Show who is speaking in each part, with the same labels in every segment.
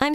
Speaker 1: I'm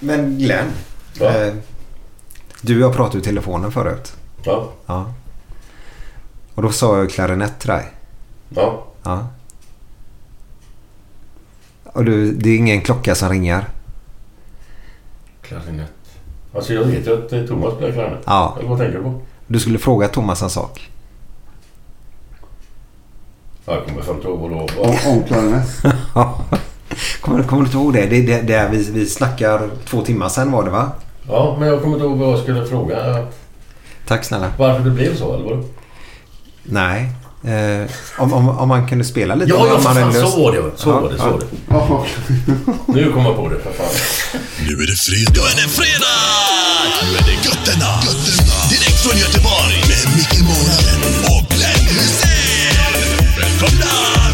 Speaker 2: Men Glenn.
Speaker 3: Ja.
Speaker 2: Eh, du och jag pratade i telefonen förut.
Speaker 3: Ja,
Speaker 2: Ja. Och då sa jag klarinett till dig.
Speaker 3: ja.
Speaker 2: Ja. Och du, det är ingen klocka som ringer.
Speaker 3: Klarinett. Alltså jag vet ju att eh, Thomas spelar klarinett.
Speaker 2: Ja.
Speaker 3: Eller vad tänker du på?
Speaker 2: Du skulle fråga Thomas en sak.
Speaker 3: Ja, jag kommer fan inte ihåg vad det var. Ja,
Speaker 4: Om klarinett.
Speaker 2: kommer, kommer du inte ihåg det? Det är det, det vi, vi snackar två timmar sedan var det va?
Speaker 3: Ja, men jag kommer inte ihåg vad jag skulle fråga.
Speaker 2: Tack snälla.
Speaker 3: Varför det blev så, eller vadå?
Speaker 2: Nej. Eh, om, om, om man kunde spela lite.
Speaker 3: Ja,
Speaker 2: om
Speaker 3: ja,
Speaker 2: man
Speaker 3: för
Speaker 2: hade
Speaker 3: fan.
Speaker 2: lust.
Speaker 3: Så var det. Så
Speaker 2: Ja,
Speaker 3: var det. Så
Speaker 2: ja.
Speaker 3: var det. Nu kom jag på det, för fan.
Speaker 5: Nu är det fredag. Nu är det fredag! Nu är det götterna. götterna. Direkt från Göteborg. Med Micke Månaden och Glenn Hysén. Välkomna!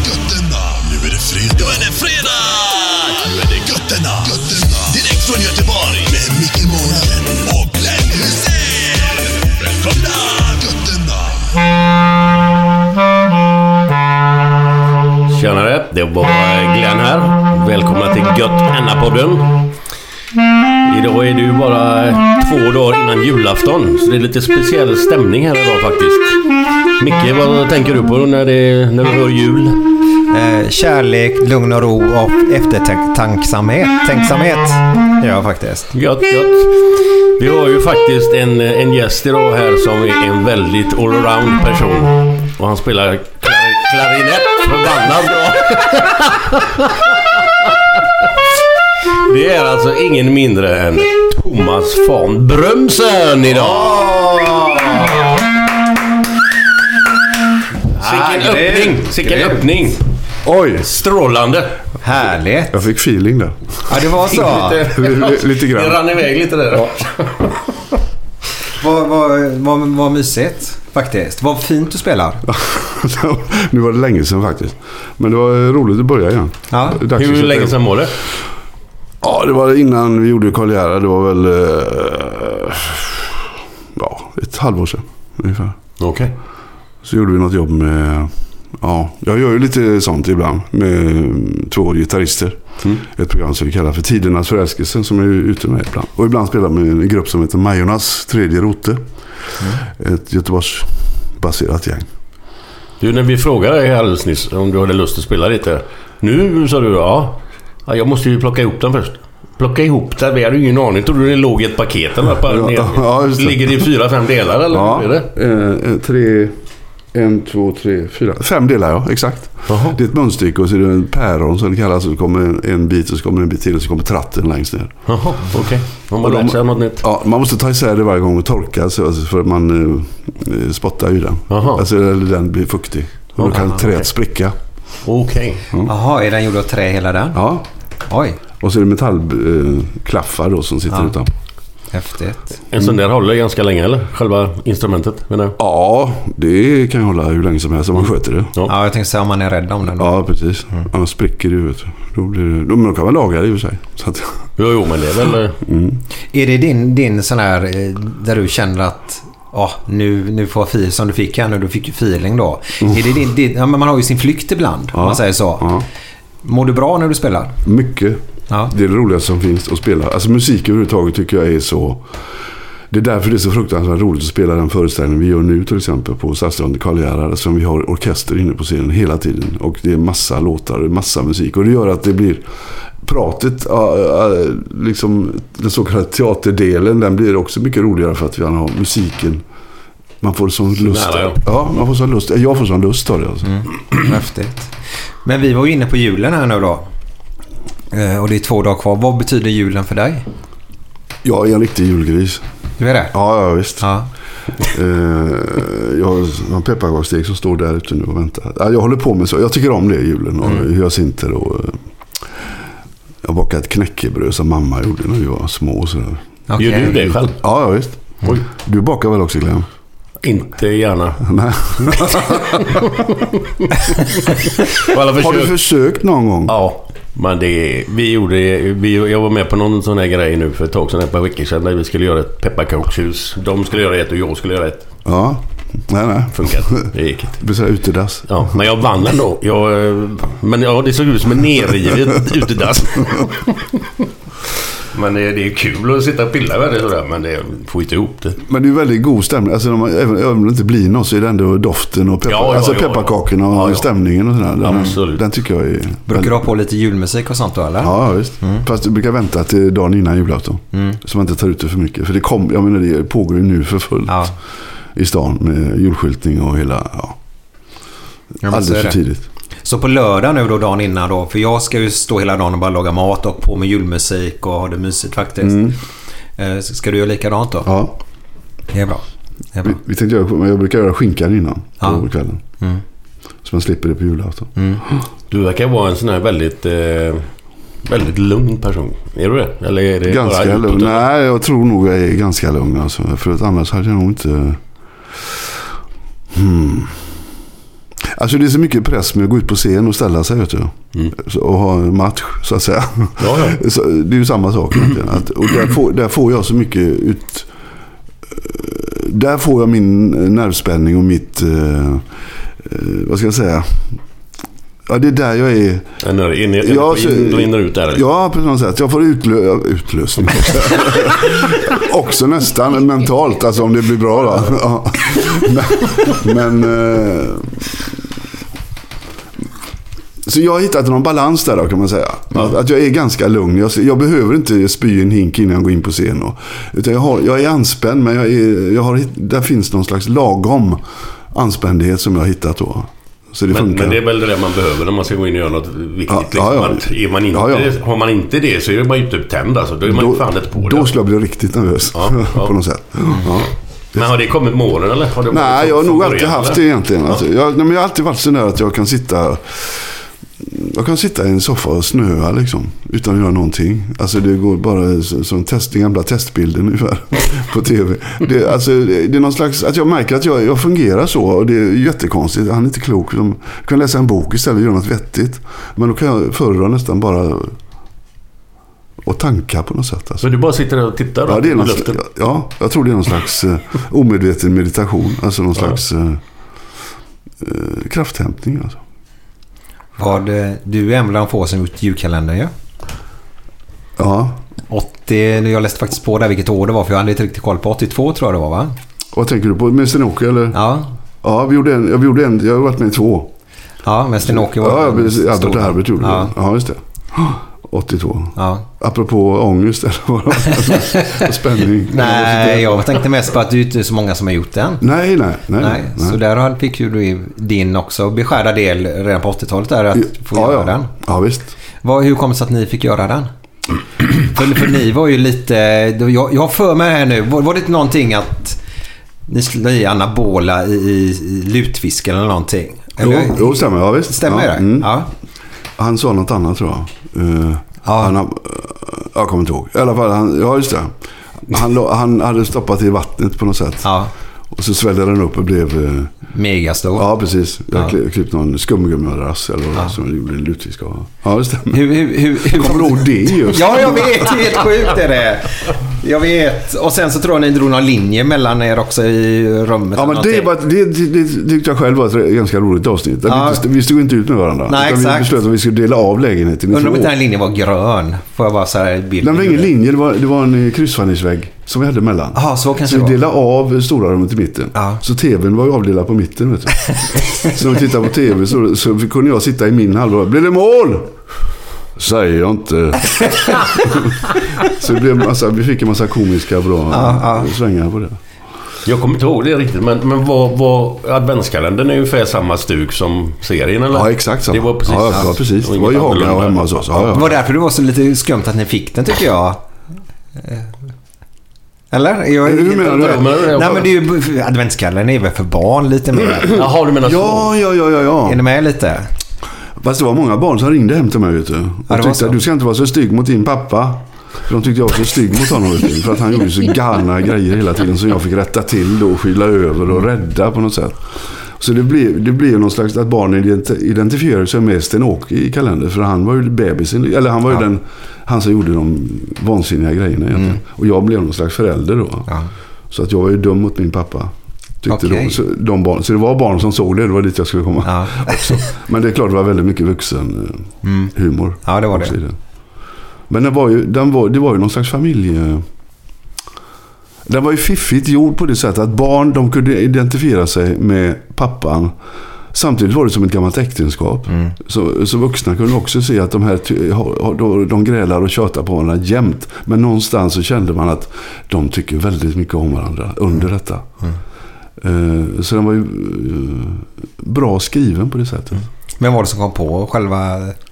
Speaker 5: Götterna. Nu är det fredag. Nu är det fredag! Nu är det götterna. götterna. Direkt från Göteborg. Med Micke Månaden och Glenn Hysén. Välkomna! Götterna.
Speaker 3: Tjenare, det var Glenn här. Välkomna till Gött Anna-podden. Idag är det ju bara två dagar innan julafton, så det är lite speciell stämning här idag faktiskt. Micke, vad tänker du på när, det, när vi hör jul?
Speaker 2: Eh, kärlek, lugn och ro och eftertanksamhet. Tänksamhet gör jag faktiskt.
Speaker 3: Gött, gött. Vi har ju faktiskt en, en gäst idag här som är en väldigt allround person. Och han spelar klar, klarinett förbannat bra. Det är alltså ingen mindre än Thomas von Brömsen idag. Sicken
Speaker 2: Härligt.
Speaker 3: öppning! Sicken
Speaker 2: Grymt.
Speaker 3: öppning!
Speaker 6: Oj,
Speaker 3: Strålande!
Speaker 2: Härligt.
Speaker 6: jag fick feeling där.
Speaker 2: Ja, det var så.
Speaker 6: Lite, lite
Speaker 3: Det
Speaker 6: grann.
Speaker 3: rann iväg lite där.
Speaker 2: Vad, vad, vad, vad mysigt faktiskt. Vad fint du spelar.
Speaker 6: nu var det länge sedan faktiskt. Men det var eh, roligt att börja igen.
Speaker 2: Ja.
Speaker 6: Dags att
Speaker 3: Hur
Speaker 6: sätta
Speaker 3: länge
Speaker 6: igång.
Speaker 3: sedan var det?
Speaker 6: Ja, det var innan vi gjorde Karriära. Det var väl... eh, Ja, ett halvår sedan ungefär.
Speaker 3: Okej.
Speaker 6: Så gjorde vi något jobb med... Ja, jag gör ju lite sånt ibland med mm, två gitarrister. Ett program som vi kallar för Tidernas förälskelse som jag är ute med ibland. Och ibland spelar jag med en grupp som heter Majornas tredje rote. Ett Göteborgsbaserat gäng.
Speaker 3: Du, när vi frågade dig här alldeles nyss om du hade lust att spela lite. Nu sa du ja. ja jag måste ju plocka ihop den först. Plocka ihop den? Vi hade ju ingen aning. Trodde det låg i ett paket eller? Bara
Speaker 6: Ja,
Speaker 3: ner.
Speaker 6: ja, just det.
Speaker 3: Ligger det i fyra, fem delar eller?
Speaker 6: Ja,
Speaker 3: Hur är det?
Speaker 6: eh, eh, tre... En, två, tre, fyra. Fem delar ja, exakt.
Speaker 3: Jaha.
Speaker 6: Det är ett munstycke och så är det en päron som det kallas. Så kommer en, en bit och så kommer en bit till och så kommer tratten längst ner.
Speaker 3: Jaha, okej. De har
Speaker 6: Och de-
Speaker 3: lärt sig något nytt.
Speaker 6: Ja, man måste ta isär det varje gång och torka så- alltså, för man eh, eh, spottar ju den.
Speaker 3: Aha.
Speaker 6: Alltså eller den blir fuktig. Och då
Speaker 3: Aha,
Speaker 6: kan träet
Speaker 3: okej.
Speaker 6: spricka.
Speaker 3: Okej.
Speaker 6: Mm.
Speaker 2: Jaha, är den gjord av trä hela den?
Speaker 6: Ja.
Speaker 2: Oj.
Speaker 6: Och så är det metallklaffar då som sitter
Speaker 2: Ja.
Speaker 6: utan.
Speaker 2: Häftigt.
Speaker 3: En sån där håller ganska länge eller? Själva instrumentet menar jag.
Speaker 6: Ja, det kan jag hålla hur länge som helst om man sköter det.
Speaker 2: Ja, jag tänkte säga om man är rädd om den.
Speaker 6: Ja, precis.
Speaker 2: Mm.
Speaker 6: Annars spricker det ju. vet du. Då blir det... då- Men då kan man laga det i och för sig. Så att...
Speaker 3: Jo, jo men det är väl... eh,
Speaker 2: Är det din, din sån här eh, där du känner att Ja, nu, nu får jag feel som du fick här nu. Du fick ju feeling då. Är det din, din, ja, men man har ju sin flykt ibland om man säger så.
Speaker 6: Mm. Ja.
Speaker 2: Mår du bra när du spelar?
Speaker 6: Mycket.
Speaker 2: Ja.
Speaker 6: Det är det roligaste som finns att spela. Alltså musik överhuvudtaget tycker jag är så... Det är därför det är så fruktansvärt roligt att spela den föreställning vi gör nu till exempel på Stadsteatern Karl Gerhard. alltså, Som vi har orkester inne på scenen hela tiden. Och det är massa låtar och massa musik. Och det gör att det blir... Pratet, ja, ja, liksom den så kallade teaterdelen, den blir också mycket roligare för att vi har musiken. Man får sån lust.
Speaker 3: nära, ja. Mm.
Speaker 6: ja, man får sån lust. Jag får sån lust av det alltså.
Speaker 2: Häftigt. Men vi var ju inne på julen här nu då. Eh, Och det är två dagar kvar. Vad betyder julen för dig?
Speaker 6: Jag är en riktig julgris.
Speaker 2: Du är det?
Speaker 6: Ja, ja visst.
Speaker 2: Ja.
Speaker 6: Eh, jag har en pepparkaksdeg som står där ute nu och väntar. Ja, Jag håller på med så. Jag tycker om det i julen och
Speaker 3: Mm.
Speaker 6: hyacinter och... eh, Jag bakade ett knäckebröd som mamma gjorde när vi var små och sådär.
Speaker 2: Okej.
Speaker 3: Gör du det själv?
Speaker 6: Ja, ja visst.
Speaker 3: Oj.
Speaker 6: Du bakar väl också Glenn?
Speaker 3: Inte gärna.
Speaker 6: Nej.
Speaker 3: Och alla
Speaker 6: Har du
Speaker 3: försök-
Speaker 6: försökt någon gång?
Speaker 3: Ja, men det... Vi gjorde... Vi, jag var med på någon sån här grej nu för ett tag sedan, ett par veckor sedan, när vi skulle göra ett pepparkakshus. De skulle göra ett och jag skulle göra ett.
Speaker 6: Ja. Nej, nej.
Speaker 3: Funkar inte. Det gick inte.
Speaker 6: Det blir så här utedass.
Speaker 3: Ja, men jag vann ändå. Jag, eh, men ja, det såg ut som en nerrivet utedass. men det, det är kul att sitta och pilla med det sådär, men det får inte ihop det.
Speaker 6: Men det är ju väldigt god stämning. Alltså, när man, även även om det inte blir något så är det ändå doften och peppar,
Speaker 3: Ja, ja,
Speaker 6: alltså,
Speaker 3: ja, ja.
Speaker 6: pepparkakorna och
Speaker 3: Ja, ja.
Speaker 6: stämningen och sådär. Den,
Speaker 3: Absolut.
Speaker 6: den tycker jag är...
Speaker 2: Brukar du ha på lite julmusik och sånt då eller?
Speaker 6: Ja, ja, visst.
Speaker 2: Mm.
Speaker 6: Fast du brukar vänta till dagen innan julafton. Så man inte tar ut det för mycket. För det, kom, jag menar, det pågår ju nu för fullt
Speaker 2: Ja.
Speaker 6: i stan med julskyltning och hela... Ja,
Speaker 2: Ja, men så är
Speaker 6: alldeles för
Speaker 2: det.
Speaker 6: tidigt.
Speaker 2: Så på lördag nu då, dagen innan då. För jag ska ju stå hela dagen och bara laga mat och på med julmusik och ha det mysigt faktiskt. Eh, så Ska du göra likadant då?
Speaker 6: Mm. Ja,
Speaker 2: Det är bra. Det är
Speaker 6: vi,
Speaker 2: bra.
Speaker 6: vi tänkte göra, men jag brukar göra skinkan innan
Speaker 2: Ja. Mm.
Speaker 6: på kvällen. Så man slipper det på julafton.
Speaker 3: Du verkar vara en sån här väldigt, eh, väldigt lugn person. Är du det? Eller är det
Speaker 6: Ganska
Speaker 3: bara utåt?
Speaker 6: lugn. Nej, jag tror nog jag är ganska lugn alltså. För att annars hade jag nog inte... Hmm. Alltså det är så mycket press med att gå ut på scen och ställa sig vet du.
Speaker 3: Mm.
Speaker 6: Så- Och ha en match så att säga.
Speaker 3: Ja, ja.
Speaker 6: Så, det är ju samma sak egentligen. Att, och där får, där får jag så mycket ut... Där får jag min nervspänning och mitt... Eh, eh, vad ska jag säga? Ja, det är där jag är...
Speaker 3: En ör- In, in,
Speaker 6: Ja,
Speaker 3: in,
Speaker 6: så-
Speaker 3: in, in och ut där.
Speaker 6: Ja, på något sätt. Jag får utlö utlösning. Också nästan mentalt, alltså om det blir bra då. Ja. Men... men eh, så jag har hittat någon balans där då kan man säga. Att, att jag är ganska lugn. Jag, jag behöver inte spy i en hink innan jag går in på scen. Och, utan jag, har, jag är anspänd men jag är, jag har, hitt- där finns någon slags lagom anspändhet som jag har hittat då. Så det
Speaker 3: Men,
Speaker 6: funkar.
Speaker 3: men det är väl det där man behöver när man ska gå in och göra något viktigt.
Speaker 6: Ja,
Speaker 3: liksom.
Speaker 6: ja, ja.
Speaker 3: Att Är man inte,
Speaker 6: Ja, ja.
Speaker 3: Har man inte det så är man ju inte tänd alltså. Då är man ju fan ett på
Speaker 6: då
Speaker 3: det.
Speaker 6: skulle jag bli riktigt nervös.
Speaker 3: Ja, ja.
Speaker 6: på något sätt. Ja.
Speaker 3: Men har det kommit med åren eller? Har det varit
Speaker 6: Nej,
Speaker 3: så
Speaker 6: jag har
Speaker 3: från
Speaker 6: nog
Speaker 3: början,
Speaker 6: alltid haft
Speaker 3: eller?
Speaker 6: det egentligen. Alltså, jag, nej, men jag har alltid varit sån där att jag kan sitta jag kan sitta i en soffa och snöa liksom. Utan att göra någonting. Alltså det går bara så- som test, den gamla testbilden ungefär. På tv. Det, alltså, det det är någon slags, att jag märker att jag, jag fungerar så. Och det är jättekonstigt. Han är inte klok. De, jag kan läsa en bok istället och göra något vettigt. Men då kan jag föredra nästan bara och tanka på något sätt. Alltså.
Speaker 3: Så du bara sitter där och tittar
Speaker 6: Ja, det är
Speaker 3: i
Speaker 6: någon,
Speaker 3: luften?
Speaker 6: sl- ja, jag tror det är någon slags eh, omedveten meditation. Alltså någon slags eh, eh, krafthämtning. Alltså.
Speaker 2: Vad, eh, du är en bland få som gjort julkalendern ju.
Speaker 6: Ja,
Speaker 2: 80, nu, jag läste faktiskt på där vilket år det var för jag hade inte riktigt koll på. 82 tror jag det var va?
Speaker 6: vad tänker du på? Med Stenåke eller? Ja,
Speaker 2: Ja,
Speaker 6: vi gjorde en, ja, vi gjorde en. Jag har varit med i två.
Speaker 2: ja men Sten-Åke var
Speaker 6: Ja,
Speaker 2: en
Speaker 6: precis.
Speaker 2: stor-
Speaker 6: Albert och Herbert gjorde
Speaker 2: ja.
Speaker 6: det. Ja, just det. 82.
Speaker 2: Ja.
Speaker 6: Apropå ångest eller vad det var. Spänning.
Speaker 2: Nej, jag tänkte mest på att det är ju inte så många som har gjort den.
Speaker 6: Nej, nej, nej.
Speaker 2: Nej, så där har- fick ju du din också beskärda del redan på 80-talet där att få
Speaker 6: ja,
Speaker 2: göra
Speaker 6: ja.
Speaker 2: den.
Speaker 6: Ja, visst.
Speaker 2: Vad, hur kom det sig att ni fick göra den? För, för ni var ju lite... Jag, jag har för mig här nu. Var, var det någonting att ni skulle i anabola i, i, i lutfisk eller någonting?
Speaker 6: Jo,
Speaker 2: Eller,
Speaker 6: jo, stämmer. Ja, visst.
Speaker 2: Stämmer
Speaker 6: ja,
Speaker 2: det?
Speaker 6: mm.
Speaker 2: Ja.
Speaker 6: Han sa något annat tror jag. Eh, han, har- eh, jag kommer inte ihåg. I alla fall, han, ja just det. Han, la- han hade stoppat i vattnet på något sätt.
Speaker 2: Ja,
Speaker 6: Och så svällde den upp och blev... eh,
Speaker 2: megastor.
Speaker 6: Ja, precis. Jag
Speaker 2: Ja.
Speaker 6: ja. klippte någon skumgummirass eller vad det var som jag gjorde en lutfisk av. Ja, det stämmer.
Speaker 2: Hur, hur, hur, hur...
Speaker 6: Kommer du ihåg det just?
Speaker 2: Ja, jag vet. Det är helt sjukt är det. Jag vet. Och sen så tror jag ni drog någon linje mellan er också i rummet.
Speaker 6: Ja,
Speaker 2: eller
Speaker 6: men det,
Speaker 2: någonting.
Speaker 6: var, det, det, det tyckte jag själv var ett ganska roligt avsnitt. Där
Speaker 2: Ja.
Speaker 6: Vi, inte, vi stod inte ut med varandra.
Speaker 2: Nej,
Speaker 6: utan
Speaker 2: exakt.
Speaker 6: Vi beslöt att vi skulle dela av lägenheten i
Speaker 2: Undrar om
Speaker 6: två.
Speaker 2: inte den här linjen var grön. Får jag bara så här bild.
Speaker 6: Den var ingen linje, det var, det var en eh, kryssfärgningsvägg som vi hade mellan.
Speaker 2: Ja, så kanske
Speaker 6: Så vi
Speaker 2: det var.
Speaker 6: delade av stora rummet i mitten.
Speaker 2: Ja.
Speaker 6: Så tvn var ju avdelad på mitten. Vet du. så när vi tittade på tv så, så kunde jag sitta i min halva. Blir det mål? Säger jag inte. så det blev massa, vi fick en massa komiska bra svängar på det.
Speaker 3: Jag kommer inte ihåg det riktigt, men, men vad, vad, adventskalendern är ungefär samma stuk som serien eller?
Speaker 6: Ja, exakt samma.
Speaker 3: Det var precis.
Speaker 6: Ja, det var precis.
Speaker 3: Och
Speaker 6: Det var ju
Speaker 3: inget
Speaker 6: Haga och
Speaker 3: annorlunda.
Speaker 6: hemma hos oss. Ja,
Speaker 2: Det
Speaker 6: ja.
Speaker 2: var därför det var så lite skumt att ni fick den tycker jag. Eh, Eller? Jag,
Speaker 6: Hur menar du?
Speaker 3: Menar du det?
Speaker 2: Nej men det är ju, adventskalendern är väl för barn lite mer.
Speaker 3: Jaha, du menar så?
Speaker 6: Ja, ja, ja, ja,
Speaker 2: Är
Speaker 6: ja.
Speaker 2: ni med lite?
Speaker 6: Fast det var många barn som ringde hem till mig vet du.
Speaker 2: var
Speaker 6: Och tyckte
Speaker 2: så.
Speaker 6: att du ska inte vara så stygg mot din pappa. För de tyckte jag var så stygg mot honom. vet du. För att han gjorde så galna grejer hela tiden som jag fick rätta till då och skyla över och rädda på något sätt. Så det blev, det blev någon slags att barnen ident- identifierade sig med Sten-Åke i kalendern. För han var ju bebisen. Eller han var ju den, han som gjorde de vansinniga grejerna egentligen. Och jag blev någon slags förälder då.
Speaker 2: Mm. Ja.
Speaker 6: Så att jag var ju dum mot min pappa. Tyckte
Speaker 2: Okej.
Speaker 6: de, så, de barn, så det var barn som såg det. Det var dit jag skulle komma.
Speaker 2: Ja.
Speaker 6: också. Men det är klart det var väldigt mycket vuxen eh, humor.
Speaker 2: Ja, det var
Speaker 6: också
Speaker 2: det.
Speaker 6: i den. Men den var ju, den var, det var ju någon slags familje... Den var ju fiffigt gjord på det sättet att barn de kunde identifiera sig med pappan. Samtidigt var det som ett gammalt äktenskap.
Speaker 2: Mm.
Speaker 6: Så, så vuxna kunde också se att de här ty- har- har- de, de grälar och tjatar på varandra jämt. Men någonstans så kände man att de tycker väldigt mycket om varandra under
Speaker 2: Mm.
Speaker 6: detta. Eh, Så den var ju eh, bra skriven på det sättet.
Speaker 2: Vem var det som kom på själva...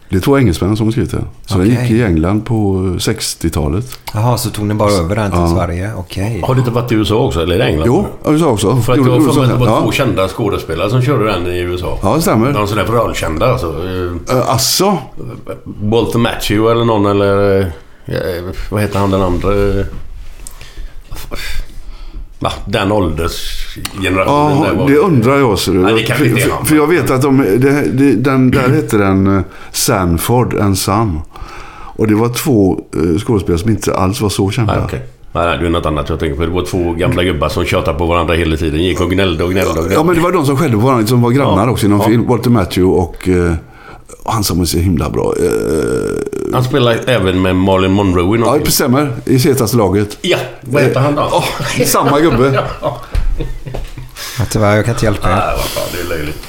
Speaker 6: Det är två engelsmän som har skrivit det. Så den
Speaker 2: Okej.
Speaker 6: gick i England på eh, 60-talet.
Speaker 2: Jaha, så tog ni bara över den till
Speaker 6: Ja.
Speaker 2: Sverige? Okej.
Speaker 3: Har du inte varit i USA också? Eller i England?
Speaker 6: Jo, USA också.
Speaker 3: För att
Speaker 6: Gjorde-
Speaker 3: jag har
Speaker 6: gjorde
Speaker 3: för mig att
Speaker 6: sånt
Speaker 3: det var
Speaker 6: här.
Speaker 3: två kända skådespelare som körde den i USA.
Speaker 6: Ja, det stämmer.
Speaker 3: Någon sån där rollkända alltså. Eh,
Speaker 6: Eh, Asså?
Speaker 3: Walter Matthew eller någon eller... eh, Vad heter han den andra? Eh, Va? Den åldersgenerationen
Speaker 6: Ja,
Speaker 3: där var.
Speaker 6: det undrar jag. ser du.
Speaker 3: Nej, det kanske
Speaker 6: för,
Speaker 3: inte är
Speaker 6: för,
Speaker 3: någon.
Speaker 6: för jag vet att de, det, det, den, där hette den eh, Sanford and Son. Och det var två eh, skådespelare som inte alls var så kända.
Speaker 3: Nej, okej. Nej, nej, det är något annat jag tänker på. Det var två gamla gubbar som tjatade på varandra hela tiden. Gick och gnällde och gnällde och gnällde.
Speaker 6: Ja, men det var de som skällde på varandra, som var grannar
Speaker 3: Ja,
Speaker 6: också i någon
Speaker 3: ja.
Speaker 6: film. Walter Matthew och eh, han som är så himla bra. Eh,
Speaker 3: Han spelar även med Marlon Monroe i
Speaker 6: ja,
Speaker 3: någon
Speaker 6: det stämmer. I hetaste laget.
Speaker 3: Ja, vad heter han då?
Speaker 6: Eh, åh, samma gubbe.
Speaker 2: Ja, Tyvärr, jag kan inte hjälpa er.
Speaker 3: Nej, vad fan, det är löjligt.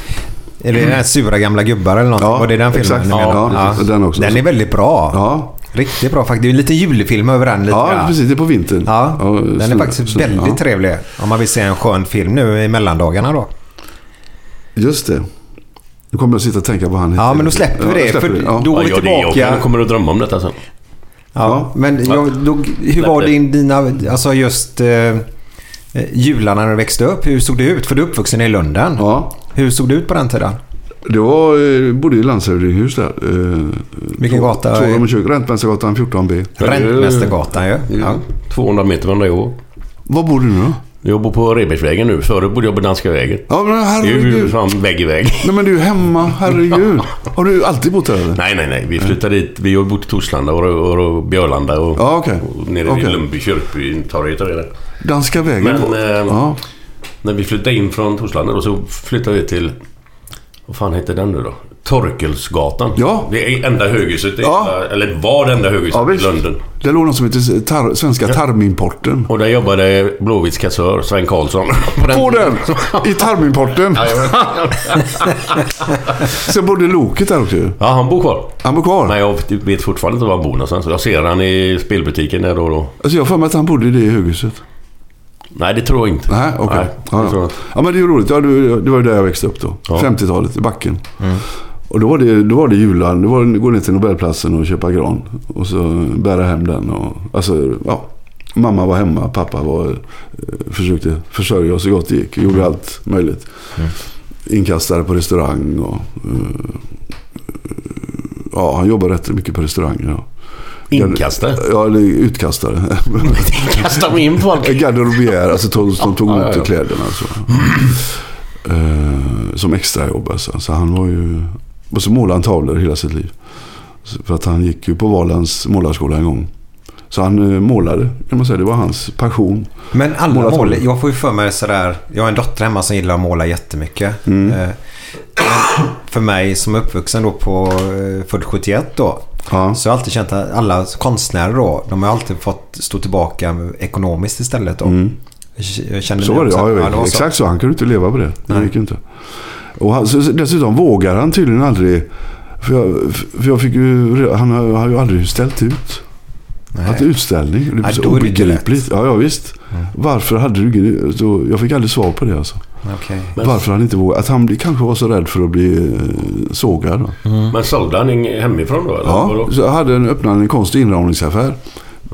Speaker 2: Är det den här sura gamla gubbar eller något?
Speaker 6: Ja,
Speaker 2: Var det den filmen?
Speaker 6: exakt.
Speaker 2: ni menar?
Speaker 6: Ja, precis. Den också.
Speaker 2: Den är väldigt bra.
Speaker 6: Ja.
Speaker 2: Riktigt bra faktiskt. Det är lite julfilm över den. Lite
Speaker 6: Ja,
Speaker 2: grann.
Speaker 6: precis. Det är på vintern.
Speaker 2: Ja, den är
Speaker 6: snö-
Speaker 2: faktiskt
Speaker 6: snö-
Speaker 2: väldigt
Speaker 6: ja.
Speaker 2: trevlig. Om man vill se en skön film nu i mellandagarna då.
Speaker 6: Just det. Nu kommer jag sitta och tänka på vad han heter.
Speaker 2: Ja, men då släpper vi
Speaker 6: Ja,
Speaker 2: det,
Speaker 6: släpper
Speaker 2: för
Speaker 6: vi det. Ja.
Speaker 2: då-
Speaker 3: Ja,
Speaker 2: vi
Speaker 3: jag, det, jag
Speaker 2: tillbaka.
Speaker 3: kan- kommer att drömma om detta sen.
Speaker 2: Ja,
Speaker 6: Ja.
Speaker 2: men jag, då, hur
Speaker 3: Släpp
Speaker 2: var
Speaker 3: det.
Speaker 2: din, dina, alltså just eh, eh, jularna när du växte upp? Hur såg det ut? För du är uppvuxen i Lunden.
Speaker 6: ja.
Speaker 2: Hur såg det ut på den tiden?
Speaker 6: Det var, eh, bodde i landshövdinghus där. Eh,
Speaker 2: Vilken
Speaker 6: två-
Speaker 2: gata?
Speaker 6: Två rum och kök. Räntmästargatan 14B.
Speaker 2: Räntmästergatan ju.
Speaker 3: Det är ju
Speaker 2: Ja.
Speaker 3: 200 meter från där jag bor.
Speaker 6: Var bor du nu då?
Speaker 3: Jag bor på Rebersvägen nu. Förut bodde jag på Danska vägen.
Speaker 6: Ja, men
Speaker 3: Det är ju
Speaker 6: herregud.
Speaker 3: fan vägg i vägg.
Speaker 6: Nej, men du är ju hemma. Herregud. Har du alltid bott där eller?
Speaker 3: Nej, nej, nej. Vi flyttade dit. Vi har bott i Torslanda och, och, och Björlanda och,
Speaker 6: Ja, okej.
Speaker 3: och nere vid
Speaker 6: Okej.
Speaker 3: Lundby kyrkby-torget och det där.
Speaker 6: Danska vägen.
Speaker 3: Men,
Speaker 6: var-
Speaker 3: eh,
Speaker 6: ja.
Speaker 3: När vi flyttade in från Torslanda då, så flyttade vi till... Vad fan heter den nu då? Torkelsgatan.
Speaker 6: Ja.
Speaker 3: Det är enda höghuset. i
Speaker 6: Ja.
Speaker 3: hela- Eller var det enda höghuset
Speaker 6: ja,
Speaker 3: i
Speaker 6: visst.
Speaker 3: Lunden.
Speaker 6: Det låg något som heter tar, Svenska tarmimporten.
Speaker 3: Och där jobbade Blåvitts kassör, Sven Karlsson. På
Speaker 6: På den!
Speaker 3: tiden.
Speaker 6: I tarmimporten. Sen bodde Loket där också ju.
Speaker 3: Ja, han bor kvar.
Speaker 6: Han bor kvar.
Speaker 3: Men jag vet fortfarande inte var han bor någonstans. Jag ser han i spelbutiken där då och då.
Speaker 6: Alltså jag har för mig att han bodde i det höghuset.
Speaker 3: Nej, det tror jag inte.
Speaker 6: Nej, okej.
Speaker 3: Nej, det
Speaker 6: Ja,
Speaker 3: tror jag
Speaker 6: ja.
Speaker 3: inte.
Speaker 6: ja, men det är ju roligt. Ja, det, det var ju där jag växte upp då.
Speaker 3: Ja. Mm.
Speaker 6: 50-talet, i backen. Och då var det, då var det julan. Då var det, gå ner till Nobelplatsen och köpa gran. Och så bära hem den. Och, alltså, ja. Mamma var hemma, pappa var, eh, försökte försörja oss så gott det gick. Gjorde allt
Speaker 3: Mm.
Speaker 6: möjligt. Inkastare på restaurang och eh, ja, han jobbar rätt mycket på restauranger. Ja.
Speaker 3: Inkastare?
Speaker 6: Ja, eller utkastare.
Speaker 3: Kastar de in folk?
Speaker 6: Garderobier, alltså tog, de tog
Speaker 3: Ja,
Speaker 6: ont
Speaker 3: ja, ja.
Speaker 6: i kläderna. Så. Eh, som extrajobb alltså. Så han var ju... Och så målade han tavlor hela sitt liv. Så- För att han gick ju på Valands målarskola en gång. Så han eh, målade, kan man säga. Det var hans passion.
Speaker 2: Men alla
Speaker 6: Måla
Speaker 2: mål,
Speaker 6: tavlor.
Speaker 2: jag får ju för mig sådär. Jag har en dotter hemma som gillar att måla jättemycket.
Speaker 6: Mm.
Speaker 2: Eh, men För mig som är uppvuxen då på eh, född 71 då.
Speaker 6: Ja.
Speaker 2: Så har jag alltid känt att alla konstnärer då, de har alltid fått stå tillbaka ekonomiskt istället då. Jag känner
Speaker 6: Mm. Så
Speaker 2: ni
Speaker 6: var det,
Speaker 2: också?
Speaker 6: ja, jag vet.
Speaker 2: var så.
Speaker 6: Exakt så. Han kunde inte leva på det. Det
Speaker 2: Nej.
Speaker 6: gick ju inte. Och han, så, så- dessutom vågar han tydligen aldrig... För jag, för jag fick ju... re- Han har, har ju aldrig ställt ut.
Speaker 2: Nej.
Speaker 6: Att utställning. Det är
Speaker 2: Ja,
Speaker 6: så
Speaker 2: då är det inte
Speaker 6: obegripligt.
Speaker 2: rätt.
Speaker 6: Ja, ja, visst. Varför hade du ingen... så- Jag fick aldrig svar på det alltså.
Speaker 2: Okej.
Speaker 6: Varför han inte vågade. Att han bli- kanske var så rädd för att bli eh, sågad. va?
Speaker 2: Mm.
Speaker 3: Men sålde han in- hemifrån då? Eller?
Speaker 6: Ja,
Speaker 3: Vadå?
Speaker 6: så jag hade en, öppnade en konst och inramningsaffär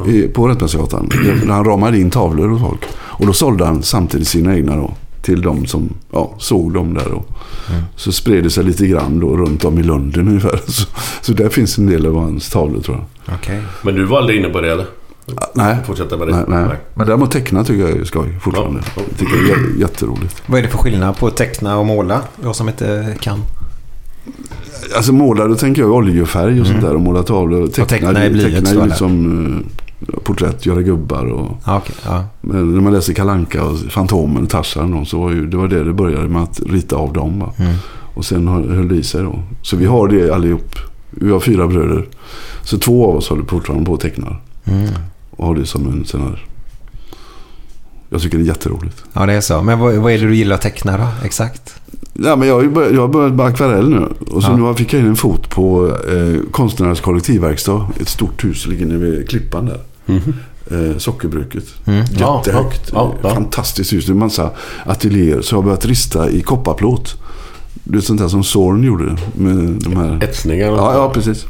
Speaker 6: i, på Rättmätighetsgatan. Där han ramade in tavlor och folk. Och då sålde han samtidigt sina egna då. Till de som ja, såg dem där då.
Speaker 2: Mm.
Speaker 6: Så spred det sig lite grann då runt om i London ungefär. Så, så där finns en del av hans tavlor tror jag.
Speaker 2: Okej.
Speaker 3: Men du var aldrig inne på det eller?
Speaker 6: Ah, Nej.
Speaker 3: Fortsätta med det.
Speaker 6: Nej, nej.
Speaker 3: Nej.
Speaker 6: Men däremot teckna tycker jag är skoj fortfarande.
Speaker 3: Ja.
Speaker 6: Jag tycker det är jätteroligt.
Speaker 2: Vad är det för skillnad på att teckna och måla? Jag som inte kan.
Speaker 6: Alltså måla, då tänker jag oljefärg och sånt där. Och måla tavlor. Teckna,
Speaker 2: teckna Mm. i blyerts
Speaker 6: teckna
Speaker 2: då,
Speaker 6: är ju
Speaker 2: eller?
Speaker 6: liksom eh, porträtt, göra gubbar och...
Speaker 2: Ja, okej. Ja.
Speaker 6: Men när man läser Kalanka och Fantomen och Tarzan och dem, så var ju, det var det det började med att rita av dem. Va?
Speaker 2: Mm.
Speaker 6: Och sen höll höll det i sig då. Så vi har det allihop. Vi har fyra bröder. Så två av oss håller fortfarande på och tecknar.
Speaker 2: Mm.
Speaker 6: Och har det som en sån här... Jag tycker det är jätteroligt.
Speaker 2: ja, det är så. Men vad, vad är det du gillar att teckna då? Exakt.
Speaker 6: Nej, men jag, har ju börjat, jag har börjat med akvarell nu. Och så
Speaker 2: Ja.
Speaker 6: nu fick jag in en fot på eh, Konstnärernas kollektivverkstad. Ett stort hus ligger nere vid klippan där. Eh, sockerbruket.
Speaker 3: Ja,
Speaker 6: Jättehögt.
Speaker 3: ja, ja.
Speaker 6: Fantastiskt hus. Det är en massa ateljéer. Så jag har börjat rista i kopparplåt. Det är sånt där som Zorn gjorde. Med de här...
Speaker 3: Etsningar? och-
Speaker 6: Ja, ja, precis.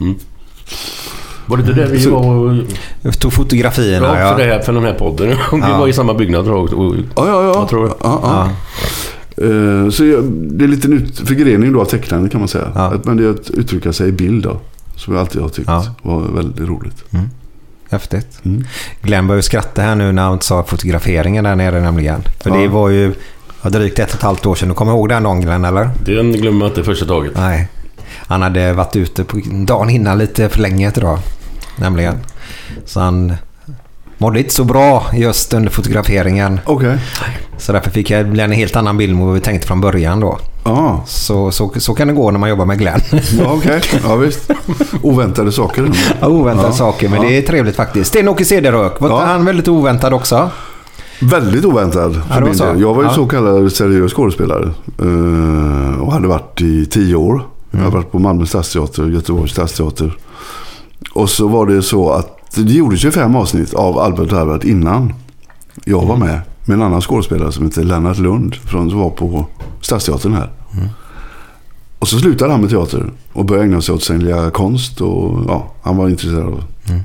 Speaker 3: Var det inte det vi
Speaker 6: Så-
Speaker 3: var och...
Speaker 2: Jag tog fotografierna.
Speaker 3: Ja, för, det här, för den här podden. vi var i samma byggnad tror jag. Och, och,
Speaker 6: Ja, ja, ja.
Speaker 3: Jag tror det.
Speaker 6: Ja, ja. Eh, Så jag- det är en liten ut- förgrening då av tecknande kan man säga.
Speaker 2: Ja.
Speaker 6: Att- Men det är att uttrycka sig i bild då. Som jag alltid har tyckt
Speaker 2: Ja.
Speaker 6: var väldigt roligt.
Speaker 2: Häftigt.
Speaker 6: Mm.
Speaker 2: Glenn började skratta här nu när han sa fotograferingen där nere nämligen. För det
Speaker 6: Ja.
Speaker 2: var ju ja, drygt ett och ett halvt år sedan. Du kommer ihåg den dagen Glenn, eller?
Speaker 3: den glömmer jag inte första taget.
Speaker 2: Nej. Han hade varit ute på dagen innan lite för länge idag. Nämligen. Så han mådde inte så bra just under fotograferingen.
Speaker 6: Okej.
Speaker 2: Så därför fick jag bli en helt annan bild mot vad vi tänkte från början då.
Speaker 6: Ja,
Speaker 2: Så, så, så kan det gå när man jobbar med Glenn.
Speaker 6: ja okej. Ja, visst. Oväntade saker.
Speaker 2: Oväntade
Speaker 6: Ja.
Speaker 2: saker, men
Speaker 6: Ja.
Speaker 2: det är trevligt faktiskt. Sten-Åke Cederhök, var inte
Speaker 6: Ja.
Speaker 2: han väldigt oväntad också?
Speaker 6: Väldigt oväntad för
Speaker 2: det var
Speaker 6: min
Speaker 2: så.
Speaker 6: del. Jag var ju
Speaker 2: Ja.
Speaker 6: så kallad seriös skådespelare. eh, Och hade varit i tio år. Jag
Speaker 2: Mm.
Speaker 6: hade varit på Malmö stadsteater, Göteborgs stadsteater. Och så var det så att det gjordes 25 avsnitt av Albert Herbert innan jag var
Speaker 2: Mm.
Speaker 6: med. Med en annan skådespelare som heter Lennart Lund. Från som var på Stadsteatern här.
Speaker 2: Mm.
Speaker 6: Och så slutade han med teater och började ägna sig åt att sälja konst. Och, ja, han var intresserad av
Speaker 2: Mm.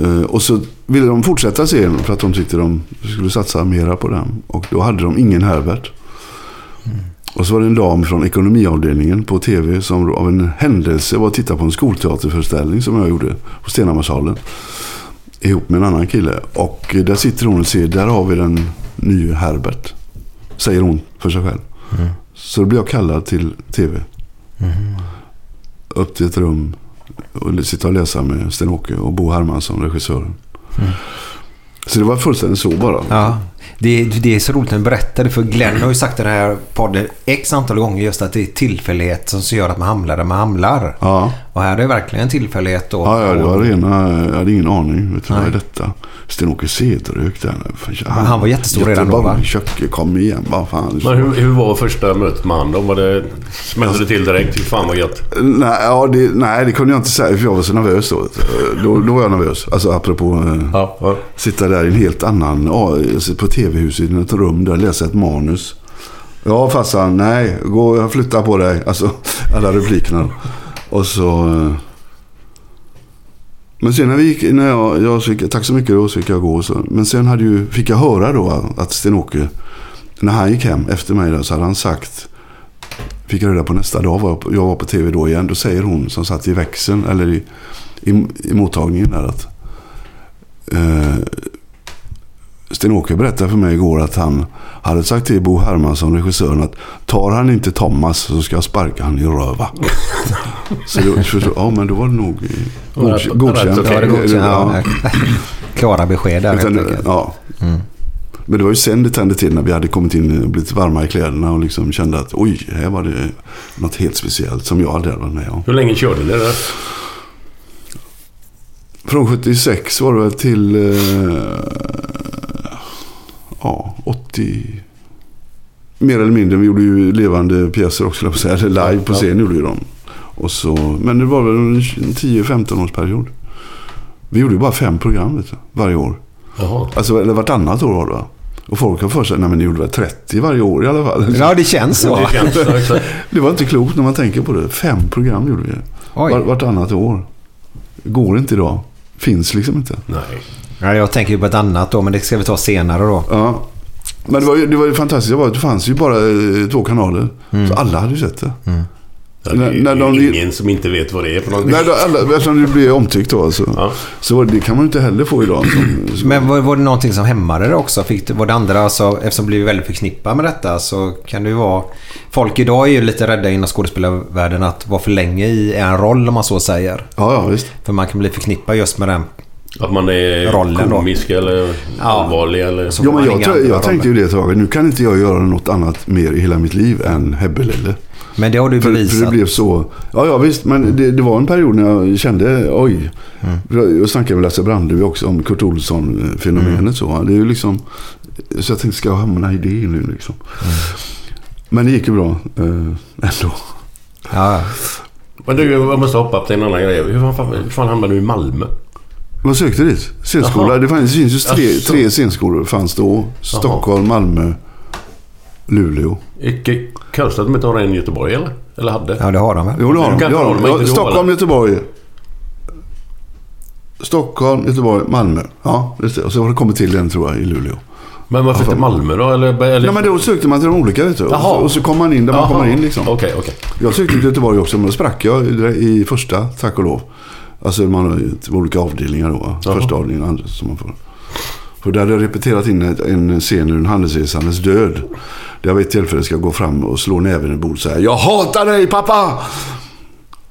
Speaker 6: Eh, Och så ville de fortsätta serien för att de tyckte de skulle satsa mera på den. Och då hade de ingen Herbert. Och så var det en dam från ekonomiavdelningen på tv som av en händelse var och tittade på en skolteaterföreställning som jag gjorde på Stenhammarsalen. Ihop med en annan kille. Och eh, där sitter hon och ser, där har vi den nya Herbert. Säger hon för sig själv. Så då blev jag kallad till tv. Upp till ett rum och sitta och läsa med Sten-Åke och Bo Hermansson, regissören. Så det var fullständigt så bara.
Speaker 2: Ja. Det, det är så roligt när du berättar det, för Glenn har ju sagt i den här podden x antal gånger just att det är tillfällighet som så gör att man hamnar där man hamnar.
Speaker 6: Ja.
Speaker 2: Och här är det verkligen en tillfällighet då.
Speaker 6: Ja, ja, det var rena... Jag hade ingen aning. Vet du, vad är
Speaker 2: Nej.
Speaker 6: detta? Sten-Åke Cederhök där. Fan,
Speaker 2: han var jättestor redan då, va?
Speaker 6: Göteborg, Köcke, kom igen. Vad fan.
Speaker 3: Men hur, hur var första mötet med han då? Var det... Smällde det till direkt? Fy fan vad gött.
Speaker 6: Nej, ja, det, nej, det kunde jag inte säga för jag var så nervös då. Då, då var jag nervös. Alltså apropå... eh,
Speaker 3: Ja. ja.
Speaker 6: Sitta där i en helt annan, ja, alltså på tv-huset i ett rum där, läsa ett manus. Ja farsan, nej, gå jag flyttar på dig. Alltså alla replikerna. Och så... eh. Men sen när vi gick, när jag, jag så gick, tack så mycket då, så fick jag gå. och Så. Men sen hade ju, fick jag höra då att Sten-Åke, när han gick hem efter mig där, så hade han sagt Fick jag reda på nästa dag, var jag, på, jag var på tv då igen. Då säger hon som satt i växeln, eller i, i, i mottagningen där att eh, Sten-Åke berättade för mig igår att han hade sagt till Bo Hermansson, regissören, att tar han inte Thomas så ska jag sparka han i röva. så då, så, så, ja, men då var det nog eh,
Speaker 3: Var det-
Speaker 6: godkänt. godkänt.
Speaker 3: var det
Speaker 2: Ja, det
Speaker 3: okej?
Speaker 2: går, ja. Klara besked där helt
Speaker 6: Utan,
Speaker 2: enkelt.
Speaker 6: ja. Men det var ju sen det tände till när vi hade kommit in och blivit varma i kläderna och liksom kände att oj, här var det något helt speciellt som jag aldrig hade varit med om.
Speaker 3: Hur länge körde ni där?
Speaker 6: Från 76 var det väl till eh, ja, 80... Mer eller mindre. Vi gjorde ju levande pjäser också, höll jag på att säga. Eller live på
Speaker 3: Ja.
Speaker 6: scen gjorde ju de. Och så, men det var väl en 10-15 års period. Vi gjorde ju bara fem program vet du, varje år.
Speaker 3: Jaha.
Speaker 6: Alltså, eller vartannat år var det va? Och folk har för sig, nej men ni gjorde väl 30 varje år i alla fall.
Speaker 2: Ja, det känns så.
Speaker 3: Det känns så, exakt.
Speaker 6: Det var inte klokt när man tänker på det. Fem program gjorde vi.
Speaker 2: Oj.
Speaker 6: Var, vartannat år. Går inte idag. Finns liksom inte.
Speaker 3: Nej.
Speaker 2: Ja, jag tänker ju på ett annat då, men det ska vi ta senare då.
Speaker 6: Ja. Men det var ju, det var ju fantastiskt. Det, var, det fanns ju bara eh, två kanaler.
Speaker 2: Mm.
Speaker 6: Så alla hade ju sett det.
Speaker 3: Ja, Det är ju
Speaker 6: När- när de-
Speaker 3: ingen som inte vet vad det är för någonting.
Speaker 6: Nej, då, alla, eftersom det blev omtyckt då alltså.
Speaker 3: Ja.
Speaker 6: Så var det, det kan man ju inte heller få idag. Som, som,
Speaker 2: Men var, var det någonting som hämmade det också? Fick, det- var det andra, alltså, eftersom det blir väldigt förknippat med detta så kan det ju vara... Folk idag är ju lite rädda inom skådespelarvärlden att vara för länge i en roll om man så säger.
Speaker 6: ja, ja, visst.
Speaker 2: För man kan bli förknippad just med den.
Speaker 3: Att man är
Speaker 2: Rollen då.
Speaker 3: komisk eller allvarlig eller...
Speaker 2: Så-
Speaker 6: Ja, men
Speaker 2: man
Speaker 6: jag,
Speaker 2: inga
Speaker 6: tror-
Speaker 2: andra
Speaker 6: jag tänkte ju det ett tag. Nu kan inte jag göra något annat mer i hela mitt liv än Hebbelelle.
Speaker 2: Men det har du
Speaker 6: För, för det
Speaker 2: bevisat.
Speaker 6: blev så. Ja, ja visst. Men det, det var en period när jag kände, oj.
Speaker 2: Mm.
Speaker 6: Jag snackade med Lasse Brandeby också om Kurt Olsson-fenomenet. Så, det är ju liksom, så jag tänkte, ska jag hamna i det nu liksom?
Speaker 2: Mm.
Speaker 6: Men det gick ju bra eh, ändå.
Speaker 2: Ja.
Speaker 3: Men du, jag måste hoppa upp till en annan grej. Hur fan, hur fan hamnade du i Malmö?
Speaker 6: Jag sökte dit. Scenskola.
Speaker 3: Jaha.
Speaker 6: Det fanns, det finns ju tre,
Speaker 3: Jaså.
Speaker 6: tre scenskolor. fanns då. Stockholm, Malmö, Luleå.
Speaker 3: Icke konstigt att de inte har en i Göteborg eller? Eller hade?
Speaker 2: ja, det har de väl?
Speaker 6: Jo, det har de.
Speaker 3: Du kan
Speaker 6: Det har
Speaker 3: inte hålla mig
Speaker 6: de.
Speaker 3: till
Speaker 6: Stockholm,
Speaker 3: Håla.
Speaker 6: Göteborg. Stockholm, Göteborg, Malmö. Ja, just det. Och så har det kommit till en tror jag i Luleå.
Speaker 3: Men varför inte Malmö då? Eller, eller...
Speaker 6: Nej, men då sökte man till de olika vet du. Och
Speaker 3: Jaha.
Speaker 6: så- Och så kom man in där man
Speaker 3: Jaha.
Speaker 6: kommer in liksom.
Speaker 3: Okej, okej.
Speaker 6: Jag sökte till Göteborg också, men då sprack jag i- i första, tack och lov. Alltså man har ju t- olika avdelningar då. va? Första avdelningen och andra som man får. För där hade jag repeterat in ett- en scen ur en handelsresandes död. Där jag vid ett tillfälle ska gå fram och slå näven i bordet och säga Jag hatar dig pappa!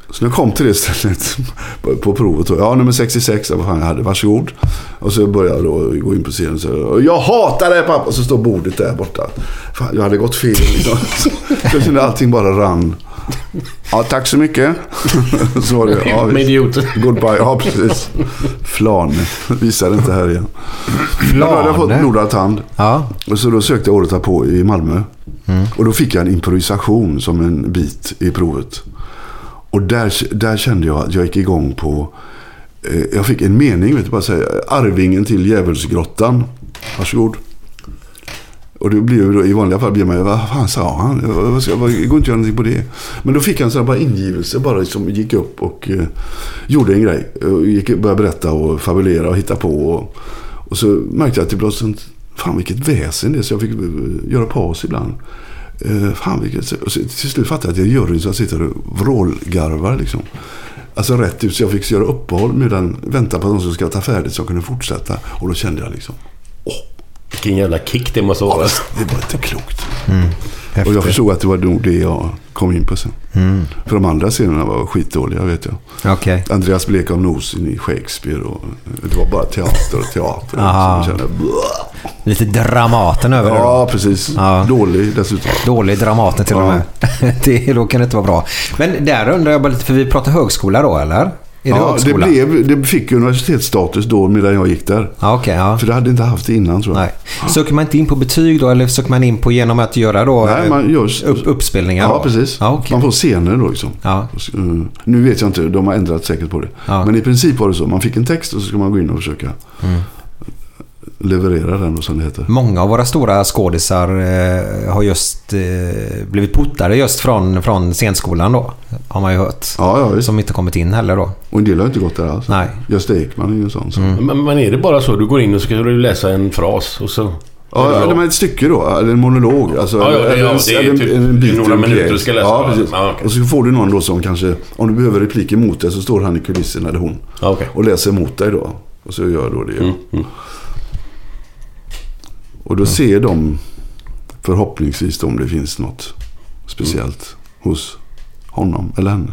Speaker 6: Så när jag kom till det stället på- på provet. Då, ja, nummer 66. ja, Vad fan jag hade. Varsågod. Och så började jag då gå in på scenen och säga Jag hatar dig pappa! Och så står bordet där borta. Fan, jag hade gått fel. Liksom. Så jag kände allting bara rann. Ja, tack så mycket. Så var det. Ja,
Speaker 3: Ut med
Speaker 6: visst.
Speaker 3: idioten.
Speaker 6: Goodbye. Ja, precis. Flan. Visar inte här igen. Men Då hade jag fått
Speaker 2: Flane.
Speaker 6: Nordatand.
Speaker 2: Ja.
Speaker 6: Och så då sökte jag året därpå i Malmö. Och då fick jag en improvisation som en bit i provet. Och där, där kände jag att jag gick igång på... Eh, jag fick en mening, vet du, bara säga Arvingen till Djävulsgrottan. Varsågod. Och det blir ju då, i vanliga fall blir man ju, vad fan sa han? Vad ska, vad, det går inte att göra någonting på det. Men då fick han sådär bara ingivelse, bara liksom gick upp och eh, gjorde en grej. Och gick, började berätta och fabulera och hitta på. Och, och så märkte jag att det blev sånt, fan vilket väsen det är. Så jag fick eh, göra paus ibland. Eh, fan vilket, och så, till slut fattade jag att det är juryn som sitter och vrålgarvar liksom. Alltså rätt ut, så jag fick göra uppehåll medan vänta på att de som ska ta färdigt så jag kunde fortsätta. Och då kände jag liksom,
Speaker 3: Vilken jävla kick det måste vara.
Speaker 6: det var inte klokt. Och jag
Speaker 2: Häftigt. Mm.
Speaker 6: förstod att det var nog det jag kom in på sen. För de andra scenerna var skitdåliga vet jag.
Speaker 2: Okej.
Speaker 6: Andreas blek av nosen i Shakespeare och det var bara teater och teater.
Speaker 2: Aha.
Speaker 6: Så jag kände, "Bleh."
Speaker 2: Lite Dramaten över det då.
Speaker 6: ja, precis.
Speaker 2: Ja.
Speaker 6: Dålig dessutom.
Speaker 2: Dålig Dramaten till och med. det, då kan det inte vara bra. Men där undrar jag bara lite, för vi pratar högskola då eller? Är
Speaker 6: Ja,
Speaker 2: det
Speaker 6: det,
Speaker 2: högskola?
Speaker 6: blev, det fick universitetsstatus då medan jag gick där.
Speaker 2: Ja, okej. ja.
Speaker 6: För det hade inte haft det innan tror jag.
Speaker 2: Nej. Söker man inte in på betyg då eller söker man in på genom att göra då
Speaker 6: Nej,
Speaker 2: eh,
Speaker 6: man gör-
Speaker 2: upp, uppspelningar?
Speaker 6: Ja,
Speaker 2: då?
Speaker 6: precis.
Speaker 2: Ja, okej.
Speaker 6: Man får scener då liksom.
Speaker 2: Ja.
Speaker 6: Mm. Nu vet jag inte, de har ändrat säkert på det.
Speaker 2: Ja. Mm.
Speaker 6: Men i princip var det så. Man fick en text och så ska man gå in och försöka leverera den och som det heter.
Speaker 2: Många av våra stora skådisar eh, har just eh, blivit portade just från, från scenskolan då. Har man ju hört.
Speaker 6: Ja, ja visst.
Speaker 2: Som inte kommit in heller då.
Speaker 6: Och en del har inte gått där alls.
Speaker 2: Nej. Mm.
Speaker 6: Gösta Ekman är ju en sån. som-
Speaker 3: Men, men är det bara så? Du går in och ska du läsa en fras och så...
Speaker 6: Ja, eller men ett stycke då. Eller en monolog. Alltså,
Speaker 3: Ja, ja, det-
Speaker 6: eller,
Speaker 3: ja,
Speaker 6: en-
Speaker 3: det är
Speaker 6: eller en-
Speaker 3: typ
Speaker 6: eller en bit
Speaker 3: några
Speaker 6: ur
Speaker 3: minuter
Speaker 6: pjäs.
Speaker 3: du ska läsa.
Speaker 6: Ja, precis.
Speaker 3: Ja, okej.
Speaker 6: Och så får du någon då som kanske, om du behöver repliker mot dig så står han i kulissen eller hon.
Speaker 3: Ja, okej.
Speaker 6: Och läser mot dig då. Och så gör då det. Och då ser de förhoppningsvis om det finns något speciellt hos honom eller henne.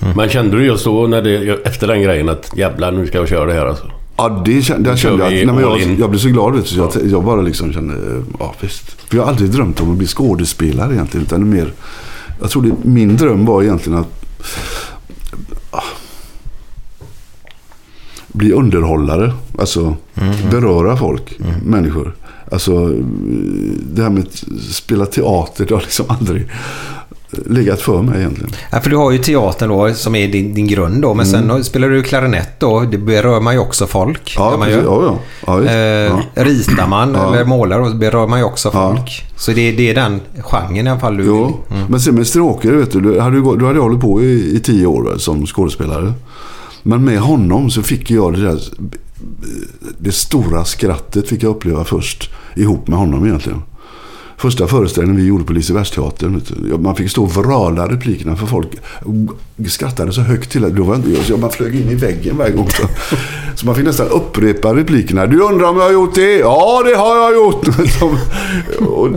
Speaker 6: Mm.
Speaker 3: Men kände du just då när det, efter den grejen att jävlar nu ska jag köra det här alltså?
Speaker 6: Ja, det kände, där
Speaker 3: kör
Speaker 6: kände jag.
Speaker 3: vi
Speaker 6: att- Nej, men
Speaker 3: all in.
Speaker 6: jag, jag blev så glad vet du, så jag, t- jag bara liksom kände, eh, ja visst. För jag har aldrig drömt om att bli skådespelare egentligen. Utan det är mer, jag tror det, min dröm var egentligen att ah, bli underhållare. Alltså
Speaker 3: Mm.
Speaker 6: beröra folk, människor. Alltså det här med att spela teater, det har liksom aldrig legat för mig egentligen.
Speaker 2: Ja, för du har ju teatern då som är din, din grund då. Men sen har- spelar du klarinett då. Det berör man ju också folk.
Speaker 6: Mm. Ja,
Speaker 2: gör man
Speaker 6: precis, ja, ja. ja, visst.
Speaker 2: Eh,
Speaker 6: ja.
Speaker 2: Ritar man eller målar då berör man ju också
Speaker 6: Ja.
Speaker 2: folk. Så det, det är den genren i alla fall du vill.
Speaker 6: Jo, men sen med Stråkare vet du, du hade, ju gå- du hade hållit på i, i tio år va, som skådespelare. Men med honom så fick jag det där, det stora skrattet fick jag uppleva först ihop med honom egentligen. Första föreställningen vi gjorde på Lisebergsteatern. vet du, Man fick stå och vrala replikerna för folk skrattade så högt till att då var jag inte jag, så jag- man flög in i väggen varje gång. Så, så man fick nästan upprepa replikerna. Du undrar om jag har gjort det? Ja, det har jag gjort! Som- och,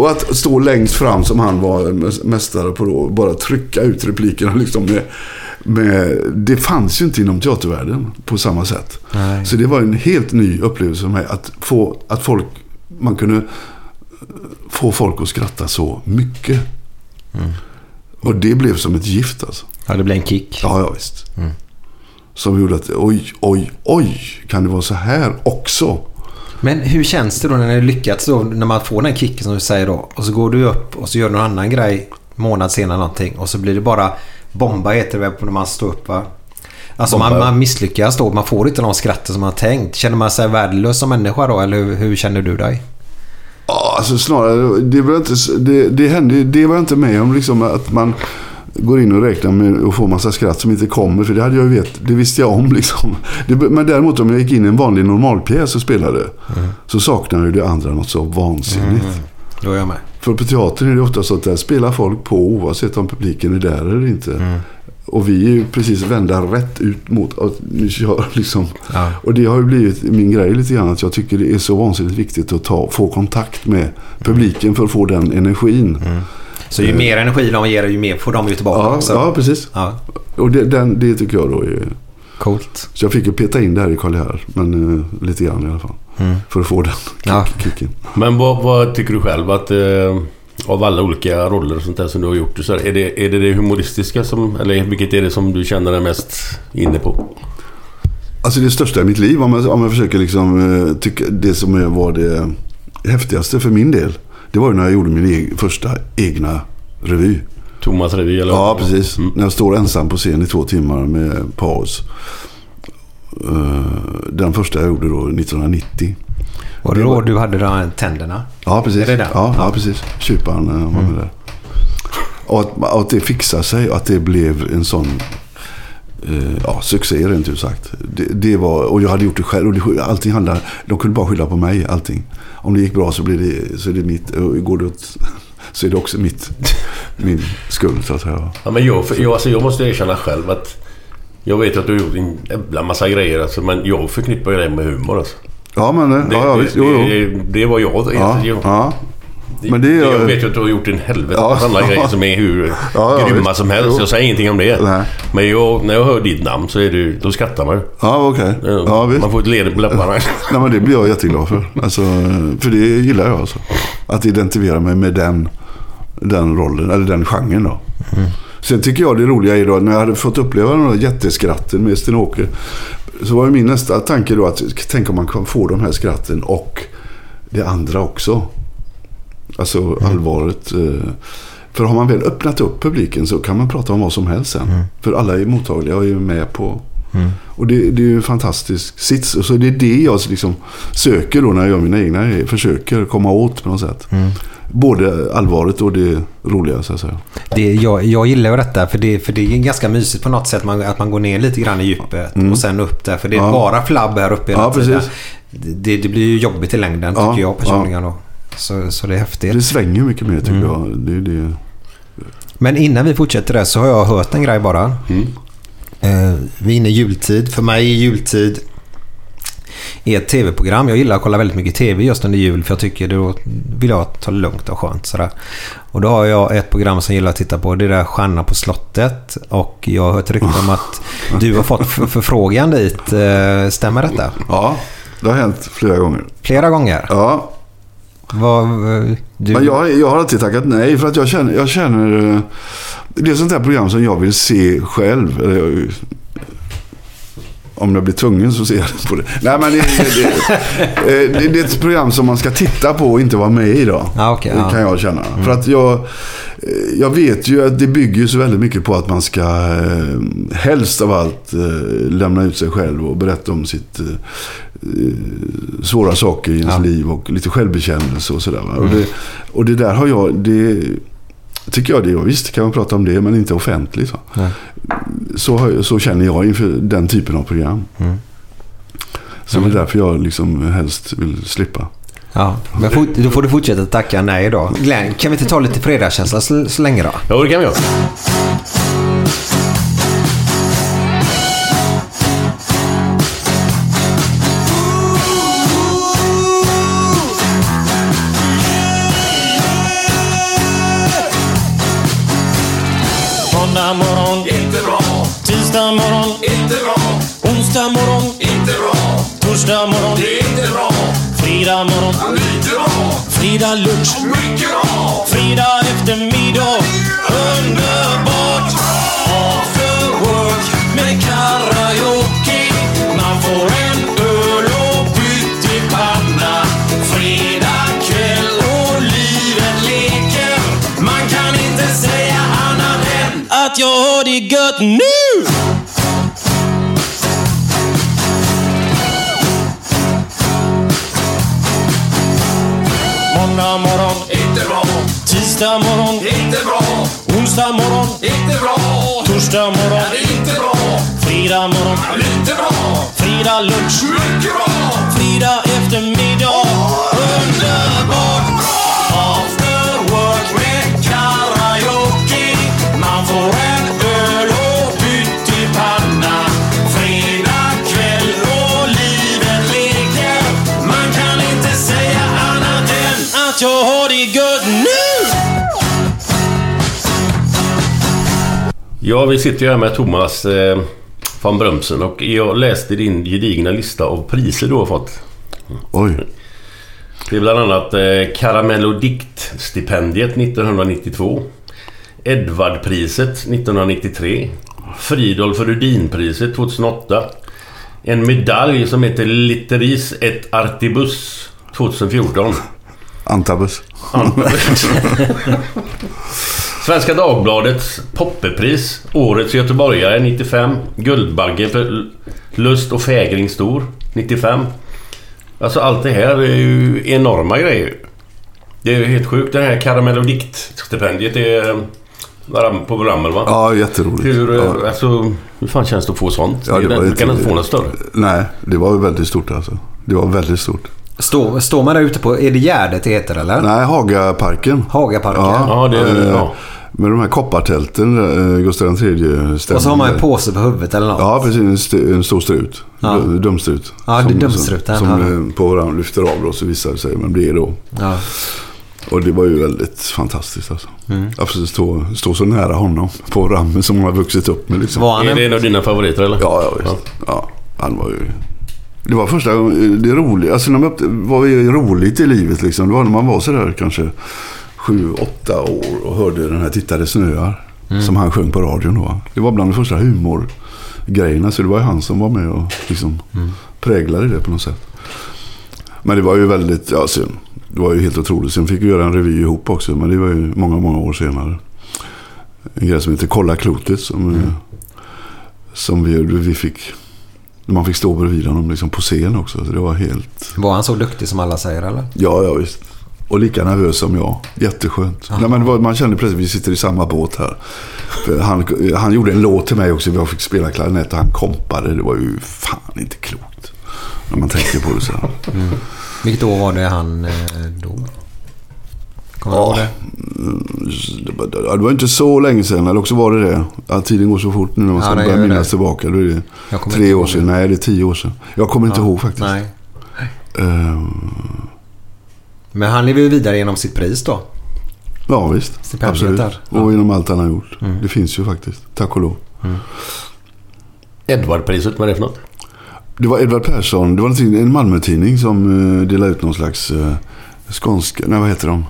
Speaker 6: och att stå längst fram som han var mä- mästare på då, och bara trycka ut replikerna liksom med, med, eh, det fanns ju inte inom teatervärlden på samma sätt.
Speaker 2: Nej.
Speaker 6: Så det var en helt ny upplevelse för mig att få att folk, man kunde få folk att skratta så mycket. Och det blev som ett gift alltså.
Speaker 2: Ja, det blir en kick.
Speaker 6: Ja, ja visst. Som gjorde att oj, oj, oj, kan det vara så här också?
Speaker 2: Men hur känns det då när det lyckats då? När man får den kicken som du säger då. Och så går du upp och så gör du någon annan grej månad senare någonting. Och så blir det bara bomba heter det väl på när man står upp va? Alltså man,
Speaker 3: Bomba.
Speaker 2: man misslyckas då. Man får inte de skratten som man tänkt. Känner man sig värdelös som människa då? Eller hur, hur känner du dig?
Speaker 6: Ja, alltså snarare, det var, inte, det, det, hände, det var jag inte med om liksom att man går in och räknar med och får massa skratt som inte kommer. För det hade jag ju vet, det visste jag om liksom. Det, men däremot om jag gick in i en vanlig normalpjäs och spelade. Så saknade ju det andra något så vansinnigt.
Speaker 2: Då är jag med.
Speaker 6: För på teatern är det ofta så att där spelar folk på oavsett om publiken är där eller inte.
Speaker 2: Mm.
Speaker 6: Och vi är ju precis vända rätt ut mot att nu kör liksom.
Speaker 2: Ja.
Speaker 6: Och det har ju blivit min grej lite grann. Att jag tycker det är så vansinnigt viktigt att ta, få kontakt med publiken för att få den energin.
Speaker 2: Mm. Så ju mer energi de ger ju mer får de ju tillbaka
Speaker 6: Ja,
Speaker 2: också.
Speaker 6: ja, precis.
Speaker 2: Ja,
Speaker 6: Och det, den, det tycker jag då är...
Speaker 2: coolt.
Speaker 6: Så jag fick ju peta in det här i Karl Gerhard, Men eh, lite grann i alla fall. För att få den
Speaker 2: Mm. Ja.
Speaker 6: kicken.
Speaker 3: Men vad, vad tycker du själv att eh, av alla olika roller och sånt där som du har gjort? Så här, är, det, är det det humoristiska som, eller vilket är det som du känner dig mest inne på?
Speaker 6: Alltså det största i mitt liv, om jag, om jag försöker liksom, eh, tycka det som eh, var det häftigaste för min del. Det var ju när jag gjorde min eg- första egna revy.
Speaker 3: Thomas Revy eller?
Speaker 6: Ja, precis. När jag står ensam på scen i två timmar med paus. Eh, Den första jag gjorde då 1990.
Speaker 2: Var det då du hade de här tänderna?
Speaker 6: Ja, precis.
Speaker 2: Är det den?
Speaker 6: Ja, ja, precis. Tjupan eh, var
Speaker 3: Mm.
Speaker 6: med där. Och att, och att det fixade sig och att det blev en sån eh, ja, succé rent ut sagt. Det, det var, och jag hade gjort det själv. Och det, allting handlade, de kunde bara skylla på mig allting. Om det gick bra så, blir det, så är det mitt. Och går det åt, så är det också mitt, min skuld så att säga.
Speaker 3: Ja, men jag, för, jag, alltså, jag måste erkänna själv att jag vet att du har gjort en jävla massa grejer alltså, men jag förknippar ju det med humor alltså.
Speaker 6: Ja, men eh,
Speaker 3: Det,
Speaker 6: ja, ja, visst. Jo, jo.
Speaker 3: Det, det, det var jag. Alltså,
Speaker 6: Ja,
Speaker 3: jag,
Speaker 6: ja.
Speaker 3: det-
Speaker 6: men det är-
Speaker 3: jag vet ju att du har gjort en helvete
Speaker 6: Ja.
Speaker 3: massa andra grejer som är hur
Speaker 6: Ja, ja,
Speaker 3: grymma
Speaker 6: visst.
Speaker 3: som helst.
Speaker 6: Jo.
Speaker 3: Jag säger ingenting om det.
Speaker 6: Nej.
Speaker 3: Men jag, när jag hör ditt namn så är det, då skrattar man ju.
Speaker 6: Ja, okej. Ja, visst.
Speaker 3: man får ett leende på läpparna.
Speaker 6: Nej, men det blir jag jätteglad för. Alltså, för det gillar jag. Alltså. Att identifiera mig med den, den rollen, eller den genren. Då. Sen tycker jag det roliga är då, när jag hade fått uppleva de där jätteskratten med Sten-Åke. Så var ju min nästa tanke då att tänk om man kan få de här skratten och det andra också. Alltså allvaret. eh, För har man väl öppnat upp publiken så kan man prata om vad som helst sen. För alla är mottagliga och är med på. Och det, det är ju en fantastisk sits. Och så det är det jag liksom söker då när jag gör mina egna grejer. Försöker komma åt på något sätt. Både allvaret och det roliga så att säga.
Speaker 2: Det, jag, jag gillar ju detta för det, för det är ganska mysigt på något sätt man, att man går ner lite grann i djupet och sen upp där. För det är
Speaker 6: Mm. Ja.
Speaker 2: bara flabb här uppe hela
Speaker 6: Ja,
Speaker 2: tiden.
Speaker 6: precis.
Speaker 2: det, det blir ju jobbigt i längden
Speaker 6: Ja,
Speaker 2: tycker jag personligen då. Så, så det är häftigt.
Speaker 6: Det svänger mycket mer tycker jag. Det, är det.
Speaker 2: Men innan vi fortsätter där så har jag hört en grej bara. Eh, vi är inne i jultid. För mig är jultid är ett tv-program. Jag gillar att kolla väldigt mycket tv just under jul för jag tycker då vill jag ta det lugnt och skönt. Sådär. Och då har jag ett program som jag gillar att titta på. Det är där Stjärna på slottet. Och jag har hört rykten om att du har fått för- förfrågan dit. Eh, Stämmer detta?
Speaker 6: Ja, det har hänt flera gånger.
Speaker 2: Flera gånger?
Speaker 6: Ja,
Speaker 2: Vad, eh, du,
Speaker 6: Men jag, jag har alltid tackat nej för att jag känner, jag känner... eh, Det är sånt här program som jag vill se själv. Eller jag, om jag blir tvungen så ser jag på det. Nej men det, det, det, eh, det, det är ett program som man ska titta på och inte vara med i då.
Speaker 2: Ja, okej, ja.
Speaker 6: kan jag känna. För att jag, eh, jag vet ju att det bygger ju så väldigt mycket på att man ska eh, helst av allt eh, lämna ut sig själv och berätta om sitt eh, svåra saker i ens liv och lite självbekännelse och sådär. va. Och, det, och det där har jag, det tycker jag det, och visst kan man prata om det men inte offentligt. va. Så, har jag- så känner jag inför den typen av program.
Speaker 3: Mm.
Speaker 6: Så det är därför jag liksom helst vill slippa.
Speaker 2: ja, men fort, då får du fortsätta tacka nej då. Glenn, kan vi inte ta lite fredagskänsla så, så länge då?
Speaker 3: Ja, det kan vi göra.
Speaker 5: Måndag morgon, inte bra. Tisdag morgon, inte bra. Onsdag morgon, inte bra. Torsdag morgon, det är inte bra. Fredag morgon, lite bra. Fredag lunch, mycket bra. Fredag eftermiddag, underbart. After work med karaoke. Man får en öl och pyttipanna. Fredag kväll och livet leker. Man kan inte säga annat än att jag har det gött nu! Måndag morgon, inte bra. Tisdag morgon, inte bra. Onsdag morgon, inte bra. Torsdag morgon, inte bra. Fredag morgon, inte bra. Fredag lunch, mycket bra. Fredag eftermiddag, underbart bra. After work med karaoke. Man får en öl och pyttipanna. Fredag kväll och livet leker. Man kan inte säga annat än att jag har det gött nu!
Speaker 3: Ja, vi sitter ju här med Thomas eh, van Brömsen och jag läste din gedigna lista av priser du har fått.
Speaker 6: Oj.
Speaker 3: Det är bland annat eh, Karamellodiktstipendiet 1992 Edvardpriset 1993 Fridolf Rudinpriset 2008 En medalj som heter Litteris et Artibus 2014
Speaker 6: Antabus.
Speaker 3: Svenska Dagbladets Poppepris Årets Göteborgare 95 Guldbagge för L- Lust och fägring stor 95 Alltså allt det här är ju enorma grejer. Det är ju helt sjukt. Det här Karamell och diktstipendiet är eh, varann på Ramel va?
Speaker 6: Ja, jätteroligt.
Speaker 3: Hur, eh,
Speaker 6: ja.
Speaker 3: alltså, hur fan känns det att få sånt?
Speaker 6: Ja, det var
Speaker 3: du
Speaker 6: ett-
Speaker 3: kan inte få något större.
Speaker 6: Nej, det var väldigt stort alltså. Det var väldigt stort.
Speaker 2: Står står man där ute på, är det Gärdet det heter eller?
Speaker 6: Nej, Hagaparken.
Speaker 2: Hagaparken.
Speaker 3: Ja, det är-
Speaker 6: eh,
Speaker 3: ja.
Speaker 6: Med de här koppartälten, eh, Gustav III ställning.
Speaker 2: Och så har man en påse på huvudet eller något.
Speaker 6: Ja, precis. En, st- en stor strut.
Speaker 2: Ja.
Speaker 6: D- Dumstrut.
Speaker 2: Ja, det är
Speaker 6: Som-
Speaker 2: dumstruten,
Speaker 6: Som,
Speaker 2: ja.
Speaker 6: som eh, på varandra lyfter av då, så visar det sig vem det är då.
Speaker 2: Ja.
Speaker 6: Och det var ju väldigt fantastiskt alltså. Att få stå, stå så nära honom på rammen som man har vuxit upp med liksom.
Speaker 2: Var han
Speaker 3: Är det
Speaker 2: en...
Speaker 3: en av dina favoriter eller?
Speaker 6: Ja, ja visst. Ja. han var ju... Det var första gången- det roliga, alltså när man upptä- vad är roligt i livet liksom. Det var när man var sådär kanske sju, åtta år och hörde den här Tittade snöar. Som han sjöng på radion då. Det var bland de första humorgrejerna. Så det var ju han som var med och liksom präglade det på något sätt. Men det var ju väldigt, ja sen, det var ju helt otroligt. Sen fick vi göra en revy ihop också. Men det var ju många, många år senare. En grej som heter Kolla klotet. Som, eh, som vi, vi fick. Man fick stå bredvid honom liksom på scen också. Så det var helt...
Speaker 2: Var han så duktig som alla säger eller?
Speaker 6: Ja, ja visst. Och lika nervös som jag. Jätteskönt. Nej, men det var, man kände plötsligt att vi sitter i samma båt här. För han, han gjorde en låt till mig också. Jag fick spela klarinett och han kompade. Det var ju fan inte klokt. När man tänker på det så här.
Speaker 2: Vilket år var det han eh, dog? Kommer du ihåg
Speaker 6: Ja.
Speaker 2: det?
Speaker 6: Det var- Det var inte så länge sedan, eller också var det det. Ja, tiden går så fort nu när man
Speaker 2: Ja,
Speaker 6: ska
Speaker 2: det
Speaker 6: börja
Speaker 2: gör
Speaker 6: minnas
Speaker 2: det.
Speaker 6: tillbaka. Då är det
Speaker 2: Jag kommer
Speaker 6: tre
Speaker 2: inte
Speaker 6: år
Speaker 2: ihåg
Speaker 6: sedan.
Speaker 2: det.
Speaker 6: Nej, det är tio år sedan. Jag kommer inte ihåg faktiskt.
Speaker 2: Nej.
Speaker 6: Ehm,
Speaker 2: Men han lever ju vidare genom sitt pris då.
Speaker 6: ja, visst.
Speaker 2: Stipendiet
Speaker 6: Absolut.
Speaker 2: där.
Speaker 6: Och genom allt han har gjort.
Speaker 3: Mm.
Speaker 6: Det finns ju faktiskt. Tack och lov.
Speaker 3: Edwardpriset, vad är det för något?
Speaker 6: Det var Edvard Persson. Det var någonting- en Malmötidning som eh, delade ut någon slags eh, skånska... Nej, vad heter de?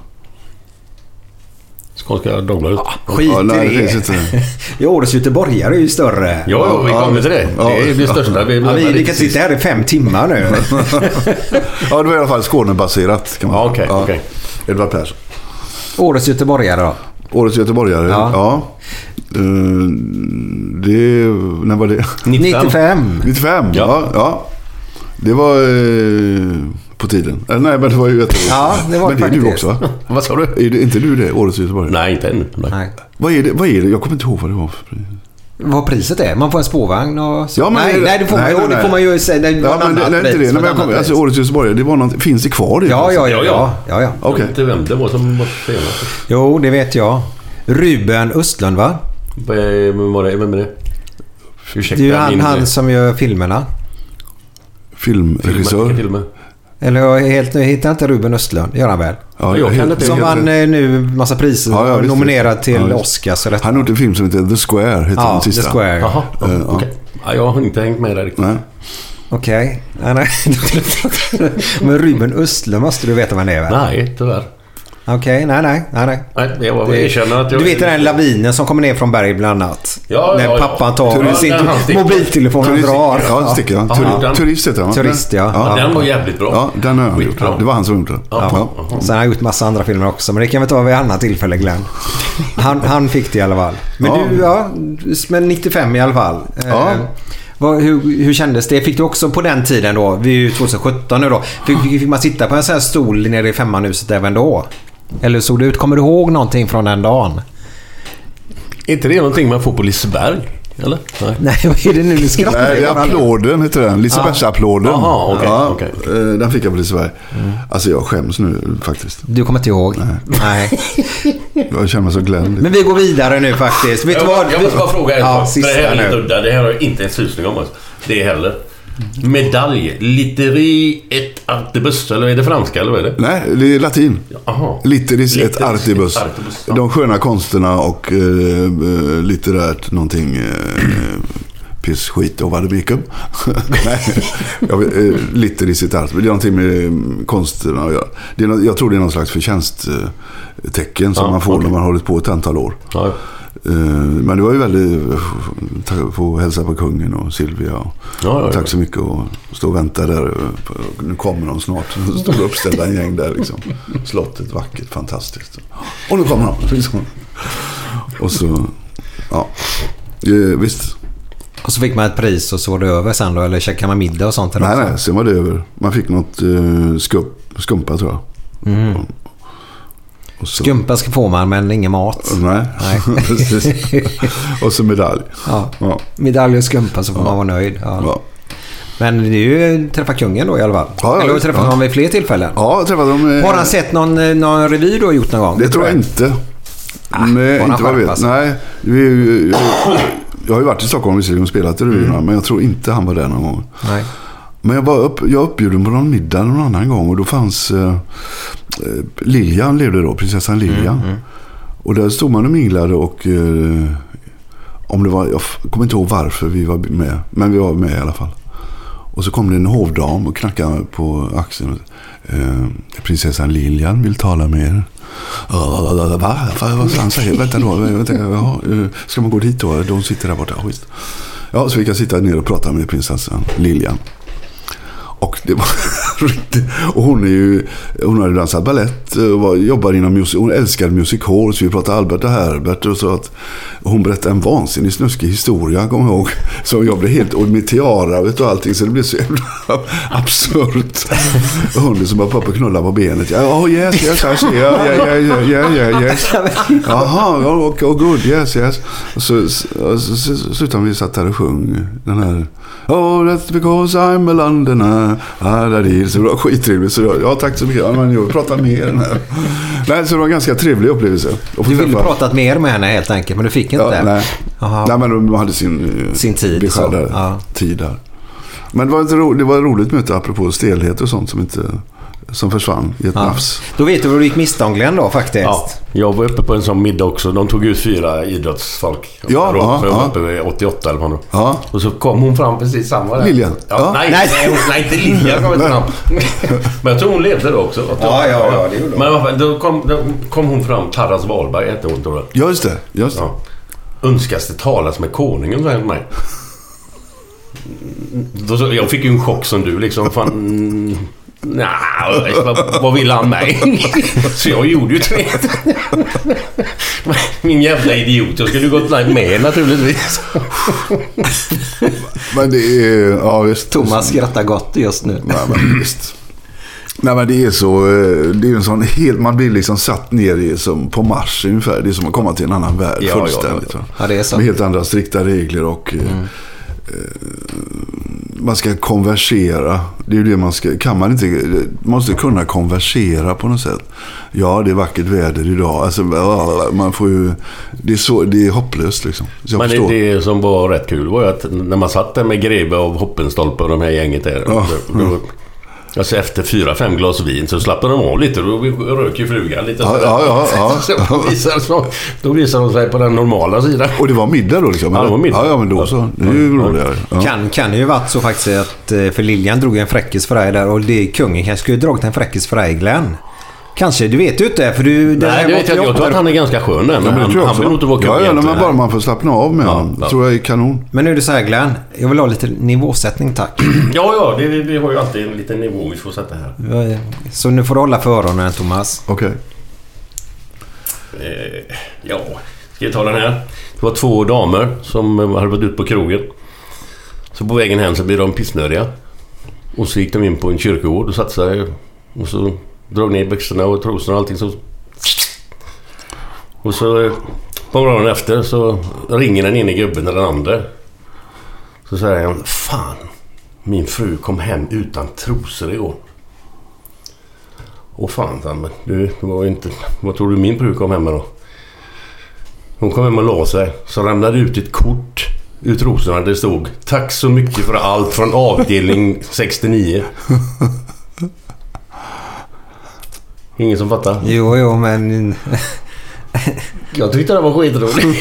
Speaker 3: Skånska Dagbladet?
Speaker 2: Skit
Speaker 6: Ja,
Speaker 2: i
Speaker 6: nej, det finns
Speaker 2: det.
Speaker 6: inte.
Speaker 2: Ja, årets göteborgare är ju större.
Speaker 3: Ja, ja, vi kommer till det.
Speaker 6: Ja.
Speaker 3: Det är det största. Vi,
Speaker 2: Ja, vi, vi kan sitta här i fem timmar nu.
Speaker 6: Ja, det var i alla fall Skånebaserat. Kan man
Speaker 3: Ja,
Speaker 6: säga.
Speaker 3: okej, okej.
Speaker 6: Edvard Persson.
Speaker 2: årets göteborgare då.
Speaker 6: Årets göteborgare.
Speaker 2: Ja.
Speaker 6: Ja. Eh, det... När var det?
Speaker 2: 95.
Speaker 6: 95? Ja.
Speaker 3: Ja.
Speaker 6: ja. Det var eh, på tiden. Eller nej, men det var ju ett år
Speaker 2: Ja, det var
Speaker 6: Men det är
Speaker 2: faktiskt.
Speaker 6: du också va?
Speaker 3: Vad sa du?
Speaker 6: Är det inte du det? Årets göteborgare?
Speaker 3: Nej, inte ännu. Nej.
Speaker 2: Nej.
Speaker 6: Vad är det? Vad är det? Jag kommer inte ihåg vad det var. för pris.
Speaker 2: Vad priset är? Man får en spårvagn och så.
Speaker 6: Ja, men-
Speaker 2: nej, nej, det får,
Speaker 6: nej,
Speaker 2: man, ju-
Speaker 6: nej,
Speaker 2: det får man ju säga. Det var
Speaker 6: Ja,
Speaker 2: en
Speaker 6: men det,
Speaker 2: annan
Speaker 6: det är inte
Speaker 2: pris,
Speaker 6: det. Nej, men jag
Speaker 2: ett
Speaker 6: kommer,
Speaker 2: annat
Speaker 6: alltså,
Speaker 2: pris.
Speaker 6: årets göteborgare, det var något, finns det kvar det?
Speaker 2: Ja, ja,
Speaker 3: Ja,
Speaker 2: ja. ja,
Speaker 3: ja.
Speaker 2: ja, ja.
Speaker 6: Okej.
Speaker 3: Jag vet inte vem det var som var senast.
Speaker 2: Jo, det vet jag. Ruben Östlund va?
Speaker 3: Vem Eh, var det? Vem är det? Ursäkta,
Speaker 2: Det är ju han,
Speaker 3: min-
Speaker 2: han som gör filmerna.
Speaker 6: Filmregissör.
Speaker 3: Filmer.
Speaker 2: Eller jag är helt nu hittar jag inte Ruben Östlund. Gör han väl?
Speaker 6: Ja,
Speaker 3: Jag kan
Speaker 6: helt-
Speaker 3: inte-
Speaker 6: helt
Speaker 2: Som
Speaker 6: rätt.
Speaker 2: vann eh, nu massa priser.
Speaker 6: Ja, ja, visst,
Speaker 2: nominerad
Speaker 6: visst.
Speaker 2: till
Speaker 6: Ja, visst.
Speaker 2: Oscars. Eller
Speaker 6: Han har gjort en film som heter The Square. Heter
Speaker 2: Ja,
Speaker 6: den
Speaker 2: The
Speaker 6: sista. Eh,
Speaker 2: Square. Okej.
Speaker 3: Jaha, okej. Ja, jag har inte hängt med där riktigt.
Speaker 6: Nej.
Speaker 2: Okay. nej. Men Ruben Östlund måste du veta vem det är väl?
Speaker 3: Nej, tyvärr.
Speaker 2: Okej, nej, nej, nej, nej.
Speaker 3: Nej, jag var
Speaker 2: Det-
Speaker 3: erkänner att jag...
Speaker 2: Du vet den här lavinen som kommer ner från berget bland annat?
Speaker 3: Ja,
Speaker 2: när
Speaker 3: ja, ja.
Speaker 2: pappan tar
Speaker 3: Turist-
Speaker 2: sin
Speaker 3: Ja, han sticker.
Speaker 2: mobiltelefon och
Speaker 6: Turist,
Speaker 2: drar.
Speaker 6: ja, sticker han. Tur,
Speaker 3: Ja.
Speaker 6: Turist heter han va?
Speaker 2: Turist, ja.
Speaker 3: Ja, den var jävligt bra.
Speaker 6: Ja, den har han gjort.
Speaker 3: Skitbra.
Speaker 6: Det var han som gjorde den.
Speaker 3: Ja.
Speaker 6: Ja.
Speaker 2: Sen har han gjort massa andra filmer också, men det kan vi ta vid ett annat tillfälle Glenn. Han, han fick det i alla fall. Men
Speaker 6: Ja.
Speaker 2: du, ja, men 95 i alla fall. Eh,
Speaker 6: Ja.
Speaker 2: vad, hur, hur kändes det? Fick du också på den tiden då, vi är ju 2017 nu då, fick, fick man sitta på en sån här stol nere i femmanhuset även då? Eller hur såg det ut? Kommer du ihåg någonting från den dagen?
Speaker 3: Är inte det någonting man får på Liseberg? Eller? Nej.
Speaker 2: Nej, vad är det nu? Du skrattar.
Speaker 6: Nej, det är
Speaker 2: bara.
Speaker 6: applåden heter den. Lisebergsapplåden.
Speaker 3: Jaha, okej,
Speaker 6: ja,
Speaker 3: okej. Mm.
Speaker 6: eh, Den fick jag på Liseberg. Alltså jag skäms nu faktiskt.
Speaker 2: Du kommer inte ihåg? Nej.
Speaker 6: Jag känner mig så gländ.
Speaker 2: Men vi går vidare nu faktiskt. Vet du
Speaker 3: Jag,
Speaker 2: vad?
Speaker 3: jag måste bara fråga en
Speaker 2: Ja,
Speaker 3: sak. Det här
Speaker 2: sista
Speaker 3: är lite
Speaker 2: nu.
Speaker 3: udda. Det här har jag inte en susning om. Alltså. Det heller. Medalj. Litteri et artibus. Eller är det franska eller vad är det?
Speaker 6: Nej, det är latin.
Speaker 3: Jaha.
Speaker 6: Litteris
Speaker 3: Litteris
Speaker 6: et
Speaker 3: et
Speaker 6: artibus.
Speaker 3: artibus, ja.
Speaker 6: De sköna konsterna och eh, eh, litterärt någonting. Eh, piss, skit och vad det vilken. Nej, jag vet, eh, litteris et artibus. Det är någonting med eh, konsterna att göra. Det är, nå- jag tror det är någon slags förtjänsttecken som
Speaker 3: Ja,
Speaker 6: man får
Speaker 3: okej.
Speaker 6: när man har hållit på ett antal år.
Speaker 3: Ja.
Speaker 6: Eh, Men det var ju väldigt... ta- Få hälsa på kungen och Silvia. Och,
Speaker 3: ja, ja.
Speaker 6: Tack så mycket och stå och vänta där. eh, Nu kommer de snart. Stora uppställda gäng där liksom. Slottet vackert, fantastiskt. Och nu kommer de. Liksom. Och så... Ja. Eh, visst.
Speaker 2: Och så fick man ett pris och så var det över sen då? Eller käkade man middag och sånt?
Speaker 6: Nej,
Speaker 2: Eller?
Speaker 6: nej. Sen var det över. Man fick något eh, skup, skumpa tror jag. Mm. Och så,
Speaker 2: Skumpa ska få man, men ingen mat.
Speaker 6: Nej.
Speaker 2: Nej.
Speaker 6: Precis. och så medalj.
Speaker 2: Ja.
Speaker 6: Ja.
Speaker 2: Medalj och skumpa så får man vara nöjd. Ja.
Speaker 6: Ja.
Speaker 2: Men det är ju träffa kungen då i alla fall.
Speaker 6: Ja, ja,
Speaker 2: Eller har du
Speaker 6: visst,
Speaker 2: träffat
Speaker 6: ja.
Speaker 2: honom vid fler tillfällen?
Speaker 6: Ja, jag träffade dem. eh,
Speaker 2: Har han sett någon, eh, någon revy du har gjort någon gång?
Speaker 6: Det tror jag inte. Nej,
Speaker 2: bara alltså.
Speaker 6: inte vad jag
Speaker 2: skärpa
Speaker 6: vet.
Speaker 2: sig.
Speaker 6: Nej, vi, jag, jag har ju varit i Stockholm visserligen och spelat i revyerna,
Speaker 2: Mm.
Speaker 6: men jag tror inte han var där någon gång.
Speaker 2: Nej.
Speaker 6: Men jag var upp, jag var uppbjuden på någon middag någon annan gång och då fanns eh, eh, Liljan levde då, prinsessan Liljan. Och där stod man och minglade och eh, om det var, jag f- kommer inte ihåg varför vi var med, men vi var med i alla fall. Och så kom det en hovdam och knackade på axeln. Eh, prinsessan Liljan vill tala med er. Va? Va? Vad han säger? Vänta då. Vänta, jaha, eh, ska man gå dit då? De sitter där borta. Ja, visst. Ja, så fick jag sitta ner och prata med prinsessan Liljan. Och det var, Och hon är ju, hon har ju dansat balett och var, jobbar inom musik, hon älskar musikhall. Så vi pratade Albert och Herbert och så att hon berättade en vansinnig snuskig historia, kommer jag ihåg. Som jag blev helt, och med tiara vet du, och allting. Så det blev så jävla absurt. Hunden som bara pappa knulla på benet. Ja, Oh yes, yes, I see. Yeah, yeah, yeah, yeah, yeah, yes. Jaha, oh, okay, oh good, yes, yes. Och så, så, så, så slutade vi satt där och sjöng den här. Oh, that's because I'm a Londoner. Ah, där det är. Så det var skittrevligt. Så jag, ja, tack så mycket. Ja, men jag pratar mer den här. Nej, så det var en ganska trevlig upplevelse. att få
Speaker 2: Du ville
Speaker 6: träffa-
Speaker 2: pratat mer med henne helt enkelt, men du fick inte.
Speaker 6: Ja, nej.
Speaker 2: Jaha.
Speaker 6: nej, men de hade sin, eh,
Speaker 2: Sin tid,
Speaker 6: beskärda
Speaker 2: så. Ja.
Speaker 6: tid där. Men det var, ett ro, det var ett roligt möte apropå stelhet och sånt som, inte, som försvann i ett
Speaker 2: Ja.
Speaker 6: nafs.
Speaker 2: Då vet du vad du gick miste om Glenn då faktiskt.
Speaker 3: Ja, jag var uppe på en sån middag också. De tog ut fyra idrottsfolk.
Speaker 6: Ja,
Speaker 3: Då,
Speaker 6: ja,
Speaker 3: för jag var
Speaker 6: ja.
Speaker 3: uppe vid 88 eller vad det var.
Speaker 6: Ja.
Speaker 3: Och så kom hon fram precis samma där.
Speaker 6: Lilja.
Speaker 3: Ja,
Speaker 6: Ja.
Speaker 3: Nej, nej, hon- nej, inte Lilja kom inte fram. Men jag tror hon levde då också.
Speaker 2: Ja, ja, ja, det gjorde hon.
Speaker 3: Men i alla fall, då kom, då kom hon fram. Tarras Wahlberg hette hon tror jag.
Speaker 6: Ja, just det. Just det.
Speaker 3: Ja. Önskas det talas med konungen, sa han till mig. Mm, Då, så- jag fick ju en chock som du liksom. Fan, mm, nej, vad, vad vill han mig? Så jag gjorde ju det. Min jävla idiot. Jag skulle ju gått med naturligtvis.
Speaker 6: Men det är... Ja, visst.
Speaker 2: Thomas skrattar gott just nu.
Speaker 6: Nej, men visst. Nej, men det är så... eh, Det är en sån helt... Man blir liksom satt ner i, som på Mars ungefär. Det är som att komma till en annan värld
Speaker 3: Ja, ja,
Speaker 6: fullständigt.
Speaker 3: ja.
Speaker 6: va?
Speaker 2: Ja, det är så. Mm.
Speaker 6: Med helt andra strikta regler och... eh, eh, Man ska konversera. Det är ju det man ska... Kan man inte... Man måste kunna konversera på något sätt. Ja, det är vackert väder idag. Alltså, man får ju... Det är, så, det är hopplöst liksom. Så jag
Speaker 3: Men det,
Speaker 6: förstår.
Speaker 3: det som var rätt kul var ju att när man satt där med Greve och Hoppenstolpe och de här gänget där.
Speaker 6: Ja.
Speaker 3: Då, då, alltså efter fyra, fem glas vin så slappnade de av lite. Då rök ju frugan lite.
Speaker 6: Ja,
Speaker 3: sådär.
Speaker 6: ja, ja, ja.
Speaker 3: Så visade de- Då visade de sig på den normala sidan.
Speaker 6: Och det var middag då liksom?
Speaker 3: Ja, det var middag.
Speaker 6: Ja, ja men då så. Det är ju
Speaker 3: Ja.
Speaker 6: roligare. Ja.
Speaker 2: Kan, kan ju varit så faktiskt att eh, för Lilian drog en fräckis för dig där och det, kungen kanske skulle dragit en fräckis för dig Glenn. Kanske, du vet ju inte för du... det här
Speaker 3: Nej, det
Speaker 2: var
Speaker 3: vet jag, inte. jag
Speaker 2: 88.
Speaker 3: tror att han är ganska skön där. Men
Speaker 6: Ja, men det
Speaker 3: han,
Speaker 6: tror jag
Speaker 3: han
Speaker 6: också.
Speaker 3: vill nog inte vara kung
Speaker 6: Ja, ja,
Speaker 3: egentligen.
Speaker 6: men bara man får slappna av med
Speaker 3: Ja,
Speaker 6: honom.
Speaker 3: ja.
Speaker 6: tror jag är kanon.
Speaker 2: Men nu är det så här Glenn, jag vill ha lite nivåsättning tack.
Speaker 3: Ja, ja, det, vi har ju alltid en liten nivå vi får sätta här.
Speaker 2: Så nu får du hålla för öronen Thomas.
Speaker 6: Okej.
Speaker 3: Eh, ja, ska jag ta den här? Det var två damer som eh, hade varit ute på krogen. Så på vägen hem så blev de pissnödiga. Och så gick de in på en kyrkogård och satte sig. Och så drog ner byxorna och trosorna och allting. Så... Och så eh, på morgonen efter så ringer den ene gubben eller den andra. Så säger han Fan, min fru kom hem utan trosor igår. Åh fan, sa han, men du, det var ju inte... Vad tror du min fru kom hem med då? Hon kom hem och la sig. Så ramlade ut ett kort ur trosorna. Det stod Tack så mycket för allt från avdelning 69. Ingen som fattar?
Speaker 2: Jo, jo men...
Speaker 3: Jag tyckte det var skitroligt.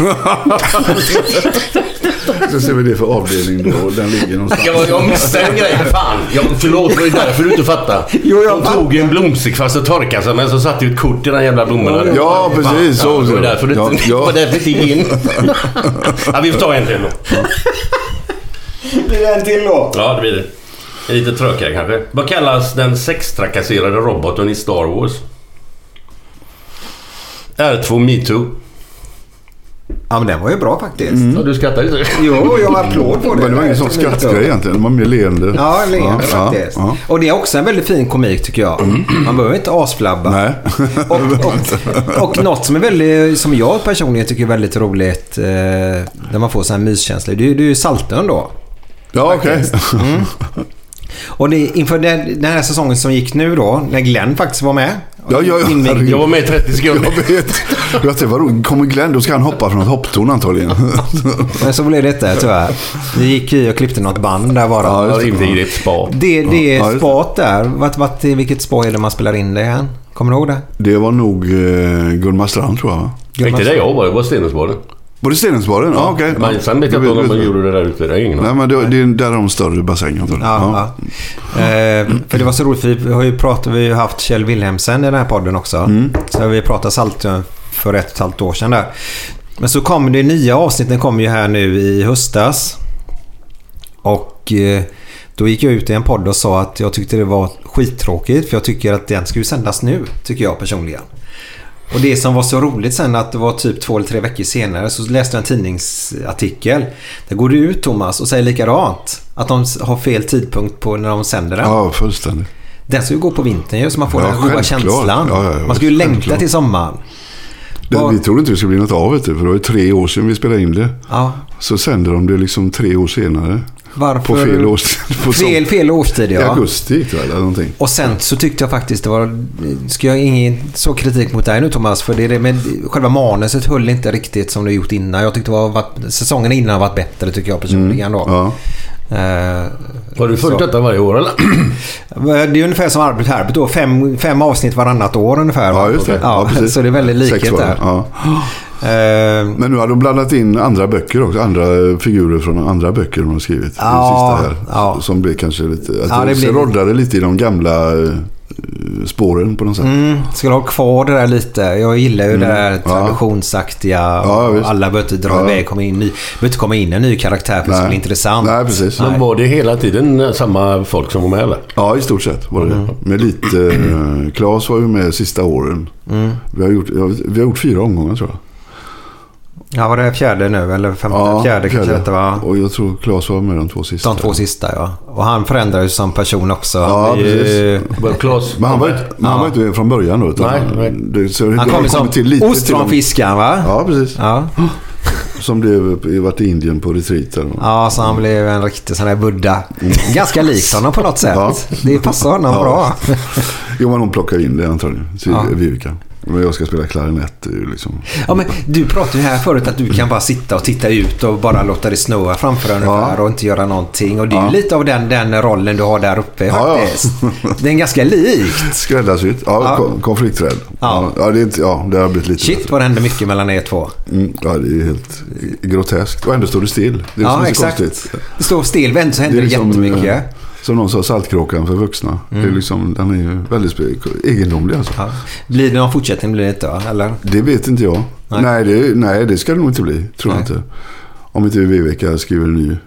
Speaker 6: Så ser vi det för avdelning då. Den ligger någonstans.
Speaker 3: Jag, jag missade en grej, för fan. Jag, förlåt, det var ju därför du inte fattade.
Speaker 2: Jo, jag
Speaker 3: Hon tog ju en blomsterkvast och torkade sig, men så satte ju ett kort i den jävla blommorna.
Speaker 6: Ja, precis. Så,
Speaker 3: Ja, det
Speaker 6: så.
Speaker 3: var därför du
Speaker 6: ja,
Speaker 3: inte... Det
Speaker 6: ja.
Speaker 3: var därför det gick in. ja, vi får ta en till då.
Speaker 2: Blir det en till då?
Speaker 3: Ja, det blir det. En lite trökigare kanske. Vad kallas den sextrakasserade roboten i Star Wars? R2 Metoo.
Speaker 2: Ja men den var ju bra faktiskt.
Speaker 3: Ja, du skrattar ju.
Speaker 2: Jo, jag har applåd på det.
Speaker 6: Men det var ingen sån skrattgrej egentligen. Det var mer leende.
Speaker 2: Ja, det är det faktiskt.
Speaker 6: ja.
Speaker 2: Och det är också en väldigt fin komik tycker jag. Man behöver inte asflabba.
Speaker 6: Nej.
Speaker 2: Och, och, och något som, är väldigt, som jag personligen tycker är väldigt roligt, eh, när man får sån här myskänsla, det är ju- det är ju Saltön då.
Speaker 6: Ja, okej.
Speaker 2: Och det, är inför den, den här säsongen som gick nu då, när Glenn faktiskt var med.
Speaker 6: Ja, ja, ja.
Speaker 2: Invigde-
Speaker 3: Jag var med i 30 sekunder.
Speaker 6: Jag vet. Jag tänkte, vad roligt. Kommer Glenn, då ska han hoppa från ett hopptorn antagligen.
Speaker 2: Men eh, så blev det inte tyvärr. Vi gick ju och klippte något band där bara.
Speaker 3: Ja, det ringde i ett spa.
Speaker 2: det, det
Speaker 6: Ja,
Speaker 2: är
Speaker 6: just det.
Speaker 2: spat där. Vart, vart, i vilket spa är det man spelar in det igen? Kommer du ihåg det?
Speaker 6: Det var nog eh, Gunmar Strand tror jag, va?
Speaker 3: Inte där jag var, det var Stenungsbaden.
Speaker 6: Var det Stenungsbaden? Ja, okej.
Speaker 3: Men sen vet jag inte om de gjorde det där ute. Det är ingen aning.
Speaker 6: Nej, men det, det är där har de större bassäng antagligen.
Speaker 2: Ja, ja. Eh, för det var så roligt, för vi har ju, pratat, vi har ju haft Kjell Wilhelmsen i den här podden också. Så vi pratade Saltön för ett och ett halvt år sedan där. Men så kom det nya avsnitten kommer ju här nu i höstas. Och eh, Då gick jag ut i en podd och sa att jag tyckte det var skittråkigt för jag tycker att den ska ju sändas nu, tycker jag personligen. Och det som var så roligt sen att det var typ två eller tre veckor senare så läste jag en tidningsartikel. Där går det ut Thomas och säger likadant. Att de har fel tidpunkt på när de sänder den.
Speaker 6: Ja, fullständigt.
Speaker 2: Den ska ju gå på vintern ju så man får
Speaker 6: Ja,
Speaker 2: den här goda
Speaker 6: självklart.
Speaker 2: känslan.
Speaker 6: Ja, ja, ja,
Speaker 2: man ska ju längta
Speaker 6: självklart.
Speaker 2: till sommaren.
Speaker 6: Det,
Speaker 2: Ja.
Speaker 6: Vi trodde inte det skulle bli något av det, för det var ju tre år sedan vi spelade in det.
Speaker 2: Ja.
Speaker 6: Så sände de det liksom tre år senare.
Speaker 2: Varför?
Speaker 6: På fel årstid. På som-
Speaker 2: fel, fel årstid
Speaker 6: I
Speaker 2: ja.
Speaker 6: augusti gick det väl, eller någonting.
Speaker 2: Och sen så tyckte jag faktiskt det var... eh, Ska jag ingen så kritik mot dig nu Thomas? För det är det, men själva manuset höll inte riktigt som det gjort innan. Jag tyckte det var, varit- säsongen innan har varit bättre tycker jag personligen då.
Speaker 6: Mm, Ja.
Speaker 2: Eh,
Speaker 3: Har du följt
Speaker 2: så. Eh,
Speaker 3: detta varje år eller?
Speaker 2: Det är ungefär som Arbet Herbert då. Fem, fem avsnitt varannat år ungefär.
Speaker 6: ja, just det.
Speaker 2: Ja,
Speaker 6: precis.
Speaker 2: så det är väldigt
Speaker 6: Sex
Speaker 2: likhet
Speaker 6: var det,
Speaker 2: där.
Speaker 6: Ja.
Speaker 2: Eh,
Speaker 6: Men nu har de blandat in andra böcker också. Andra figurer från andra böcker de har skrivit.
Speaker 2: Ja,
Speaker 6: det sista här.
Speaker 2: ja.
Speaker 6: Som blev kanske lite... Att
Speaker 2: Ja, det
Speaker 6: det
Speaker 2: blir-
Speaker 6: roddade lite i de gamla eh, spåren på något sätt.
Speaker 2: Mm. Skulle ha kvar det där lite. Jag gillar ju det där
Speaker 6: Mm, ja.
Speaker 2: traditionsaktiga.
Speaker 6: Ja,
Speaker 2: och
Speaker 6: visst.
Speaker 2: alla behöver inte dra
Speaker 6: Ja.
Speaker 2: iväg. Komma in, ny, behöver inte komma in en ny karaktär för det ska bli intressant.
Speaker 6: Nej, precis.
Speaker 3: Men var det hela tiden eh, samma folk som var med eller?
Speaker 6: Ja, i stort sett var det
Speaker 2: Mm.
Speaker 6: det. Men lite... eh, Claes var ju med sista åren.
Speaker 2: Mm.
Speaker 6: Vi, har gjort, ja, vi har gjort fyra omgångar tror jag.
Speaker 2: Ja, var det fjärde nu? Eller femte? fjärde kanske detta var.
Speaker 6: Och jag tror Claes var med de två sista.
Speaker 2: De två sista ja. Och han förändrar ju som person också.
Speaker 6: Ja,
Speaker 2: Han blir ju-
Speaker 6: precis.
Speaker 3: Var det Claes?
Speaker 6: Men han var, inte- men han var inte med från början då. Utan
Speaker 3: Nej, nej.
Speaker 6: Det, så det
Speaker 2: Han
Speaker 6: har
Speaker 2: kommer som
Speaker 6: kommit till lite
Speaker 2: ost
Speaker 6: till
Speaker 2: från
Speaker 6: de-
Speaker 2: fiskaren va?
Speaker 6: Ja, precis.
Speaker 2: Ja.
Speaker 6: Som blev, varit i Indien på retreat. Eller något.
Speaker 2: Ja, så han blev en riktig sån där buddha. Ganska likt honom på något sätt.
Speaker 6: Mm. Ja.
Speaker 2: Det passar honom
Speaker 6: Ja.
Speaker 2: bra.
Speaker 6: Jo, men hon plockade in det antagligen. Till
Speaker 2: Ja.
Speaker 6: Vivica. Men jag ska spela klarinett. det är ju Liksom.
Speaker 2: Ja, men du pratade ju här förut att du kan bara sitta och titta ut och bara låta det snöa framför dig ungefär och inte göra någonting. Och det är ju lite av den, den rollen du har där uppe
Speaker 6: ja.
Speaker 2: faktiskt. Den är ganska lik.
Speaker 6: Skräddarsytt. Ja,
Speaker 2: Ja.
Speaker 6: ko- konflikträdd.
Speaker 2: Ja.
Speaker 6: Ja. Ja, det är inte, ja, det har blivit lite
Speaker 2: Shit
Speaker 6: bättre.
Speaker 2: vad det händer mycket mellan er två.
Speaker 6: Mm, ja, det är helt groteskt. Och ändå står det still. Det är
Speaker 2: Ja,
Speaker 6: som är så
Speaker 2: exakt.
Speaker 6: konstigt.
Speaker 2: Det står still, men så
Speaker 6: Det
Speaker 2: händer
Speaker 6: är
Speaker 2: det
Speaker 6: liksom,
Speaker 2: jättemycket. Mm.
Speaker 6: eh, Som någon sa, Saltkråkan för vuxna. Det är liksom, den är ju väldigt spe- egendomlig alltså.
Speaker 2: Ja. Blir det någon fortsättning blir det inte va? Eller?
Speaker 6: Det vet inte jag.
Speaker 2: Nej.
Speaker 6: Nej, det, nej, det ska det nog inte bli. Tror jag
Speaker 2: Nej.
Speaker 6: inte. Om inte Viveca skriver en ny.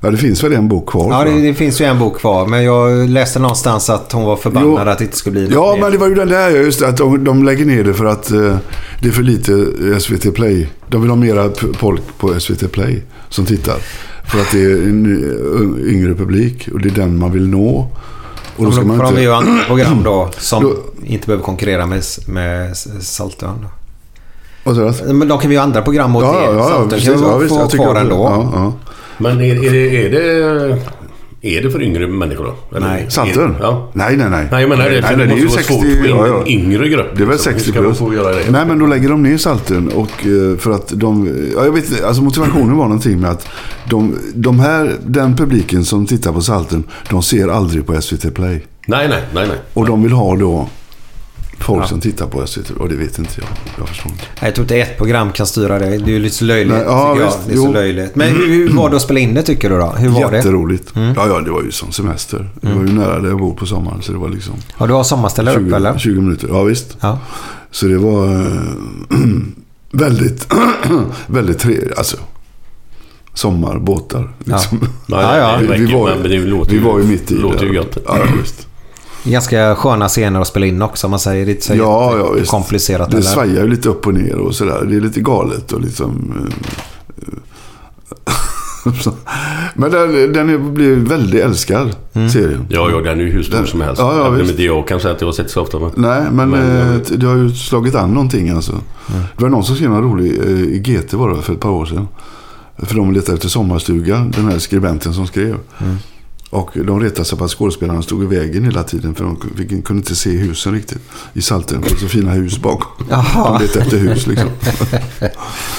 Speaker 6: Ja, det finns väl en bok kvar?
Speaker 2: Ja,
Speaker 6: tror jag.
Speaker 2: det, det finns ju en bok kvar. Men jag läste någonstans att hon var förbannad
Speaker 6: Jo.
Speaker 2: att det inte skulle bli någon
Speaker 6: Ja,
Speaker 2: mer.
Speaker 6: men det var ju den där. ja, Just det, att de, de lägger ner det för att eh, det är för lite eh, SVT Play. De vill ha mera p- folk på SVT Play som tittar. För att det är en eh, yngre publik och det är den man vill nå. Och då ska
Speaker 2: Men då
Speaker 6: man
Speaker 2: får de
Speaker 6: inte...
Speaker 2: göra andra program då som
Speaker 6: Då-
Speaker 2: inte behöver konkurrera med, med Saltön.
Speaker 6: Vad sa du?
Speaker 2: Men de kan vi göra andra program åt
Speaker 6: Ja,
Speaker 2: er.
Speaker 6: ja, ja,
Speaker 2: Saltön
Speaker 6: precis.
Speaker 2: kan vi
Speaker 6: Ja, visst,
Speaker 2: få
Speaker 6: jag tycker
Speaker 2: kvar
Speaker 6: också-
Speaker 2: ändå.
Speaker 6: ja, ja.
Speaker 3: Men är, är, det, är, det, är det för yngre människor då? Eller-
Speaker 2: Nej.
Speaker 6: Saltön?
Speaker 3: Ja.
Speaker 6: Nej, nej, nej.
Speaker 3: Nej, jag menar det.
Speaker 6: Nej,
Speaker 3: för
Speaker 6: nej,
Speaker 3: det
Speaker 6: det är
Speaker 3: måste
Speaker 6: ju
Speaker 3: vara
Speaker 6: 60
Speaker 3: svårt för en
Speaker 6: ja, ja.
Speaker 3: yngre grupp.
Speaker 6: Det är väl
Speaker 3: liksom. Hur
Speaker 6: 60
Speaker 3: ska man
Speaker 6: plus.
Speaker 3: få göra det?
Speaker 6: Nej, men då lägger de ner salten och eh, för att de... Ja, jag vet inte, alltså motivationen var någonting med att de, de här, den publiken som tittar på salten, de ser aldrig på SVT Play.
Speaker 3: Nej, nej, nej, nej.
Speaker 6: Och de vill ha då folk som tittar på SVT och det vet inte jag. Jag förstår inte.
Speaker 2: Nej, Jag tror inte ett program kan styra det. Det är ju lite så löjligt.
Speaker 6: Nej, ja,
Speaker 2: tycker jag.
Speaker 6: visst,
Speaker 2: det är så
Speaker 6: jo.
Speaker 2: löjligt. Men hur, hur var det att spela in det tycker du då? Hur var det? Mm.
Speaker 6: Jätteroligt. Ja, ja, det var ju som semester. Det var ju nära där jag bor på sommaren så det var liksom
Speaker 2: Har du har sommarställe upp
Speaker 6: 20,
Speaker 2: eller?
Speaker 6: 20 minuter. Ja, visst.
Speaker 2: Ja.
Speaker 6: Så det var eh, väldigt, väldigt trevligt. Alltså, sommarbåtar. Liksom.
Speaker 3: nej
Speaker 2: Ja, ja.
Speaker 3: Det verkar,
Speaker 6: Vi var ju-
Speaker 3: men det låter
Speaker 6: vi
Speaker 3: ju-
Speaker 6: var ju mitt i
Speaker 3: låter
Speaker 6: det.
Speaker 3: ju gött.
Speaker 6: Ja, visst.
Speaker 2: Ganska sköna scener att spela in också om man säger. Det är inte så
Speaker 6: Ja, ja, visst.
Speaker 2: komplicerat
Speaker 6: Det
Speaker 2: eller?
Speaker 6: svajar ju lite upp och ner och sådär. Det är lite galet och liksom... eh, så. Men den, den är- blir väldigt älskad, serien.
Speaker 3: Mm. Ja, ja, den är ju hur stor som helst.
Speaker 6: Ja, ja,
Speaker 3: Även om
Speaker 6: visst.
Speaker 3: inte jag kan säga att jag har sett så ofta. Men...
Speaker 6: Nej, men,
Speaker 3: Men-
Speaker 6: eh, det har ju slagit an någonting alltså. Det var någon som skrev en rolig eh, i GT var det för ett par år sedan. För de letade efter sommarstuga, den här skribenten som skrev. Och de retade sig på att skådespelarna stod i vägen hela tiden för de fick- kunde inte se husen riktigt. I Saltön, för det var så fina hus bakom.
Speaker 2: Jaha.
Speaker 6: De letade efter hus liksom.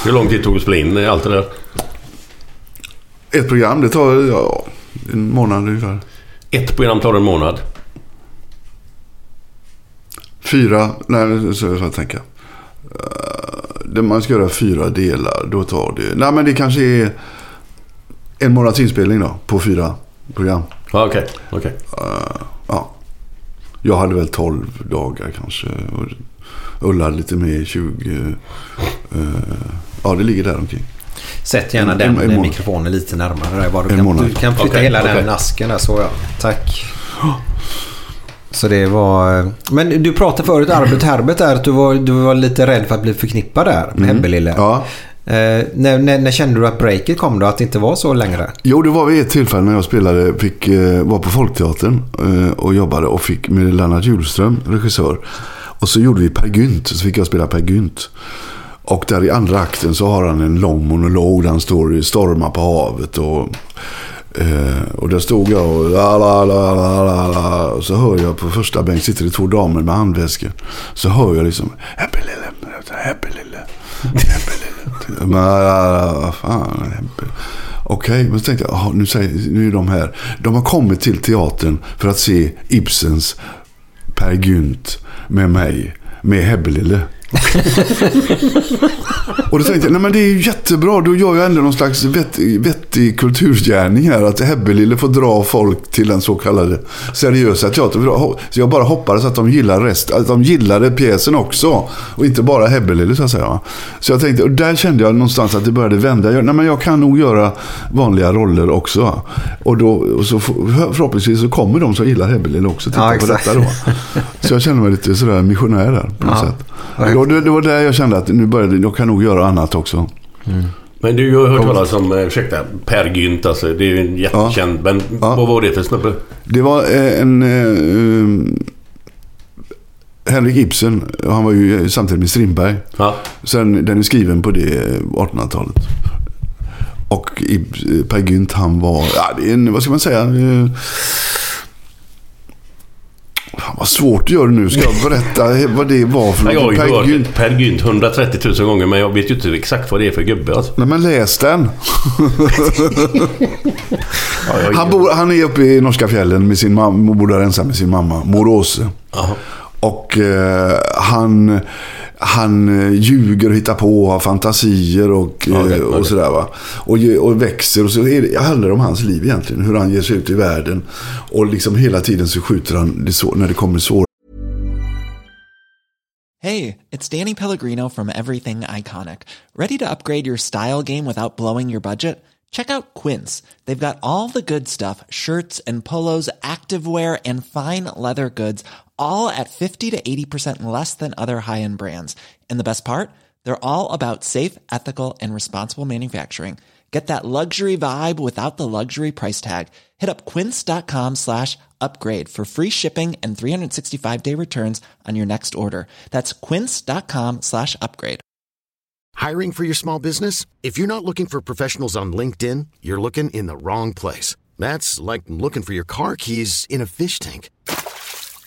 Speaker 3: Hur lång tid tog det att spela in eh, allt det där?
Speaker 6: Ett program, det tar ja, en månad ungefär.
Speaker 3: Ett program tar en månad.
Speaker 6: Fyra, nej så får jag tänka. Eh, det- man ska göra fyra delar, då tar det... Nej men det kanske är en månads inspelning då, på fyra program. Eh,
Speaker 3: Ja, okej. okej.
Speaker 6: Ja. Jag hade väl 12 dagar kanske. och Ulla hade lite mer, 20. eh, ja, det ligger där omkring.
Speaker 2: Sätt gärna
Speaker 6: En-
Speaker 2: den
Speaker 6: en- en månad.
Speaker 2: mikrofonen lite närmare. Där, bara du,
Speaker 6: En
Speaker 2: kan,
Speaker 6: månad.
Speaker 2: du kan flytta
Speaker 3: Okej,
Speaker 2: hela den
Speaker 3: okej.
Speaker 2: asken där så ja. Tack. Så det var... Men du pratade förut, Arbet Herbert, där, att du var, du var lite rädd för att bli förknippad där med Hebbelille.
Speaker 6: Mm. Ja.
Speaker 2: Eh, när, när, när kände du att breaket kom då? Att det inte var så längre?
Speaker 6: Jo, det var vid ett tillfälle när jag spelade, fick, eh, var på Folkteatern eh, och jobbade och fick med Lennart Hjulström, regissör. Och så gjorde vi Per Gynt, så fick jag spela Per Gynt. Och där i andra akten så har han en lång monolog där han står i stormar på havet. Och, eh, och där stod jag och la, la, la, la, la, la. Och så hör jag på första bänk sitter det två damer med handväskor. Så hör jag liksom Happy lille, happy lille, happy lille. Men, la, la, la, vad fan, happy. Okej, men så tänkte jag, "Jaha, nu, säger, nu är de här. De har kommit till teatern för att se Ibsens Per Gynt med mig, med Hebbelille. Och då tänkte jag, nej men det är ju jättebra. Då gör jag ändå någon slags vett, vettig kulturgärning här. Att Hebbelille får dra folk till den så kallade seriösa teatern. För då- Så jag bara hoppades att de gillade, rest, att de gillade pjäsen också. Och inte bara Hebbelille så att säga. va. Så jag tänkte, och där kände jag någonstans att det började vända. Jag, nej men jag kan nog göra vanliga roller också. va. Och då, och så för- förhoppningsvis så kommer de som gillar Hebbelille också titta
Speaker 2: Ja,
Speaker 6: på
Speaker 2: exakt.
Speaker 6: detta då. Så jag kände mig lite sådär missionär där på något
Speaker 2: Ja.
Speaker 6: sätt. Då, det, det var där jag kände att nu började, jag kan nog göra annat också.
Speaker 3: Men du har hört talas om, eh, ursäkta, Per Gynt alltså. Det är ju en jättekänd. Men
Speaker 6: Ja.
Speaker 3: vad var det för snubbe?
Speaker 6: Det var eh, en... Eh, um, Henrik Ibsen, han var ju eh, samtidigt med Strindberg.
Speaker 3: Ja.
Speaker 6: Sen, den är skriven på det eh, 1800-talet. Och Ib- eh, Per Gynt, han var... Ja, det är en, vad ska man säga? Eh, Fan, vad svårt det gör nu. Ska jag berätta he- vad det var för
Speaker 3: Nej, Jag har
Speaker 6: Mm. Per
Speaker 3: ju
Speaker 6: Gynt?
Speaker 3: hört Per Gynt 130 000 gånger men jag vet ju inte exakt vad det är för gubbe alltså.
Speaker 6: Nej, men läs den.
Speaker 3: Ja, jag-
Speaker 6: Han, bor, han är uppe i norska fjällen med sin mamma. Bor där ensam med sin mamma, mor Åse.
Speaker 3: Jaha.
Speaker 6: Och eh, han, han eh, ljuger och hittar på och har fantasier och, eh,
Speaker 3: Okej, okej.
Speaker 6: och sådär va. Och, ge- och växer och så är det, handlar det om hans liv egentligen. Hur han ger sig ut i världen. Och liksom hela tiden så skjuter han det så, när det kommer svåra
Speaker 7: Hey, it's Danny Pellegrino from Everything Iconic. Ready to upgrade your style game without blowing your budget? Check out Quince. They've got all the good stuff shirts and polos, activewear, and fine leather goods, all at 50 to 80% less than other high end brands. And the best part? They're all about safe, ethical, and responsible manufacturing. Get that luxury vibe without the luxury price tag. Hit up quince.com slash upgrade for free shipping and 365 day returns on your next order. That's quince.com slash upgrade.
Speaker 8: Hiring for your small business? If you're not looking for professionals on LinkedIn, you're looking in the wrong place. That's like looking for your car keys in a fish tank.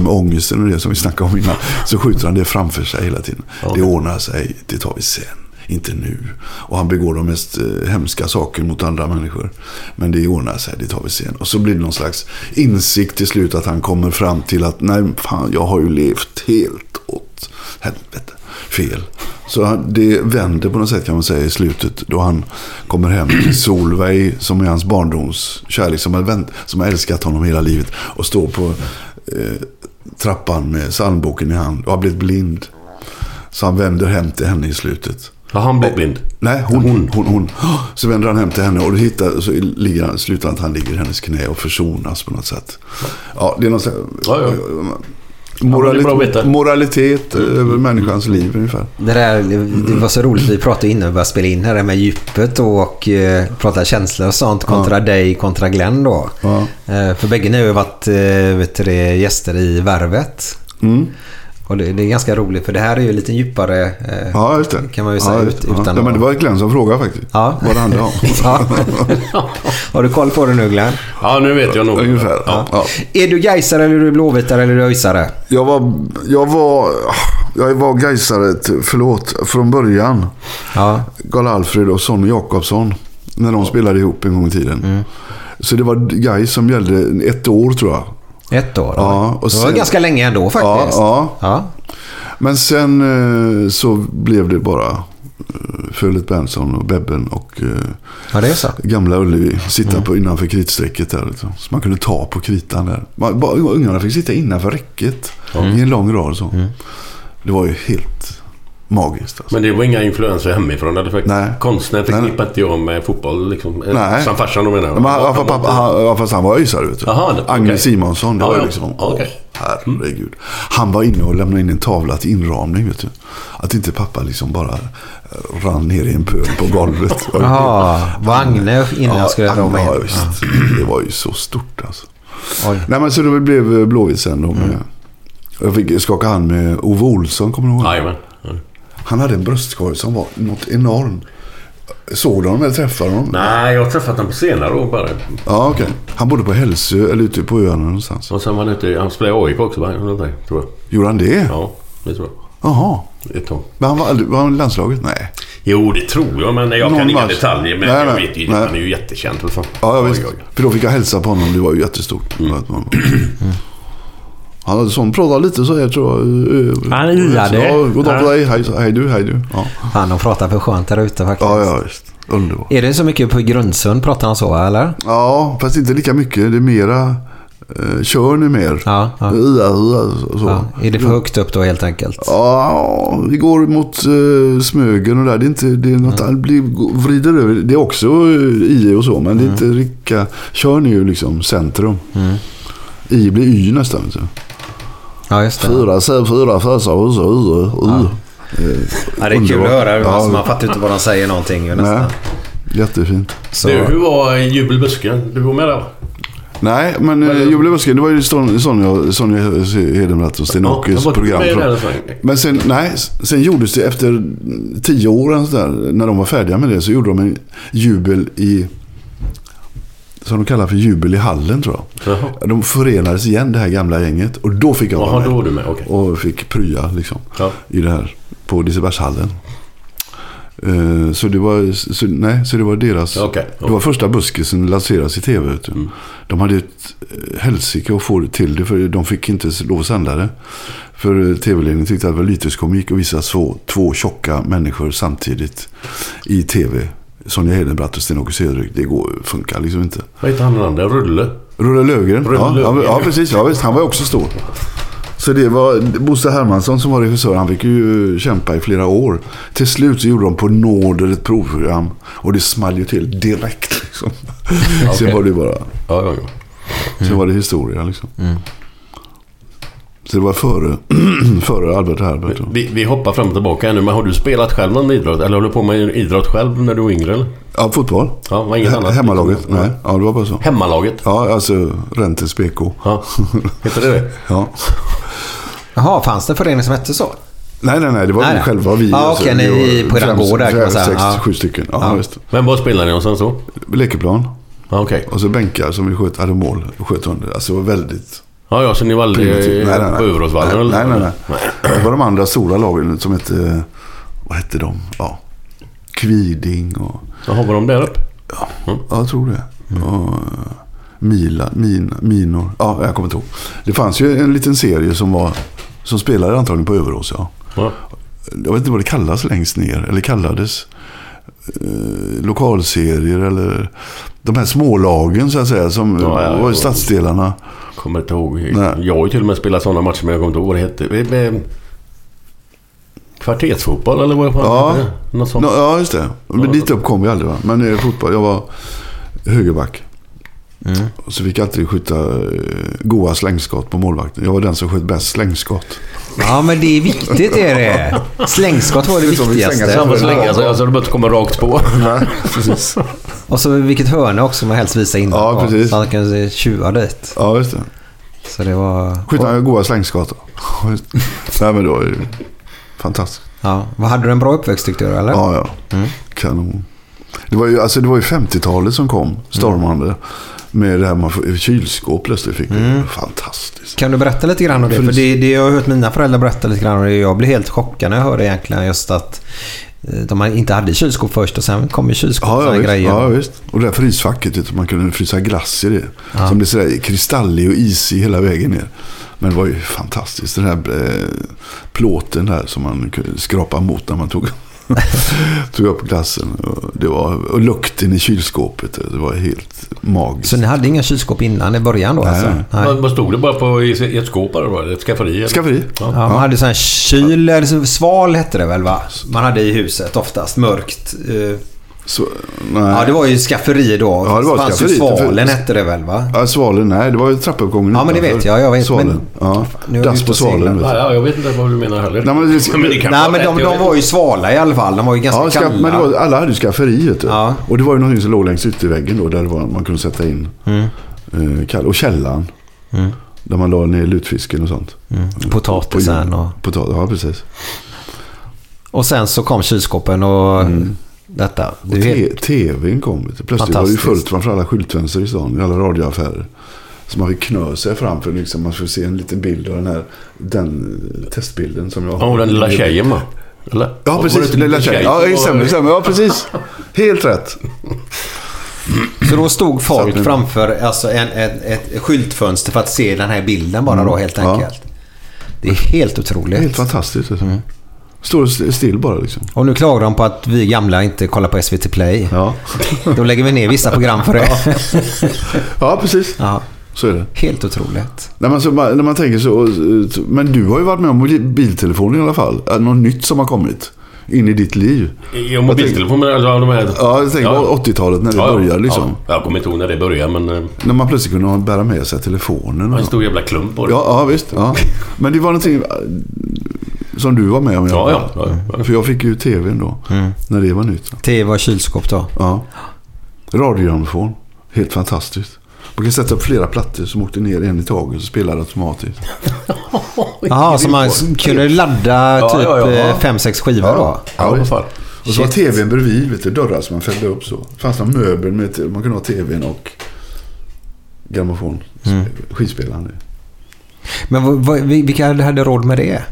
Speaker 6: med ångesten och det som vi snackade om innan. Så skjuter han det framför sig hela tiden. Det ordnar sig, det tar vi sen. Inte nu. Och han begår de mest eh, hemska saker mot andra människor. Men det ordnar sig, det tar vi sen. Och så blir det någon slags insikt till slut att han kommer fram till att nej, fan, jag har ju levt helt åt helvete. Fel. Så han- det vänder på något sätt kan man säga i slutet då han kommer hem till Solveig som är hans barndoms kärlek som har, vänt, som har älskat honom hela livet och står på eh, trappan med psalmboken i hand och har blivit blind. Så han vänder hem till henne i slutet.
Speaker 3: Ja, han blev blind.
Speaker 6: Nej, hon, hon, hon, Så vänder han hem till henne och då hittar, så ligger han, slutar han att han ligger i hennes knä och försonas på något sätt. Ja, det är något slags,
Speaker 3: Ja, ja. det är bra att
Speaker 6: Morali-
Speaker 3: veta.
Speaker 6: moralitet över människans liv ungefär.
Speaker 2: Det, där, det var så roligt, vi pratade innan vi började spela in här det med djupet och eh, prata känslor och sånt kontra dig kontra Glenn då.
Speaker 6: Ja.
Speaker 2: Eh, för bägge ni har ju varit eh, vet du, det, gäster i Värvet.
Speaker 6: Mm.
Speaker 2: Och det, det är ganska roligt för det här är ju lite djupare eh,
Speaker 6: Ja, just det.
Speaker 2: kan man ju säga.
Speaker 6: Ja,
Speaker 2: ut,
Speaker 6: just det.
Speaker 2: utan
Speaker 6: ja. ja, men det var Glenn som frågade faktiskt.
Speaker 2: Ja.
Speaker 6: Vad det handlade om.
Speaker 2: Ja. Har du koll på det nu Glenn?
Speaker 3: Ja, nu vet jag nog.
Speaker 6: Ungefär. Ja. Ja.
Speaker 2: Är du Gaisare eller är du Blåvitare eller är du ÖISare?
Speaker 6: Jag var... Jag var... Jag var Gaisare, t- förlåt, från början.
Speaker 2: Ja.
Speaker 6: Karl Alfred och Sonny Jakobsson. När de spelade ihop en gång i tiden.
Speaker 2: Mm.
Speaker 6: Så det var Gais som gällde ett år tror jag.
Speaker 2: Ett år?
Speaker 6: Ja, och
Speaker 2: det var
Speaker 6: sen-
Speaker 2: ganska länge ändå faktiskt.
Speaker 6: Ja,
Speaker 2: ja.
Speaker 6: Men sen eh, så blev det bara eh, Fölet Benson och Bebben och eh,
Speaker 2: Ja, det är så.
Speaker 6: Gamla Ullevi. Sitta
Speaker 2: Mm.
Speaker 6: på, innanför kritstrecket där. liksom. Så så man kunde ta på kritan där. Man, bara, ungarna fick sitta innanför räcket
Speaker 2: Mm.
Speaker 6: i en lång rad. Så. Det var ju helt magiskt. Alltså.
Speaker 3: Men det var inga influenser hemifrån. Det hade
Speaker 6: Nej.
Speaker 3: Nej. Konstnär
Speaker 6: Nej, nej.
Speaker 3: förknippar inte jag med fotboll. Liksom. Eh,
Speaker 6: Nej.
Speaker 3: Som farsan då menar jag.
Speaker 6: Men, han, han, pappa, han, ja, fast han var öisare vet du.
Speaker 3: Jaha, det-
Speaker 6: Agne
Speaker 3: okej.
Speaker 6: Simonsson. Det
Speaker 3: Ja,
Speaker 6: var ju
Speaker 3: ja.
Speaker 6: liksom...
Speaker 3: Ja, okej.
Speaker 6: Åh, herregud. Han var inne och lämnade in en tavla till inramning vet du. Att inte pappa liksom bara eh, rann ner i en pöl på golvet.
Speaker 2: Jaha, var Agne innan
Speaker 6: Ja,
Speaker 2: skulle
Speaker 6: Agne,
Speaker 2: rama in?
Speaker 6: ja, visst. Det var ju så stort alltså.
Speaker 2: Oj.
Speaker 6: Nej men så det blev Blåvitt sen då.
Speaker 3: Mm.
Speaker 6: med- Jag fick skaka hand med Ove Olsson, kommer du ihåg?
Speaker 3: Jajamän. Ja.
Speaker 6: Han hade en bröstkorg som var något enormt. Såg du honom eller träffade du honom?
Speaker 3: Nej, jag har träffat honom på senare år bara.
Speaker 6: Ja, okej. Han bodde på Hälsö, eller ute på öarna någonstans.
Speaker 3: Och sen var han ute i- Han spelade i AIK också, va? Eller någonting, tror jag.
Speaker 6: Gjorde han det?
Speaker 3: Ja, det tror
Speaker 6: Jaha.
Speaker 3: jag. Ett tag.
Speaker 6: Men han var, aldrig- var han i landslaget? Nej.
Speaker 3: Jo, det tror jag, men jag
Speaker 6: Någon
Speaker 3: kan inga
Speaker 6: match.
Speaker 3: detaljer. Men
Speaker 6: Nej,
Speaker 3: jag
Speaker 6: nej,
Speaker 3: vet ju,
Speaker 6: nej.
Speaker 3: han är ju jättekänd för fan.
Speaker 6: Ja, ja visst.
Speaker 3: Oj, Mm. oj.
Speaker 6: För då fick jag hälsa på honom. Det var ju jättestort. Att man- Han hade sån, pratade lite så här tror jag.
Speaker 3: Han yrade.
Speaker 6: Ja, god dag på dig. Hej, hej du, hej du. Ja,
Speaker 2: Han de pratar för skönt där ute faktiskt.
Speaker 6: ja, ja visst. Underbart.
Speaker 2: Är det så mycket på Grundsund pratar han så eller?
Speaker 6: Ja, fast inte lika mycket. Det är mera... Eh, kör ni mer?
Speaker 2: Ja, ja.
Speaker 6: Ia, ia, och alltså, så.
Speaker 2: Ja. Är det för högt upp då helt enkelt?
Speaker 6: Ja, vi går mot eh, Smögen och där. Det är inte, det är något, mm. blir, vrider över. Det är också eh, IE och så, men
Speaker 2: Mm.
Speaker 6: det är inte rika. Körn är ju liksom centrum. I blir Y nästan. Så.
Speaker 2: Ja, just det.
Speaker 6: Fyra, se, fyra, fösa, husa, u, u.
Speaker 2: Ja, det är kul att
Speaker 6: Underbart.
Speaker 2: höra.
Speaker 6: Ja.
Speaker 2: Alltså, man fattar inte vad de säger någonting ju
Speaker 6: Nej,
Speaker 2: nästan.
Speaker 6: jättefint.
Speaker 2: Så,
Speaker 3: Du, hur var jubelbusken? Du var med där va?
Speaker 6: Nej, men eh, Jubileumsgrejen, det var ju Son- Sonja, Sonja Hedenbratt och
Speaker 3: Ja,
Speaker 6: Sten-Åkes
Speaker 3: jag var inte
Speaker 6: program.
Speaker 3: med i
Speaker 6: från-
Speaker 3: det här sammanhanget.
Speaker 6: Men sen, nej, sen gjordes det efter tio år, eller sådär, när de var färdiga med det, så gjorde de en jubel i... Som de kallar för jubel i hallen, tror jag.
Speaker 3: Jaha.
Speaker 6: De förenades igen, det här gamla gänget. Och då fick jag
Speaker 3: Jaha,
Speaker 6: vara med.
Speaker 3: då var du med, okej.
Speaker 6: Och fick prya, liksom.
Speaker 3: Ja.
Speaker 6: I det här, på Lisebergshallen. Eh, Så det, var, så, nej, så det var deras...
Speaker 3: Ja, Mm. okej.
Speaker 6: Det var första buskisen lanseras i tv. Vet du. De hade ett eh, helsike att få det till det. För de fick inte lov att sända det. För eh, tv-ledningen tyckte att det var lyteskomik att visa två, två tjocka människor samtidigt i tv. Sonja Hedenbratt och Sten-Åke Söderhök. Det går, funkar liksom inte.
Speaker 3: Vad heter han den andra? Rulle?
Speaker 6: Rulle Löfgren.
Speaker 3: Rulle
Speaker 6: ja, ja,
Speaker 3: Löfgren.
Speaker 6: ja, precis. Ja, visst, han var ju också stor. Så det var Bosse Hermansson som var regissör. Han fick ju kämpa i flera år. Till slut så gjorde de på nåder ett provprogram. Och det small ju till direkt. Liksom. Sen
Speaker 3: okej. Mm.
Speaker 6: var det bara...
Speaker 3: Ja, ja, ja.
Speaker 6: Sen var det historia liksom.
Speaker 3: Mm.
Speaker 6: Så det var före, före Albert Herbert. då.
Speaker 3: Vi, vi hoppar fram och tillbaka här nu, men har du spelat själv någon idrott? Eller håller du på med idrott själv när du var yngre? Eller?
Speaker 6: Ja, fotboll.
Speaker 3: Ja, var inget
Speaker 6: He-
Speaker 3: annat?
Speaker 6: Hemmalaget. Nej, ja, det var bara så.
Speaker 3: Hemmalaget?
Speaker 6: Ja, alltså Rentes BK.
Speaker 3: Ja. Heter det det?
Speaker 6: Ja.
Speaker 2: jaha, fanns det en förening som hette så?
Speaker 6: Nej, nej, nej. Det var
Speaker 2: Nej,
Speaker 6: vi
Speaker 2: nej.
Speaker 6: själva vi. alltså,
Speaker 2: Ja, okej, ni
Speaker 6: vi var
Speaker 2: på eran
Speaker 6: fem-
Speaker 2: gård där, kan
Speaker 6: fem,
Speaker 2: man säga.
Speaker 6: Sex,
Speaker 2: Ja.
Speaker 6: sju stycken. Ja,
Speaker 2: Ja.
Speaker 6: Visst.
Speaker 3: Men var spelade ni någonstans då?
Speaker 6: Lekeplan.
Speaker 3: Ja, okej.
Speaker 6: Och så bänkar som vi sköt, hade mål och sköt under. Alltså det var väldigt
Speaker 3: Ja, ja, så ni var aldrig
Speaker 6: primitivt.
Speaker 3: eh, på Överåsvallen?
Speaker 6: nej,
Speaker 3: eller
Speaker 6: nej,
Speaker 3: så?
Speaker 6: nej, nej. Det var de andra stora lagen som hette... Vad hette de? Ja. Kviding och...
Speaker 3: Jaha, var de där uppe? Mm.
Speaker 6: Ja, jag tror det. Och, eh, Mila, min, minor. Ja, jag kommer inte ihåg. Det fanns ju en liten serie som var... Som spelade antagligen på Överås, ja.
Speaker 3: Ja.
Speaker 6: jag vet inte vad det kallas längst ner, eller kallades. Eh, lokalserier eller de här smålagen så att säga som
Speaker 3: Ja, ja,
Speaker 6: var i
Speaker 3: ja.
Speaker 6: stadsdelarna.
Speaker 3: Kommer inte ihåg.
Speaker 6: Nej.
Speaker 3: Jag har ju till och med spelat sådana matcher, men jag kommer inte ihåg vad det hette. Eh, eh, Kvartersfotboll eller vad fan
Speaker 6: Ja,
Speaker 3: hette det? Något sånt.
Speaker 6: Nå, ja just det. Men dit upp kom vi aldrig va. Men eh, fotboll, jag var högerback.
Speaker 3: Mm.
Speaker 6: Och så fick jag alltid skjuta eh, goa slängskott på målvakten. Jag var den som sköt bäst slängskott.
Speaker 2: Ja, men det är viktigt är det. Slängskott var det
Speaker 6: Det är så vi
Speaker 3: Så
Speaker 6: slänger
Speaker 2: viktigaste.
Speaker 3: han får slänga sig, alltså de inte kommer rakt på.
Speaker 6: Nej, precis.
Speaker 2: Och så vilket hörne också man helst visar innan.
Speaker 6: Ja, precis.
Speaker 2: Så han kan se tjuvar dit.
Speaker 6: Ja, just det.
Speaker 2: Så det var...
Speaker 6: Skjuta goa slängskott. då. Nej, men det var ju fantastiskt.
Speaker 2: Ja. Vad Hade du en bra uppväxt tyckte du eller?
Speaker 6: Ja, ja.
Speaker 2: Mm.
Speaker 6: Kanon. Det var ju, alltså, det var ju 50-talet som kom stormande.
Speaker 2: Mm.
Speaker 6: Med det här man får, kylskåp plötsligt fick vi. Fantastiskt.
Speaker 2: Kan du berätta lite grann om det? För det, det jag har hört mina föräldrar berätta lite grann om det. Jag blev helt chockad när jag hörde egentligen just att eh, de inte hade kylskåp först och sen kom ju kylskåp och
Speaker 6: Ja, ja,
Speaker 2: såna
Speaker 6: visst.
Speaker 2: grejer.
Speaker 6: ja, visst. Och det där frysfacket, vet du, man kunde frysa glass i det. Som blev sådär kristallig och isig hela vägen ner. Men det var ju fantastiskt. Den här eh, plåten där som man kunde skrapa mot när man tog, tog upp glassen. Och, det var, och lukten i kylskåpet, det var helt magiskt.
Speaker 2: Så ni hade inga kylskåp innan i början då? Nej. Alltså? Nej.
Speaker 3: Vad vad stod det bara på i i ett skåp eller vad? Ett skafferi? eller?
Speaker 6: Skafferi.
Speaker 2: Ja, man hade sån här kyl, eller så- sval hette det väl va? Man hade i huset oftast, mörkt. eh,
Speaker 6: Så, nej.
Speaker 2: Ja, det var ju skafferi då.
Speaker 6: Ja, det var
Speaker 2: fanns ju
Speaker 6: skafferi.
Speaker 2: Svalen
Speaker 6: För-
Speaker 2: hette det väl va?
Speaker 6: Ja, Svalen, nej. Det var ju trappuppgången
Speaker 2: Ja, men det
Speaker 6: utanför.
Speaker 2: vet jag, jag vet,
Speaker 6: Svalen.
Speaker 2: men-
Speaker 6: Ja.
Speaker 2: Nu är vi
Speaker 6: Dass
Speaker 2: ute
Speaker 6: på
Speaker 2: och
Speaker 6: Svalen.
Speaker 2: seglar.
Speaker 3: Ja,
Speaker 6: vet du.
Speaker 3: ja, jag vet inte vad du menar heller.
Speaker 6: Nej, men det-
Speaker 3: det kan
Speaker 2: Nej,
Speaker 3: vara
Speaker 2: men de,
Speaker 3: rätt, jag
Speaker 2: de
Speaker 3: vet
Speaker 2: var ju svala i alla fall. De var ju ganska
Speaker 6: Ja, ska,
Speaker 2: kalla.
Speaker 6: men det var, alla hade ju skafferi vet du.
Speaker 2: Ja.
Speaker 6: Och det var ju någonting som låg längs ytterväggen då. Där det var, man kunde sätta in
Speaker 2: Mm.
Speaker 6: eh, kall, Och källaren. Där man la ner lutfisken och sånt.
Speaker 2: Mm.
Speaker 6: Eh,
Speaker 2: Potatisen och...
Speaker 6: På, på, ja, precis.
Speaker 2: Och sen så kom kylskåpen och detta.
Speaker 6: Mm. Och
Speaker 2: Du
Speaker 6: te,
Speaker 2: vet,
Speaker 6: tvn kom. Vet du. Plötsligt var det ju
Speaker 2: Fantastiskt.
Speaker 6: fullt framför alla skyltfönster i stan. I alla radioaffärer. Så man fick knö sig framför. Liksom, man fick se en liten bild av den här den eh, testbilden som jag
Speaker 3: Ja, och den lilla tjejen va? Eller?
Speaker 6: Ja,
Speaker 3: Var det
Speaker 6: precis.
Speaker 3: inte
Speaker 6: Lilla
Speaker 3: en
Speaker 6: tjejen.
Speaker 3: tjej
Speaker 6: Ja,
Speaker 3: som var-
Speaker 6: stämmer, stämmer. Ja, precis. Helt rätt.
Speaker 2: så då stod folk
Speaker 6: nu-
Speaker 2: framför alltså en, en, ett skyltfönster för att se den här bilden bara då helt
Speaker 6: Mm. Ja.
Speaker 2: enkelt. Det är helt otroligt.
Speaker 6: Helt fantastiskt. Alltså. Står st- still bara liksom.
Speaker 2: Och nu klagar de på att vi gamla inte kollar på SVT Play.
Speaker 6: Ja,
Speaker 2: Då lägger vi ner vissa program för det.
Speaker 6: ja precis.
Speaker 2: Ja,
Speaker 6: Så är det.
Speaker 2: helt otroligt.
Speaker 6: När man, så, när man tänker så. Men du har ju varit med om mobiltelefoner i alla fall. Är det Något nytt som har kommit in i ditt liv.
Speaker 3: I en mobiltelefon eller alla de här...
Speaker 6: Ja, jag tänker på 80-talet när det började liksom.
Speaker 3: Ja, jag kommer inte ihåg när det började men... eh,
Speaker 6: När man plötsligt kunde ha- bära med sig telefonen.
Speaker 3: det var En
Speaker 6: Och
Speaker 3: stor jävla klump på det.
Speaker 6: ja, ja, visst. Ja. Men det var någonting eh, som du var med om. i alla
Speaker 3: Ja,
Speaker 6: fall.
Speaker 3: ja, ja, ja.
Speaker 6: För jag fick ju tvn då. När det var nytt.
Speaker 2: TV och kylskåp då.
Speaker 6: Ja. Radiogramfon. Helt fantastiskt. Man kan sätta upp flera plattor som åkte ner en i taget och spelade automatiskt.
Speaker 2: Jaha, så man kunde ladda
Speaker 3: Ja,
Speaker 2: typ
Speaker 3: ja, ja.
Speaker 2: eh, fem sex skivor då?
Speaker 3: Ja, vad fan.
Speaker 6: Och så var tvn bredvid, vet du, dörrar som man fällde upp så. Det fanns någon möbel med, te- man kunde ha tvn och grammofon.
Speaker 2: Mm.
Speaker 6: Skivspelaren.
Speaker 2: Men vad- vad- vilka hade råd med det?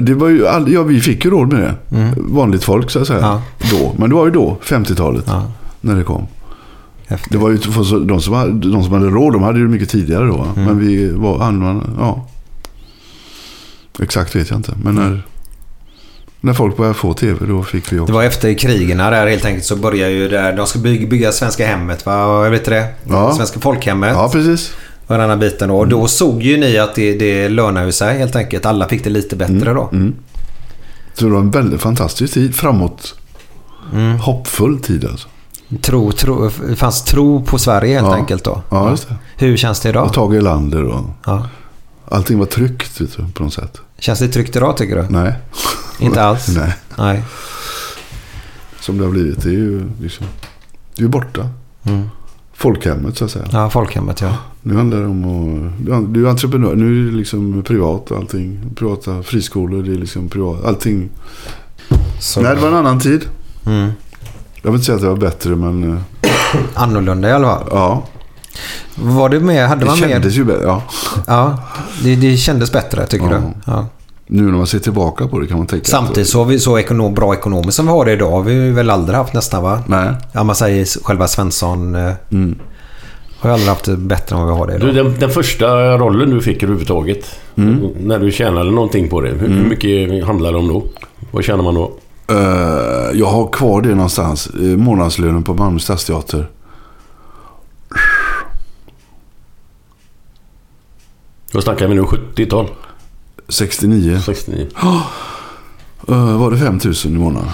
Speaker 6: Det var ju all, ja, vi fick ju råd med det. Vanligt folk så att säga.
Speaker 2: Mm. Ja.
Speaker 6: Då. Men det var ju då, 50-talet,
Speaker 2: Ja.
Speaker 6: när det kom.
Speaker 2: Häftigt.
Speaker 6: Det var ju, för så- de, som hade, de som hade råd, de hade ju mycket tidigare då. va?
Speaker 2: Mm.
Speaker 6: Men vi var allmän, ja. Exakt vet jag inte. Men när, när folk började få tv, då fick vi
Speaker 2: Det
Speaker 6: också.
Speaker 2: var efter krigerna där helt enkelt så börjar ju där. De ska bygga, bygga svenska hemmet va? Och Jag vet inte det.
Speaker 6: Ja.
Speaker 2: Svenska folkhemmet.
Speaker 6: Ja, precis.
Speaker 2: Och den här biten då. Och då såg ju ni att det, det lönar ju sig helt enkelt. Alla fick det lite bättre
Speaker 6: Mm.
Speaker 2: då.
Speaker 6: Så det var en väldigt fantastisk tid. Framåt.
Speaker 2: Mm.
Speaker 6: Hoppfull tid alltså.
Speaker 2: Tro, tro, det fanns tro på Sverige helt
Speaker 6: Ja.
Speaker 2: enkelt då.
Speaker 6: Ja, just det.
Speaker 2: Hur känns det
Speaker 6: Och
Speaker 2: idag?
Speaker 6: Tage Erlander och
Speaker 2: Ja.
Speaker 6: allting var tryggt vet du, på något sätt.
Speaker 2: Känns det tryggt idag tycker du?
Speaker 6: Nej.
Speaker 2: Inte alls?
Speaker 6: Nej.
Speaker 2: Nej.
Speaker 6: Som det har blivit. Det är ju liksom, det är ju borta.
Speaker 2: Mm.
Speaker 6: Folkhemmet så att säga.
Speaker 2: Ja, folkhemmet ja.
Speaker 6: Nu handlar det om att... du an- Du är entreprenör. Nu är det liksom privat allting. Privata friskolor. Det är liksom privat. Allting.
Speaker 2: Så Mm.
Speaker 6: Nej, det var en annan tid. Jag vill inte säga att det var bättre men... eh,
Speaker 2: Annorlunda i alla fall.
Speaker 6: Ja.
Speaker 2: Var du med? Hade
Speaker 6: Det
Speaker 2: man med?
Speaker 6: kändes ju bättre. Ja.
Speaker 2: Ja, det, det kändes bättre tycker
Speaker 6: Ja.
Speaker 2: du? Ja.
Speaker 6: Nu när man ser tillbaka på det kan man tänka... att-
Speaker 2: Samtidigt så har vi så ekonom, bra ekonomer som vi har det idag har vi ju väl aldrig haft nästan va?
Speaker 6: Nej.
Speaker 2: Ja, man säger s- själva Svensson eh, har ju aldrig haft det bättre än vad vi har det
Speaker 3: Mm. Du,
Speaker 2: idag.
Speaker 3: den, den första rollen du fick överhuvudtaget. När du tjänade någonting på det. Hur, hur mycket handlade det om då? Vad tjänar man då?
Speaker 6: Eh, jag har kvar det någonstans. Uh, månadslönen på Malmö Stadsteater.
Speaker 3: Då snackar vi nu 70-tal.
Speaker 6: 69.
Speaker 3: 69.
Speaker 6: Eh, var det 5 000 i månaden?